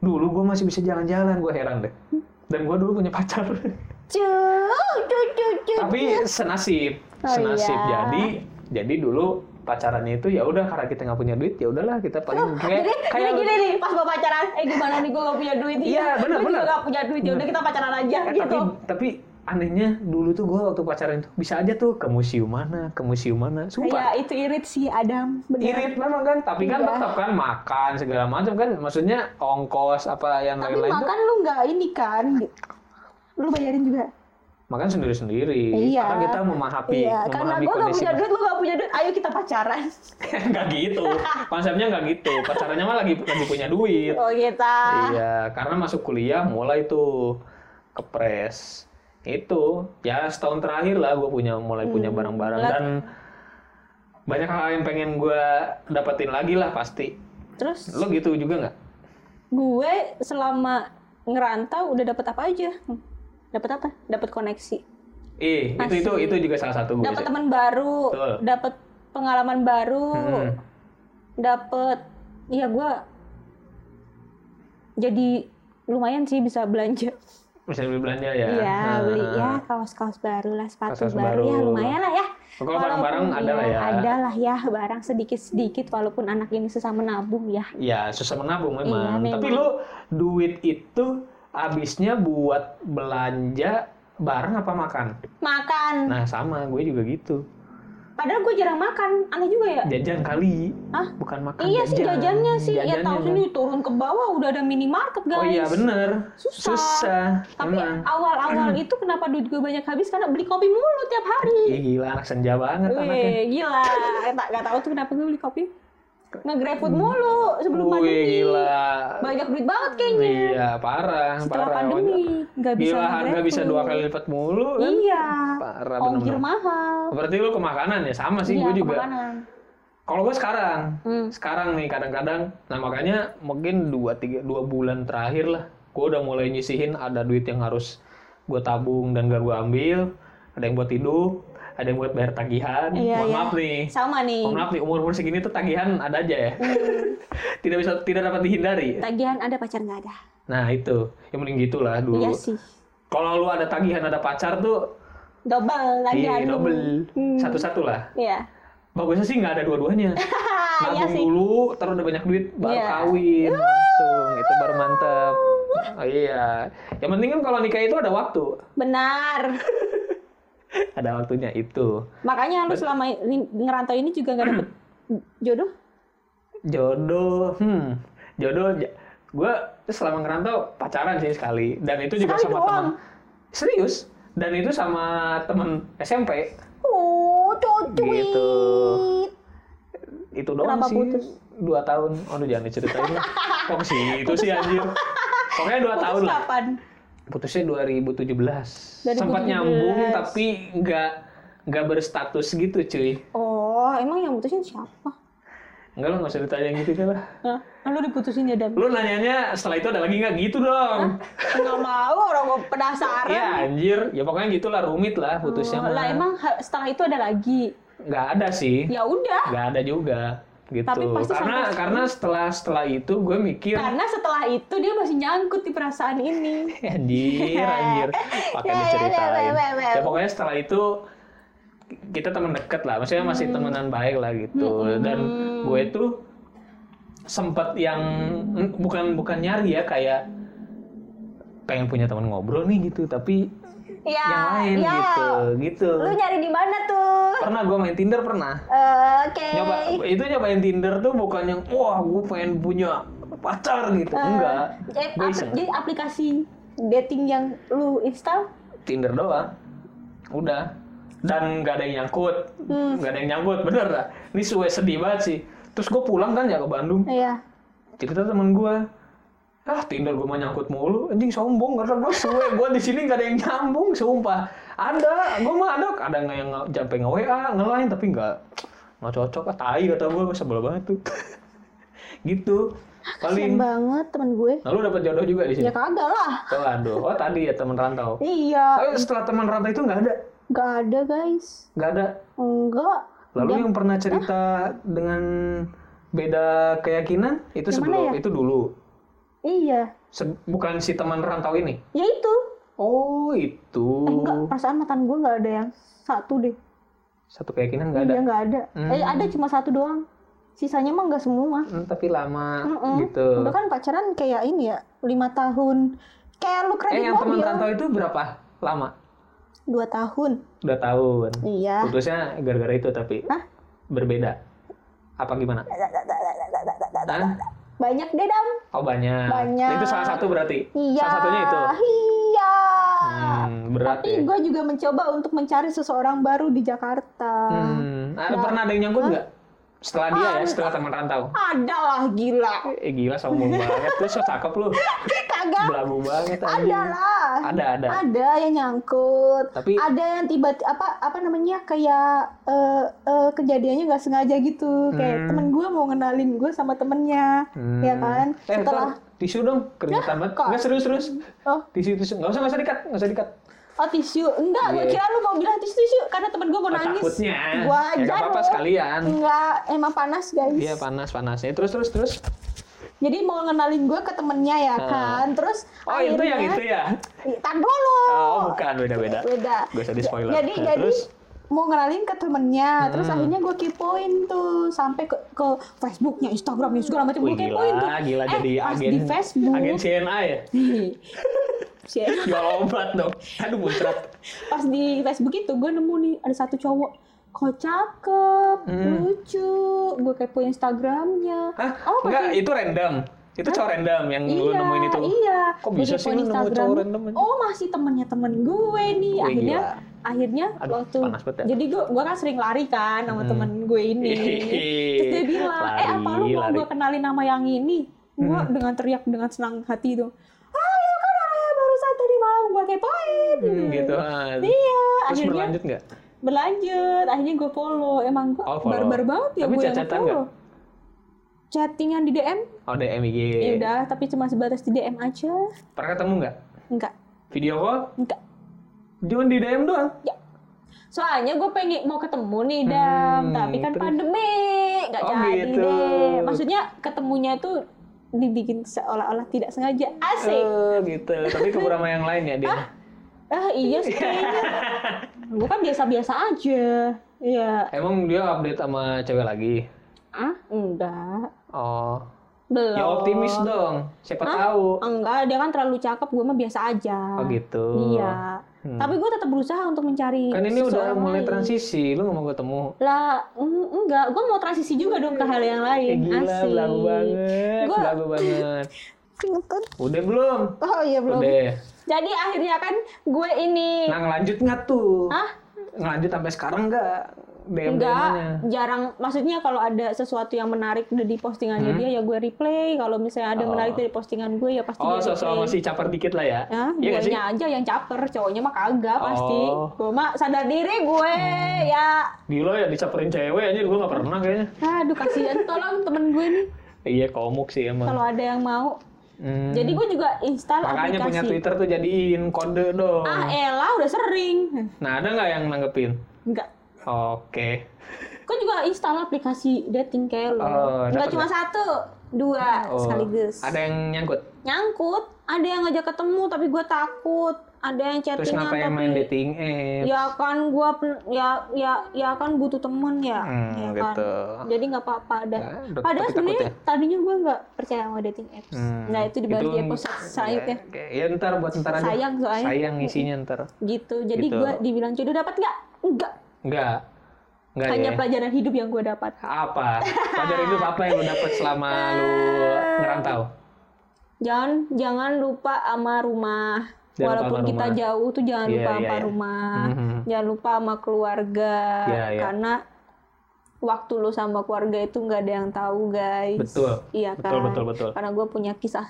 [SPEAKER 1] dulu gue masih bisa jalan-jalan gue heran deh
[SPEAKER 2] Hmm.
[SPEAKER 1] dan gue dulu punya pacar
[SPEAKER 2] Cuh, cuh, cuh, cuh.
[SPEAKER 1] tapi senasib
[SPEAKER 2] Oh,
[SPEAKER 1] senasib
[SPEAKER 2] iya.
[SPEAKER 1] jadi jadi dulu pacarannya itu ya udah karena kita nggak punya duit ya udahlah kita paling kayak
[SPEAKER 2] Oh, Jadi
[SPEAKER 1] kayak
[SPEAKER 2] gini, gini nih, pas mau pacaran, eh gimana nih gue gak punya duit
[SPEAKER 1] Iya, bener,
[SPEAKER 2] Gue juga
[SPEAKER 1] bener.
[SPEAKER 2] gak punya duit, yaudah kita pacaran aja
[SPEAKER 1] Eh,
[SPEAKER 2] gitu
[SPEAKER 1] tapi tapi anehnya dulu tuh gue waktu pacaran itu bisa aja tuh ke museum mana ke museum mana
[SPEAKER 2] Iya,
[SPEAKER 1] sumpah
[SPEAKER 2] itu irit sih Adam, bener
[SPEAKER 1] irit memang kan tapi kan
[SPEAKER 2] Iya.
[SPEAKER 1] tetap kan makan segala macam kan maksudnya ongkos apa yang
[SPEAKER 2] Tapi
[SPEAKER 1] lain-lain tuh
[SPEAKER 2] makan lu gak ini kan Lu bayarin juga
[SPEAKER 1] makan sendiri-sendiri
[SPEAKER 2] Iya.
[SPEAKER 1] karena kita memahami
[SPEAKER 2] Iya, karena
[SPEAKER 1] memahami
[SPEAKER 2] gue gak
[SPEAKER 1] kondisi
[SPEAKER 2] punya duit, lu gak punya duit, ayo kita pacaran
[SPEAKER 1] nggak gitu konsepnya nggak gitu pacarannya mah lagi lagi punya duit
[SPEAKER 2] Oh kita
[SPEAKER 1] iya karena masuk kuliah mulai tuh kepres itu ya setahun terakhir lah gue punya mulai punya barang-barang
[SPEAKER 2] Hmm. Lah.
[SPEAKER 1] dan banyak hal yang pengen gue dapetin lagi lah pasti
[SPEAKER 2] Terus
[SPEAKER 1] lo gitu juga nggak
[SPEAKER 2] gue selama ngerantau udah dapet apa aja? Dapet apa? Dapet koneksi
[SPEAKER 1] Oh, Ih, Eh, itu itu
[SPEAKER 2] Asli.
[SPEAKER 1] itu juga salah satu gue.
[SPEAKER 2] Dapet teman baru,
[SPEAKER 1] iya. Betul.
[SPEAKER 2] dapet pengalaman baru,
[SPEAKER 1] Hmm.
[SPEAKER 2] dapet ya gue jadi lumayan sih bisa belanja
[SPEAKER 1] Bisa beli belanja ya.
[SPEAKER 2] Iya,
[SPEAKER 1] Nah,
[SPEAKER 2] beli ya kaos-kaos baru lah, sepatu
[SPEAKER 1] Kaos-kaos
[SPEAKER 2] baru, ya
[SPEAKER 1] baru.
[SPEAKER 2] lumayan lah ya.
[SPEAKER 1] Kalau barang-barang
[SPEAKER 2] Walaupun
[SPEAKER 1] ada lah ya.
[SPEAKER 2] Ada lah ya, barang sedikit-sedikit walaupun anak ini sesama nabung ya.
[SPEAKER 1] Ya, susah menabung memang.
[SPEAKER 2] Iya,
[SPEAKER 1] Tapi
[SPEAKER 2] memang.
[SPEAKER 1] lu duit itu habisnya buat belanja barang apa makan?
[SPEAKER 2] Makan.
[SPEAKER 1] Nah, sama gue juga gitu.
[SPEAKER 2] Padahal gue jarang makan, aneh juga ya.
[SPEAKER 1] Jajan kali.
[SPEAKER 2] Hah?
[SPEAKER 1] Bukan makan
[SPEAKER 2] Iya
[SPEAKER 1] jajan.
[SPEAKER 2] sih jajannya sih, ya
[SPEAKER 1] Jajannya
[SPEAKER 2] tahu
[SPEAKER 1] kan.
[SPEAKER 2] sendiri turun ke bawah udah ada minimarket guys.
[SPEAKER 1] Oh iya bener.
[SPEAKER 2] Susah.
[SPEAKER 1] Susah.
[SPEAKER 2] Tapi
[SPEAKER 1] Emang.
[SPEAKER 2] awal-awal itu kenapa duit gue banyak habis karena beli kopi mulu tiap hari.
[SPEAKER 1] Ih, gila anak senja banget anaknya.
[SPEAKER 2] Wih, gila. Eh, Tak gak tahu tuh kenapa gue beli kopi. Nge-grab food mulu
[SPEAKER 1] Wih,
[SPEAKER 2] sebelum pandemi.
[SPEAKER 1] gila.
[SPEAKER 2] Banyak duit banget kayaknya.
[SPEAKER 1] Iya, parah,
[SPEAKER 2] setelah
[SPEAKER 1] parah.
[SPEAKER 2] pandemi nggak bisa
[SPEAKER 1] Gila harga
[SPEAKER 2] nge-grab
[SPEAKER 1] bisa dua
[SPEAKER 2] food.
[SPEAKER 1] kali lipat mulu kan.
[SPEAKER 2] iya
[SPEAKER 1] Parah
[SPEAKER 2] ongkir
[SPEAKER 1] bener-bener.
[SPEAKER 2] mahal
[SPEAKER 1] Berarti lu ke makanan ya sama sih
[SPEAKER 2] iya
[SPEAKER 1] gue juga.
[SPEAKER 2] kemakanan.
[SPEAKER 1] Kalau gue sekarang,
[SPEAKER 2] Hmm.
[SPEAKER 1] sekarang nih kadang-kadang, nah makanya mungkin dua tiga dua bulan terakhir lah, gue udah mulai nyisihin ada duit yang harus gue tabung dan gak gue ambil, ada yang buat hidup, ada yang buat bayar tagihan.
[SPEAKER 2] Iya,
[SPEAKER 1] Mohon
[SPEAKER 2] iya.
[SPEAKER 1] maaf nih,
[SPEAKER 2] sama nih
[SPEAKER 1] mohon maaf nih umur umur segini tuh tagihan ada aja ya,
[SPEAKER 2] Hmm.
[SPEAKER 1] tidak bisa tidak dapat dihindari.
[SPEAKER 2] tagihan ada pacar nggak ada
[SPEAKER 1] Nah itu, yang mending gitulah dulu.
[SPEAKER 2] iya sih
[SPEAKER 1] Kalau lu ada tagihan ada pacar tuh,
[SPEAKER 2] double
[SPEAKER 1] iya
[SPEAKER 2] tagihan dulu.
[SPEAKER 1] double
[SPEAKER 2] Hmm.
[SPEAKER 1] satu-satu lah.
[SPEAKER 2] iya
[SPEAKER 1] Bagusnya sih nggak ada dua-duanya.
[SPEAKER 2] iya
[SPEAKER 1] nabung
[SPEAKER 2] sih
[SPEAKER 1] dulu terus udah banyak duit baru
[SPEAKER 2] Iya.
[SPEAKER 1] kawin langsung itu baru mantep oh, iya yang penting kan kalau nikah itu ada waktu
[SPEAKER 2] benar
[SPEAKER 1] ada waktunya itu
[SPEAKER 2] makanya lu selama ini- ngerantau ini juga nggak dapet jodoh
[SPEAKER 1] jodoh hmm jodoh gue selama ngerantau pacaran sih sekali dan itu juga
[SPEAKER 2] Sekali
[SPEAKER 1] sama
[SPEAKER 2] doang?
[SPEAKER 1] teman serius dan itu sama temen SMP
[SPEAKER 2] oh cocuit
[SPEAKER 1] Gitu. itu doang
[SPEAKER 2] Kenapa
[SPEAKER 1] sih
[SPEAKER 2] putus?
[SPEAKER 1] dua tahun aduh jangan diceritain lah. kok sih itu sih anjir pokoknya dua tahun
[SPEAKER 2] Putus
[SPEAKER 1] lah
[SPEAKER 2] kapan
[SPEAKER 1] putusnya 2017. Sempat
[SPEAKER 2] 2017.
[SPEAKER 1] nyambung tapi nggak nggak berstatus gitu cuy
[SPEAKER 2] Oh, emang yang mutusin siapa?
[SPEAKER 1] enggak lah nggak usah ditanya gitu deh lah
[SPEAKER 2] Hah? Lu diputusin ya, Dam?
[SPEAKER 1] lu nanyanya setelah itu ada lagi nggak gitu dong
[SPEAKER 2] Enggak mau, orang gue penasaran.
[SPEAKER 1] ya anjir ya pokoknya gitulah rumit lah putusnya
[SPEAKER 2] Oh, lah
[SPEAKER 1] mah.
[SPEAKER 2] emang ha- setelah itu ada lagi.
[SPEAKER 1] nggak ada sih
[SPEAKER 2] Ya udah.
[SPEAKER 1] nggak ada juga gitu
[SPEAKER 2] Tapi pasti
[SPEAKER 1] karena
[SPEAKER 2] sampai-
[SPEAKER 1] karena setelah setelah itu gue mikir
[SPEAKER 2] Karena setelah itu dia masih nyangkut di perasaan ini.
[SPEAKER 1] anjir anjir pakai
[SPEAKER 2] Ya, ya,
[SPEAKER 1] diceritain
[SPEAKER 2] ya, ya, ya, ya.
[SPEAKER 1] ya pokoknya setelah itu kita teman deket lah maksudnya masih
[SPEAKER 2] Hmm.
[SPEAKER 1] temenan baik lah gitu dan gue tuh sempet yang mm, bukan bukan nyari ya kayak pengen punya teman ngobrol nih gitu tapi
[SPEAKER 2] Ya,
[SPEAKER 1] yang lain
[SPEAKER 2] ya.
[SPEAKER 1] gitu gitu
[SPEAKER 2] Lu nyari di mana tuh?
[SPEAKER 1] pernah gue main Tinder pernah
[SPEAKER 2] Eh, Oke.
[SPEAKER 1] nyoba itu nyobain Tinder tuh bukan yang wah gue pengen punya pacar gitu enggak
[SPEAKER 2] Eh,
[SPEAKER 1] gue
[SPEAKER 2] apl-
[SPEAKER 1] iseng
[SPEAKER 2] jadi aplikasi dating yang lu install?
[SPEAKER 1] Tinder doang udah dan nggak ada yang nyangkut
[SPEAKER 2] Hmm.
[SPEAKER 1] nggak ada yang nyangkut bener lah ini suwe sedih banget sih terus gue pulang kan ya ke Bandung
[SPEAKER 2] Iya.
[SPEAKER 1] cerita temen gue ah Tinder gue mah nyangkut mulu anjing sombong karena gue suwe gue di sini nggak ada yang nyambung sumpah ada gue mah ada ada nggak yang nge- sampai nge WA ngelain tapi nggak nggak cocok ah tai kata gue gue sebel banget tuh gitu paling
[SPEAKER 2] Kasian banget teman gue.
[SPEAKER 1] lalu dapat jodoh juga di sini
[SPEAKER 2] Ya kagak lah.
[SPEAKER 1] oh, aduh oh tadi ya teman rantau
[SPEAKER 2] Iya,
[SPEAKER 1] tapi setelah teman rantau itu nggak ada
[SPEAKER 2] nggak ada guys.
[SPEAKER 1] nggak ada
[SPEAKER 2] Enggak.
[SPEAKER 1] Lalu yang pernah cerita dengan beda keyakinan itu
[SPEAKER 2] Yang mana
[SPEAKER 1] sebelum
[SPEAKER 2] ya?
[SPEAKER 1] itu dulu.
[SPEAKER 2] Iya.
[SPEAKER 1] Se- bukan si teman rantau ini.
[SPEAKER 2] Ya itu.
[SPEAKER 1] Oh, itu.
[SPEAKER 2] Eh, enggak,
[SPEAKER 1] Oh.
[SPEAKER 2] perasaan mantan gue nggak ada yang satu deh.
[SPEAKER 1] Satu keyakinan nggak ada.
[SPEAKER 2] Iya nggak ada. Eh ada cuma satu doang. Sisanya mah nggak semua.
[SPEAKER 1] Hmm, tapi lama
[SPEAKER 2] Mm-mm.
[SPEAKER 1] gitu.
[SPEAKER 2] Udah kan pacaran kayak ini ya lima tahun. Kayak lu
[SPEAKER 1] Eh,
[SPEAKER 2] kredit
[SPEAKER 1] yang teman
[SPEAKER 2] mobil
[SPEAKER 1] rantau itu berapa lama?
[SPEAKER 2] dua tahun.
[SPEAKER 1] Udah tahun.
[SPEAKER 2] Iya.
[SPEAKER 1] Putusnya gara-gara itu tapi
[SPEAKER 2] Hah?
[SPEAKER 1] berbeda. Apa gimana? Dan
[SPEAKER 2] Banyak deh dam.
[SPEAKER 1] oh banyak.
[SPEAKER 2] Banyak.
[SPEAKER 1] Itu salah satu berarti.
[SPEAKER 2] Iya.
[SPEAKER 1] Salah satunya itu.
[SPEAKER 2] Iya.
[SPEAKER 1] Hmm, berat
[SPEAKER 2] Tapi
[SPEAKER 1] ya.
[SPEAKER 2] gue juga mencoba untuk mencari seseorang baru di Jakarta.
[SPEAKER 1] Hmm, ah, pernah ada yang nyangkut nggak? Setelah dia ya, setelah teman rantau.
[SPEAKER 2] Ada lah gila.
[SPEAKER 1] Eh gila sombong banget, lu so cakep lu.
[SPEAKER 2] Kagak
[SPEAKER 1] Belagu banget
[SPEAKER 2] ada
[SPEAKER 1] anjing.
[SPEAKER 2] lah.
[SPEAKER 1] Ada ada.
[SPEAKER 2] Ada yang nyangkut.
[SPEAKER 1] Tapi-
[SPEAKER 2] ada yang tiba apa apa namanya kayak eh, eh, kejadiannya nggak sengaja gitu.
[SPEAKER 1] Hmm.
[SPEAKER 2] Kayak temen gue mau ngenalin gue sama temennya, ya kan?
[SPEAKER 1] Eh,
[SPEAKER 2] Setelah
[SPEAKER 1] ntar, tisu dong, keringetan banget.
[SPEAKER 2] kok.
[SPEAKER 1] Enggak serius serius.
[SPEAKER 2] oh
[SPEAKER 1] Tisu tisu, enggak usah enggak usah dikat, enggak usah dikat. Ah,
[SPEAKER 2] oh tisu enggak gue
[SPEAKER 1] Iya.
[SPEAKER 2] kira lu mau bilang tisu tisu karena temen gue mau
[SPEAKER 1] Oh,
[SPEAKER 2] nangis.
[SPEAKER 1] takutnya.
[SPEAKER 2] Gua
[SPEAKER 1] Ya, nggak
[SPEAKER 2] aja
[SPEAKER 1] apa-apa
[SPEAKER 2] loh.
[SPEAKER 1] sekalian.
[SPEAKER 2] Enggak emang panas guys.
[SPEAKER 1] Iya panas panasnya. Terus terus terus.
[SPEAKER 2] Jadi mau ngenalin gue ke temennya ya
[SPEAKER 1] Ah.
[SPEAKER 2] kan. Terus
[SPEAKER 1] Oh itu
[SPEAKER 2] akhirnya
[SPEAKER 1] yang itu ya.
[SPEAKER 2] Ih, Tar dulu.
[SPEAKER 1] Oh bukan beda beda.
[SPEAKER 2] beda.
[SPEAKER 1] Gak usah di spoiler.
[SPEAKER 2] Jadi
[SPEAKER 1] Nah,
[SPEAKER 2] jadi
[SPEAKER 1] terus? Hmm.
[SPEAKER 2] mau ngenalin ke temennya, terus akhirnya gue kepoin tuh sampai ke, ke Facebooknya, Instagramnya segala macam
[SPEAKER 1] Wih
[SPEAKER 2] gue
[SPEAKER 1] gila,
[SPEAKER 2] kepoin tuh.
[SPEAKER 1] gila
[SPEAKER 2] eh,
[SPEAKER 1] jadi
[SPEAKER 2] pas
[SPEAKER 1] agen
[SPEAKER 2] di Facebook,
[SPEAKER 1] agen CNA ya.
[SPEAKER 2] Cie,
[SPEAKER 1] Jual obat dong. Aduh muncrat.
[SPEAKER 2] pas di Facebook itu gue nemu nih ada satu cowok, kok cakep, lucu, gue kepoin Instagramnya.
[SPEAKER 1] Hmm. Hah?
[SPEAKER 2] Oh, pas
[SPEAKER 1] enggak,
[SPEAKER 2] di-
[SPEAKER 1] itu random. Itu cowok random yang lu
[SPEAKER 2] Iya,
[SPEAKER 1] nemuin itu.
[SPEAKER 2] Iya.
[SPEAKER 1] Kok
[SPEAKER 2] Gua
[SPEAKER 1] bisa sih lu
[SPEAKER 2] kepoin
[SPEAKER 1] nemu
[SPEAKER 2] Instagram.
[SPEAKER 1] cowok random aja?
[SPEAKER 2] Oh, masih temennya temen gue nih.
[SPEAKER 1] Wih,
[SPEAKER 2] akhirnya
[SPEAKER 1] gila.
[SPEAKER 2] akhirnya
[SPEAKER 1] Aduh,
[SPEAKER 2] waktu
[SPEAKER 1] panas banget ya. Hmm.
[SPEAKER 2] jadi gue gue kan sering lari kan sama temen gue ini. Terus dia bilang, "Eh, apa lu mau
[SPEAKER 1] Lari, Hmm.
[SPEAKER 2] gue kenalin nama yang ini?" Gue dengan teriak dengan senang hati itu. Ayo kan ayo, baru satu di malam gue kepoin.
[SPEAKER 1] Hmm, gitu. ah. Terus
[SPEAKER 2] Iya, akhirnya berlanjut.
[SPEAKER 1] berlanjut nggak?
[SPEAKER 2] Akhirnya gue follow. Emang gue
[SPEAKER 1] Oh, follow.
[SPEAKER 2] barbar banget ya
[SPEAKER 1] Tapi
[SPEAKER 2] gue yang
[SPEAKER 1] chat-chatan
[SPEAKER 2] follow. Chattingan di DM
[SPEAKER 1] Oh DM IG.
[SPEAKER 2] Ya udah, tapi cuma sebatas di DM aja.
[SPEAKER 1] Pernah ketemu nggak?
[SPEAKER 2] Enggak,
[SPEAKER 1] Video call?
[SPEAKER 2] enggak.
[SPEAKER 1] Cuma di DM doang.
[SPEAKER 2] Ya. Soalnya gue pengen mau ketemu nih Dam,
[SPEAKER 1] Hmm,
[SPEAKER 2] tapi kan
[SPEAKER 1] terus?
[SPEAKER 2] pandemi, nggak
[SPEAKER 1] Oh,
[SPEAKER 2] jadi
[SPEAKER 1] gitu.
[SPEAKER 2] deh. Maksudnya ketemunya tuh dibikin seolah-olah tidak sengaja. Asik.
[SPEAKER 1] Eh, gitu. Tapi keburu sama yang lain ya dia.
[SPEAKER 2] Ah iya sih kayaknya. gue kan biasa-biasa aja. Iya.
[SPEAKER 1] Emang dia update sama cewek lagi?
[SPEAKER 2] Ah, enggak.
[SPEAKER 1] Oh.
[SPEAKER 2] Belum.
[SPEAKER 1] Ya optimis dong. Siapa tahu.
[SPEAKER 2] Enggak, dia kan terlalu cakep, gue mah biasa aja.
[SPEAKER 1] Oh gitu. Hmm.
[SPEAKER 2] Iya. Tapi gue tetap berusaha untuk mencari
[SPEAKER 1] Kan ini udah
[SPEAKER 2] seseorang
[SPEAKER 1] mulai
[SPEAKER 2] lain.
[SPEAKER 1] transisi, lu nggak mau ketemu.
[SPEAKER 2] lah mm, enggak gue mau transisi juga dong ke hal yang
[SPEAKER 1] Eh,
[SPEAKER 2] lain
[SPEAKER 1] gila,
[SPEAKER 2] Asik.
[SPEAKER 1] belagu banget,
[SPEAKER 2] Gua-
[SPEAKER 1] belagu banget.
[SPEAKER 2] Keringetan.
[SPEAKER 1] Udah belum?
[SPEAKER 2] oh iya belum
[SPEAKER 1] Udah.
[SPEAKER 2] jadi akhirnya kan gue ini
[SPEAKER 1] Nah, lanjut nggak tuh?
[SPEAKER 2] Hah?
[SPEAKER 1] ngelanjut sampai sekarang nggak DM nya
[SPEAKER 2] Enggak, jarang. Maksudnya kalau ada sesuatu yang menarik di postingannya dia ya gue replay. Kalau misalnya ada
[SPEAKER 1] Hmm. Oh.
[SPEAKER 2] menarik dari postingan gue ya pasti
[SPEAKER 1] Oh,
[SPEAKER 2] gue
[SPEAKER 1] sosok
[SPEAKER 2] replay.
[SPEAKER 1] masih caper dikit lah ya.
[SPEAKER 2] Ya,
[SPEAKER 1] Iya nggak sih?
[SPEAKER 2] guanya aja yang caper, cowoknya mah kagak pasti.
[SPEAKER 1] Oh. Hmm.
[SPEAKER 2] Gue mah sadar diri gue ya.
[SPEAKER 1] Gila ya dicaperin cewek aja gue nggak pernah kayaknya.
[SPEAKER 2] Aduh kasihan tolong temen gue nih
[SPEAKER 1] Iya komuk sih emang.
[SPEAKER 2] kalau ada yang mau.
[SPEAKER 1] Hmm.
[SPEAKER 2] Jadi gue juga install
[SPEAKER 1] Makanya
[SPEAKER 2] aplikasi.
[SPEAKER 1] punya Twitter tuh jadiin kode dong.
[SPEAKER 2] Ah elah udah sering.
[SPEAKER 1] Nah ada nggak yang nanggepin?
[SPEAKER 2] Enggak.
[SPEAKER 1] Oke.
[SPEAKER 2] Gue juga install aplikasi dating kayak lo.
[SPEAKER 1] Oh,
[SPEAKER 2] Enggak
[SPEAKER 1] dapet
[SPEAKER 2] cuma satu, dua
[SPEAKER 1] Oh,
[SPEAKER 2] sekaligus.
[SPEAKER 1] Ada yang nyangkut.
[SPEAKER 2] Nyangkut, ada yang ngajak ketemu tapi gue takut. Ada yang
[SPEAKER 1] Terus
[SPEAKER 2] chattingan
[SPEAKER 1] ngapain
[SPEAKER 2] tapi
[SPEAKER 1] main dating apps?
[SPEAKER 2] ya kan gue ya ya ya kan butuh temen ya,
[SPEAKER 1] Hmm,
[SPEAKER 2] ya kan.
[SPEAKER 1] gitu.
[SPEAKER 2] jadi nggak apa-apa dah
[SPEAKER 1] Ya, udah takut-takut
[SPEAKER 2] padahal sebenarnya tadinya gue nggak percaya sama dating apps
[SPEAKER 1] Hmm,
[SPEAKER 2] nah itu dibahas di
[SPEAKER 1] itu-
[SPEAKER 2] episode selanjutnya
[SPEAKER 1] Oke, Ya ntar buat ntar aja.
[SPEAKER 2] sayang soalnya
[SPEAKER 1] Sayang isinya ntar.
[SPEAKER 2] gitu jadi
[SPEAKER 1] Gitu.
[SPEAKER 2] gue dibilang jodoh dapat nggak nggak
[SPEAKER 1] Enggak. Enggak
[SPEAKER 2] hanya
[SPEAKER 1] ya.
[SPEAKER 2] pelajaran hidup yang gue dapat
[SPEAKER 1] Apa? Pelajaran hidup apa yang lu dapet selama lu ngerantau?
[SPEAKER 2] jangan jangan lupa sama rumah
[SPEAKER 1] Jangan lupa
[SPEAKER 2] walaupun
[SPEAKER 1] sama
[SPEAKER 2] kita
[SPEAKER 1] rumah.
[SPEAKER 2] jauh tuh jangan
[SPEAKER 1] Iya,
[SPEAKER 2] lupa
[SPEAKER 1] iya,
[SPEAKER 2] sama
[SPEAKER 1] iya.
[SPEAKER 2] rumah
[SPEAKER 1] Mhm.
[SPEAKER 2] jangan lupa sama keluarga
[SPEAKER 1] Iya, iya.
[SPEAKER 2] karena waktu lu sama keluarga itu nggak ada yang tahu guys
[SPEAKER 1] Betul.
[SPEAKER 2] iya
[SPEAKER 1] Betul,
[SPEAKER 2] kan
[SPEAKER 1] betul, betul.
[SPEAKER 2] karena gue punya kisah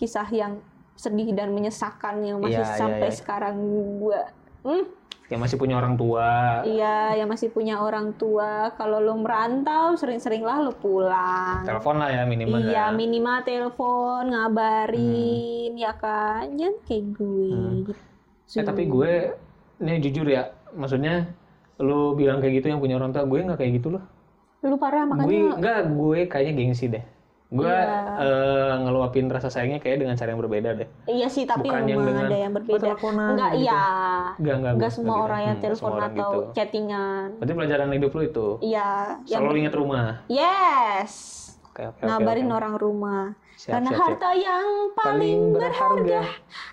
[SPEAKER 2] kisah yang sedih dan menyesakan yang masih
[SPEAKER 1] Iya, iya,
[SPEAKER 2] sampai
[SPEAKER 1] iya.
[SPEAKER 2] sekarang gue
[SPEAKER 1] Yang masih punya orang tua.
[SPEAKER 2] iya yang masih punya orang tua kalau lu merantau sering-seringlah lu pulang
[SPEAKER 1] Telepon lah ya minimal.
[SPEAKER 2] Iya
[SPEAKER 1] ya.
[SPEAKER 2] minimal telepon ngabarin
[SPEAKER 1] Hmm.
[SPEAKER 2] ya kan Jangan kayak gue gitu.
[SPEAKER 1] Eh, Hmm. tapi gue ini jujur ya, maksudnya lu bilang kayak gitu yang punya orang tua, gue nggak kayak gitu loh.
[SPEAKER 2] lu parah
[SPEAKER 1] Gue
[SPEAKER 2] makanya
[SPEAKER 1] nggak, gue kayaknya gengsi deh. Gue
[SPEAKER 2] Iya.
[SPEAKER 1] eh, ngeluapin rasa sayangnya kayak dengan cara yang berbeda deh.
[SPEAKER 2] iya sih tapi
[SPEAKER 1] bukan yang
[SPEAKER 2] memang
[SPEAKER 1] dengan,
[SPEAKER 2] ada yang
[SPEAKER 1] "Oh,
[SPEAKER 2] berbeda
[SPEAKER 1] teleponan,"
[SPEAKER 2] enggak
[SPEAKER 1] gitu.
[SPEAKER 2] iya
[SPEAKER 1] Enggak, enggak.
[SPEAKER 2] enggak semua orang yang telepon atau
[SPEAKER 1] Gitu.
[SPEAKER 2] chattingan
[SPEAKER 1] Berarti pelajaran hidup lu itu
[SPEAKER 2] iya yang
[SPEAKER 1] selalu ingat rumah.
[SPEAKER 2] yes
[SPEAKER 1] Oke, oke, oke,
[SPEAKER 2] ngabarin
[SPEAKER 1] oke.
[SPEAKER 2] orang rumah
[SPEAKER 1] Siap,
[SPEAKER 2] karena
[SPEAKER 1] siap, siap.
[SPEAKER 2] harta yang paling
[SPEAKER 1] Paling berharga.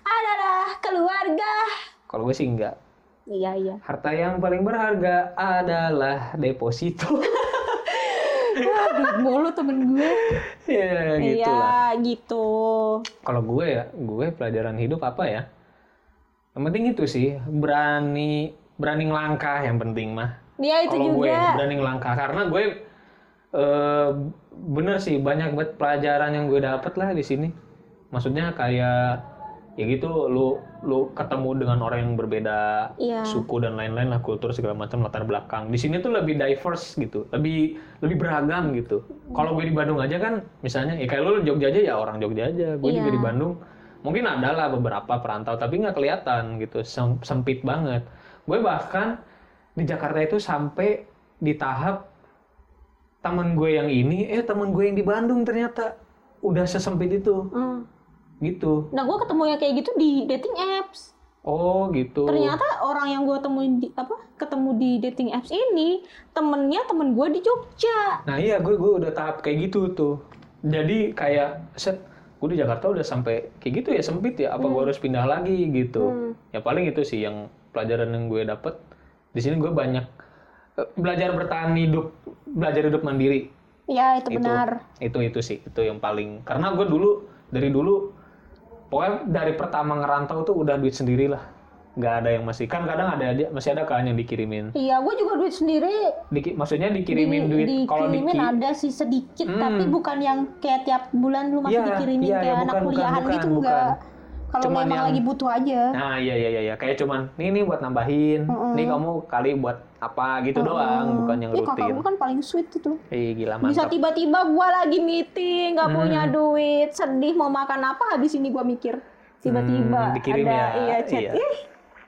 [SPEAKER 2] adalah keluarga
[SPEAKER 1] Kalau gue sih enggak.
[SPEAKER 2] iya iya
[SPEAKER 1] Harta yang paling berharga adalah deposito.
[SPEAKER 2] Aduh, mulu temen gue
[SPEAKER 1] ya gitu lah.
[SPEAKER 2] iya gitu
[SPEAKER 1] kalau gue ya gue pelajaran hidup apa ya yang penting itu sih berani berani ngelangkah yang penting mah
[SPEAKER 2] dia Iya, itu
[SPEAKER 1] kalau gue
[SPEAKER 2] juga
[SPEAKER 1] berani ngelangkah karena gue eh, bener sih banyak banget pelajaran yang gue dapet lah di sini maksudnya kayak ya gitu lu lu ketemu dengan orang yang berbeda
[SPEAKER 2] Iya.
[SPEAKER 1] suku dan lain-lain lah kultur segala macam latar belakang di sini tuh lebih diverse gitu lebih lebih beragam gitu kalau gue di Bandung aja kan misalnya ya kayak lu Jogja aja ya orang Jogja aja gue juga
[SPEAKER 2] Iya.
[SPEAKER 1] di Bandung mungkin ada lah beberapa perantau tapi nggak kelihatan gitu sem- sempit banget gue bahkan di Jakarta itu sampai di tahap teman gue yang ini eh teman gue yang di Bandung ternyata udah sesempit itu
[SPEAKER 2] Hmm.
[SPEAKER 1] gitu
[SPEAKER 2] Nah, gue ketemu yang kayak gitu di dating apps.
[SPEAKER 1] oh gitu
[SPEAKER 2] Ternyata orang yang gue temuin di apa ketemu di dating apps ini temennya temen gue di Jogja.
[SPEAKER 1] Nah iya gue gue udah tahap kayak gitu tuh. Jadi kayak set gue di Jakarta udah sampai kayak gitu ya sempit ya. Apa gue
[SPEAKER 2] Hmm.
[SPEAKER 1] harus pindah lagi gitu? Ya paling itu sih yang pelajaran yang gue dapet. Di sini gue banyak eh, belajar bertahan hidup, belajar hidup mandiri.
[SPEAKER 2] Ya itu, benar.
[SPEAKER 1] Itu itu sih itu yang paling. Karena gue dulu dari dulu pokoknya dari pertama ngerantau tuh udah duit sendiri lah. Gak ada yang masih kan kadang ada aja masih ada kan yang dikirimin.
[SPEAKER 2] Iya, gue juga duit sendiri.
[SPEAKER 1] Diki- maksudnya dikirimin
[SPEAKER 2] Di-
[SPEAKER 1] duit kalau
[SPEAKER 2] dikirimin
[SPEAKER 1] diki-
[SPEAKER 2] ada sih sedikit,
[SPEAKER 1] Hmm.
[SPEAKER 2] tapi bukan yang kayak tiap bulan lu masih
[SPEAKER 1] Iya,
[SPEAKER 2] dikirimin
[SPEAKER 1] iya,
[SPEAKER 2] kayak
[SPEAKER 1] iya,
[SPEAKER 2] anak
[SPEAKER 1] bukan, bukan,
[SPEAKER 2] kuliahan
[SPEAKER 1] bukan,
[SPEAKER 2] gitu
[SPEAKER 1] bukan.
[SPEAKER 2] enggak. Kalau
[SPEAKER 1] Cuman
[SPEAKER 2] memang
[SPEAKER 1] yang-
[SPEAKER 2] lagi butuh aja.
[SPEAKER 1] Nah iya iya iya iya. kayak cuman nih nih buat nambahin, nih kamu kali buat apa gitu doang, bukan yang
[SPEAKER 2] Ih, kakak
[SPEAKER 1] rutin.
[SPEAKER 2] gue kan paling sweet itu.
[SPEAKER 1] Ih gila
[SPEAKER 2] Bisa
[SPEAKER 1] mantap. Hmm.
[SPEAKER 2] tiba-tiba gue lagi meeting, nggak punya duit, sedih mau makan apa, habis ini gue mikir tiba-tiba
[SPEAKER 1] Hmm, dikirim
[SPEAKER 2] ada
[SPEAKER 1] ya,
[SPEAKER 2] iya chat,
[SPEAKER 1] iya.
[SPEAKER 2] ih,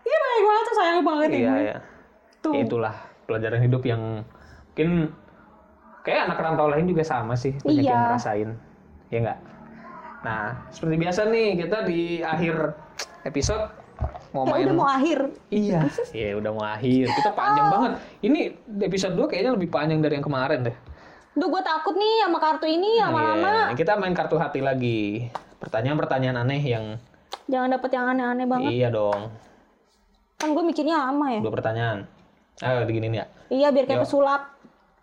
[SPEAKER 2] iya baik banget tuh sayang banget
[SPEAKER 1] Iya
[SPEAKER 2] ini.
[SPEAKER 1] iya.
[SPEAKER 2] Tuh.
[SPEAKER 1] Ya, itulah pelajaran hidup yang mungkin kayak anak rantau lain juga sama sih banyak
[SPEAKER 2] Iya.
[SPEAKER 1] yang ngerasain, ya enggak. Nah seperti biasa nih kita di akhir episode mau
[SPEAKER 2] Kayak
[SPEAKER 1] main.
[SPEAKER 2] udah mau Oh. akhir.
[SPEAKER 1] Iya. Iya udah mau akhir. Kita panjang banget. Ini episode 2 kayaknya lebih panjang dari yang kemarin deh.
[SPEAKER 2] Duh gue takut nih sama kartu ini lama-lama.
[SPEAKER 1] Iya, Kita main kartu hati lagi. Pertanyaan-pertanyaan aneh yang
[SPEAKER 2] Jangan dapet yang aneh-aneh banget.
[SPEAKER 1] Iya dong.
[SPEAKER 2] Kan gue mikirnya lama ya.
[SPEAKER 1] Dua pertanyaan. Ayo diginin ya.
[SPEAKER 2] Iya biar kayak pesulap.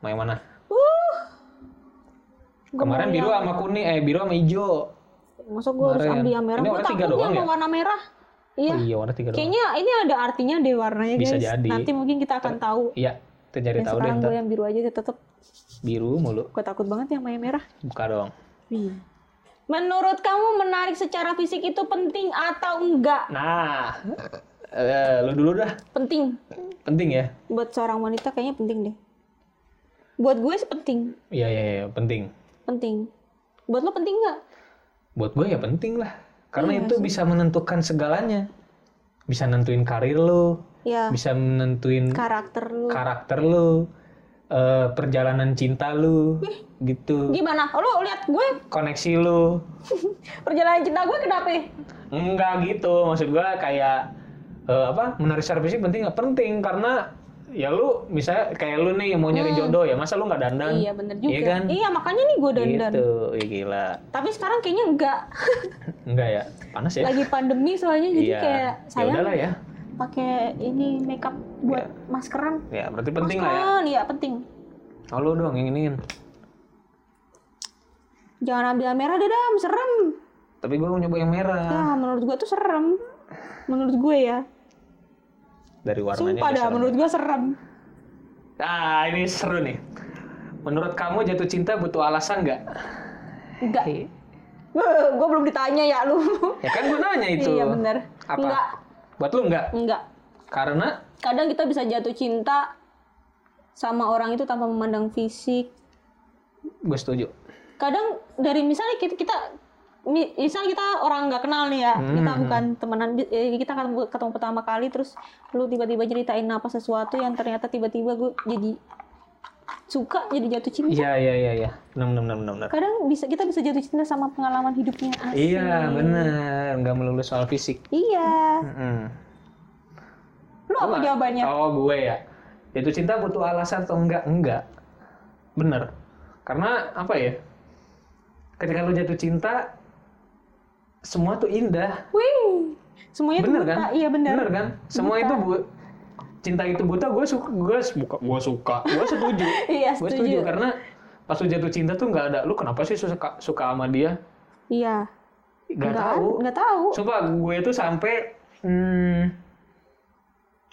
[SPEAKER 1] Mau yang mana?
[SPEAKER 2] Uh. Gua
[SPEAKER 1] Kemarin
[SPEAKER 2] mau
[SPEAKER 1] biru sama kuning, eh biru sama hijau.
[SPEAKER 2] yang- Masa gue harus
[SPEAKER 1] kemarin.
[SPEAKER 2] ambil yang merah?
[SPEAKER 1] Ini
[SPEAKER 2] Gue
[SPEAKER 1] warna tiga
[SPEAKER 2] takutnya
[SPEAKER 1] doang
[SPEAKER 2] sama
[SPEAKER 1] ya?
[SPEAKER 2] warna merah. Iya.
[SPEAKER 1] Oh iya warna tiga doang.
[SPEAKER 2] Kayaknya ini ada artinya deh warnanya
[SPEAKER 1] Bisa
[SPEAKER 2] guys.
[SPEAKER 1] jadi.
[SPEAKER 2] Nanti mungkin kita akan tahu.
[SPEAKER 1] Iya, kita cari
[SPEAKER 2] Dan
[SPEAKER 1] tahu deh
[SPEAKER 2] sekarang
[SPEAKER 1] ntar.
[SPEAKER 2] gue yang biru aja deh, tetep.
[SPEAKER 1] Biru mulu.
[SPEAKER 2] Gue takut banget ya yang main merah.
[SPEAKER 1] Buka dong.
[SPEAKER 2] Wih. Menurut kamu menarik secara fisik itu penting atau enggak?
[SPEAKER 1] Nah, eh, lu dulu dah.
[SPEAKER 2] Penting.
[SPEAKER 1] Penting ya.
[SPEAKER 2] Buat seorang wanita kayaknya penting deh. Buat gue sih penting.
[SPEAKER 1] Iya, iya, iya, penting.
[SPEAKER 2] Penting. Buat lo penting nggak?
[SPEAKER 1] Buat gue ya penting lah. Karena
[SPEAKER 2] Iya
[SPEAKER 1] itu
[SPEAKER 2] sih.
[SPEAKER 1] bisa menentukan segalanya. Bisa nentuin karir lo,
[SPEAKER 2] Ya.
[SPEAKER 1] bisa menentuin
[SPEAKER 2] Karakter lu.
[SPEAKER 1] karakter lo, eh, perjalanan cinta lo, gitu.
[SPEAKER 2] Gimana? Oh, Lo lihat gue
[SPEAKER 1] Koneksi lo.
[SPEAKER 2] perjalanan cinta gue kenapa?
[SPEAKER 1] Enggak gitu, maksud gua kayak eh, apa? Menarik secara fisik penting nggak penting karena ya lu misalnya kayak lu nih mau nyari jodoh ya masa lu nggak dandan?
[SPEAKER 2] Hmm. Iya bener juga.
[SPEAKER 1] Iya kan?
[SPEAKER 2] Iya makanya nih gue dandan.
[SPEAKER 1] Gitu, ya gila.
[SPEAKER 2] Tapi sekarang kayaknya enggak.
[SPEAKER 1] Enggak ya, panas ya.
[SPEAKER 2] Lagi pandemi soalnya jadi
[SPEAKER 1] Iya.
[SPEAKER 2] kayak
[SPEAKER 1] Ya
[SPEAKER 2] sayang
[SPEAKER 1] udahlah ya.
[SPEAKER 2] pakai ini makeup buat maskeran.
[SPEAKER 1] Ya berarti penting lah ya.
[SPEAKER 2] maskeran, iya penting.
[SPEAKER 1] Oh, lu doang yang ingin.
[SPEAKER 2] Jangan ambil yang merah deh Dam, serem.
[SPEAKER 1] Tapi gua mau nyoba yang merah.
[SPEAKER 2] Ya, menurut gue tuh serem. Menurut gue ya.
[SPEAKER 1] Dari warnanya.
[SPEAKER 2] Sumpah
[SPEAKER 1] udah
[SPEAKER 2] dah,
[SPEAKER 1] serem.
[SPEAKER 2] menurut gue serem.
[SPEAKER 1] Ah, ini seru nih. Menurut kamu jatuh cinta butuh alasan nggak?
[SPEAKER 2] Enggak. gue belum ditanya ya lu.
[SPEAKER 1] Ya kan gua nanya itu.
[SPEAKER 2] iya bener.
[SPEAKER 1] Apa?
[SPEAKER 2] Enggak,
[SPEAKER 1] Buat lu nggak?
[SPEAKER 2] enggak.
[SPEAKER 1] Karena
[SPEAKER 2] Kadang kita bisa jatuh cinta sama orang itu tanpa memandang fisik.
[SPEAKER 1] gue setuju.
[SPEAKER 2] Kadang dari misalnya kita, kita mi- misalnya kita orang nggak kenal nih ya, kita bukan temenan, eh, kita kan bu- ketemu pertama kali, terus lu tiba-tiba ceritain apa sesuatu yang ternyata tiba-tiba gue jadi suka, jadi jatuh cinta.
[SPEAKER 1] Iya, iya, iya, iya. Benar, benar, benar, benar, benar.
[SPEAKER 2] kadang bisa kita bisa jatuh cinta sama pengalaman hidupnya asli.
[SPEAKER 1] Iya, benar. Nggak melulu soal fisik.
[SPEAKER 2] Iya.
[SPEAKER 1] Mm-mm.
[SPEAKER 2] Lu apa jawabannya?
[SPEAKER 1] Oh, gue ya. Jatuh cinta butuh alasan atau enggak? Enggak. Bener. Karena apa ya? Ketika lu jatuh cinta, semua tuh indah.
[SPEAKER 2] Wih. Semuanya tuh
[SPEAKER 1] Bener
[SPEAKER 2] buta.
[SPEAKER 1] kan?
[SPEAKER 2] Iya benar.
[SPEAKER 1] kan? Semua itu bu cinta itu buta. Gue suka. Gue suka. Gue suka. Gue setuju.
[SPEAKER 2] Iya,
[SPEAKER 1] gue
[SPEAKER 2] setuju.
[SPEAKER 1] setuju kan? karena pas lu jatuh cinta tuh nggak ada. Lu kenapa sih suka suka sama dia?
[SPEAKER 2] Iya.
[SPEAKER 1] Nggak tahu.
[SPEAKER 2] Enggak tahu.
[SPEAKER 1] Sumpah gue tuh sampai hmm,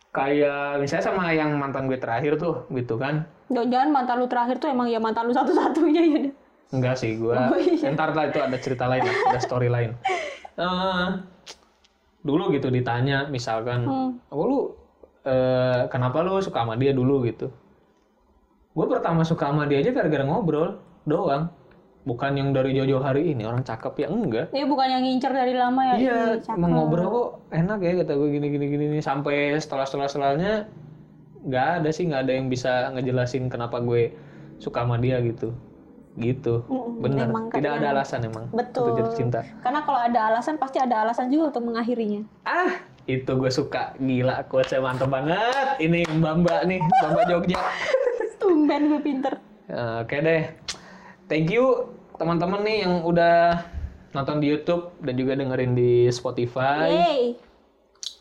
[SPEAKER 1] kayak misalnya sama yang mantan gue terakhir tuh gitu kan.
[SPEAKER 2] Jangan mantan lu terakhir tuh emang ya mantan lu satu-satunya ya. deh.
[SPEAKER 1] Enggak sih gue. Ntar lah itu ada cerita lain, lah, ada story lain. Eh, dulu gitu ditanya misalkan,
[SPEAKER 2] Hmm.
[SPEAKER 1] "Oh, lu eh, kenapa lu suka sama dia dulu gitu?" Gue pertama suka sama dia aja gara-gara ngobrol doang. Bukan yang dari jauh-jauh hari ini orang cakep ya enggak.
[SPEAKER 2] Iya bukan yang ngincer dari lama ya.
[SPEAKER 1] Iya,
[SPEAKER 2] cakep.
[SPEAKER 1] mau ngobrol kok enak ya kata gue gini gini gini nih sampai setelah setelah setelahnya nggak ada sih nggak ada yang bisa ngejelasin kenapa gue suka sama dia gitu gitu
[SPEAKER 2] Mm-mm,
[SPEAKER 1] bener
[SPEAKER 2] emang
[SPEAKER 1] tidak ada
[SPEAKER 2] kadang-
[SPEAKER 1] alasan emang
[SPEAKER 2] Betul.
[SPEAKER 1] untuk jatuh cinta
[SPEAKER 2] Karena kalau ada alasan pasti ada alasan juga untuk mengakhirinya.
[SPEAKER 1] ah itu gue suka gila quotesnya mantep banget ini mbak mbak nih mbak mbak Jogja
[SPEAKER 2] Tumben gue pinter.
[SPEAKER 1] Eh, Oke deh. Thank you teman-teman nih yang udah nonton di YouTube dan juga dengerin di Spotify.
[SPEAKER 2] Yeay.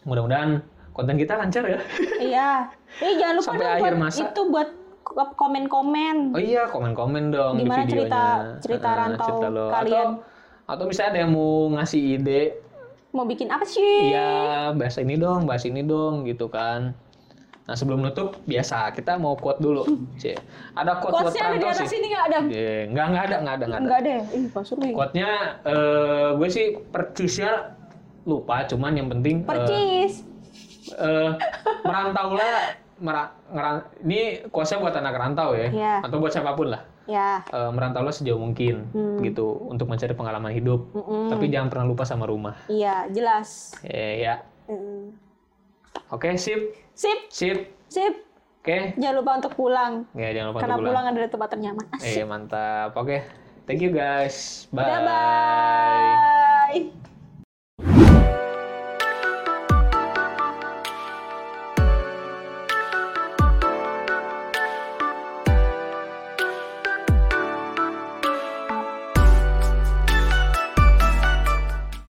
[SPEAKER 1] Mudah-mudahan konten kita lancar ya.
[SPEAKER 2] iya. Eh jangan lupa
[SPEAKER 1] Sampai
[SPEAKER 2] dong
[SPEAKER 1] akhir
[SPEAKER 2] buat
[SPEAKER 1] masa.
[SPEAKER 2] itu buat komen-komen.
[SPEAKER 1] Oh iya, komen-komen dong
[SPEAKER 2] Gimana
[SPEAKER 1] di videonya.
[SPEAKER 2] cerita- cerita
[SPEAKER 1] Ah,
[SPEAKER 2] rantau
[SPEAKER 1] lo.
[SPEAKER 2] kalian?
[SPEAKER 1] Atau, atau misalnya ada yang mau ngasih ide,
[SPEAKER 2] Mau bikin apa sih?
[SPEAKER 1] iya bahas ini dong, bahas ini dong gitu kan. Nah sebelum nutup, biasa kita mau quote dulu. C. Ada quote buat
[SPEAKER 2] Quotesnya ada di
[SPEAKER 1] rantau
[SPEAKER 2] atas
[SPEAKER 1] sih.
[SPEAKER 2] sini nggak ada?
[SPEAKER 1] Eh, Nggak, nggak ada, nggak ada, nggak ada.
[SPEAKER 2] Enggak deh. ya? Ih, pasur nih.
[SPEAKER 1] Quote-nya eh, gue sih percisnya lupa, cuman yang penting eh,
[SPEAKER 2] Percis.
[SPEAKER 1] eh merantaulah mera- ngeran- ini quotesnya buat anak rantau ya,
[SPEAKER 2] Iya.
[SPEAKER 1] atau buat siapapun lah.
[SPEAKER 2] Ya.
[SPEAKER 1] Eh, merantaulah sejauh mungkin
[SPEAKER 2] Hmm.
[SPEAKER 1] gitu untuk mencari pengalaman hidup.
[SPEAKER 2] Mm-mm.
[SPEAKER 1] Tapi jangan pernah lupa sama rumah.
[SPEAKER 2] Iya, jelas.
[SPEAKER 1] Eh, ya.
[SPEAKER 2] Mm.
[SPEAKER 1] Oke, sip.
[SPEAKER 2] Sip,
[SPEAKER 1] Sip.
[SPEAKER 2] sip.
[SPEAKER 1] Oke.
[SPEAKER 2] Jangan lupa untuk pulang.
[SPEAKER 1] Ya, jangan lupa
[SPEAKER 2] Karena
[SPEAKER 1] untuk Iya,
[SPEAKER 2] pulang adalah tempat ternyaman. Asik.
[SPEAKER 1] Eh, mantap. Oke. Thank you guys. Bye.
[SPEAKER 2] Bye-bye.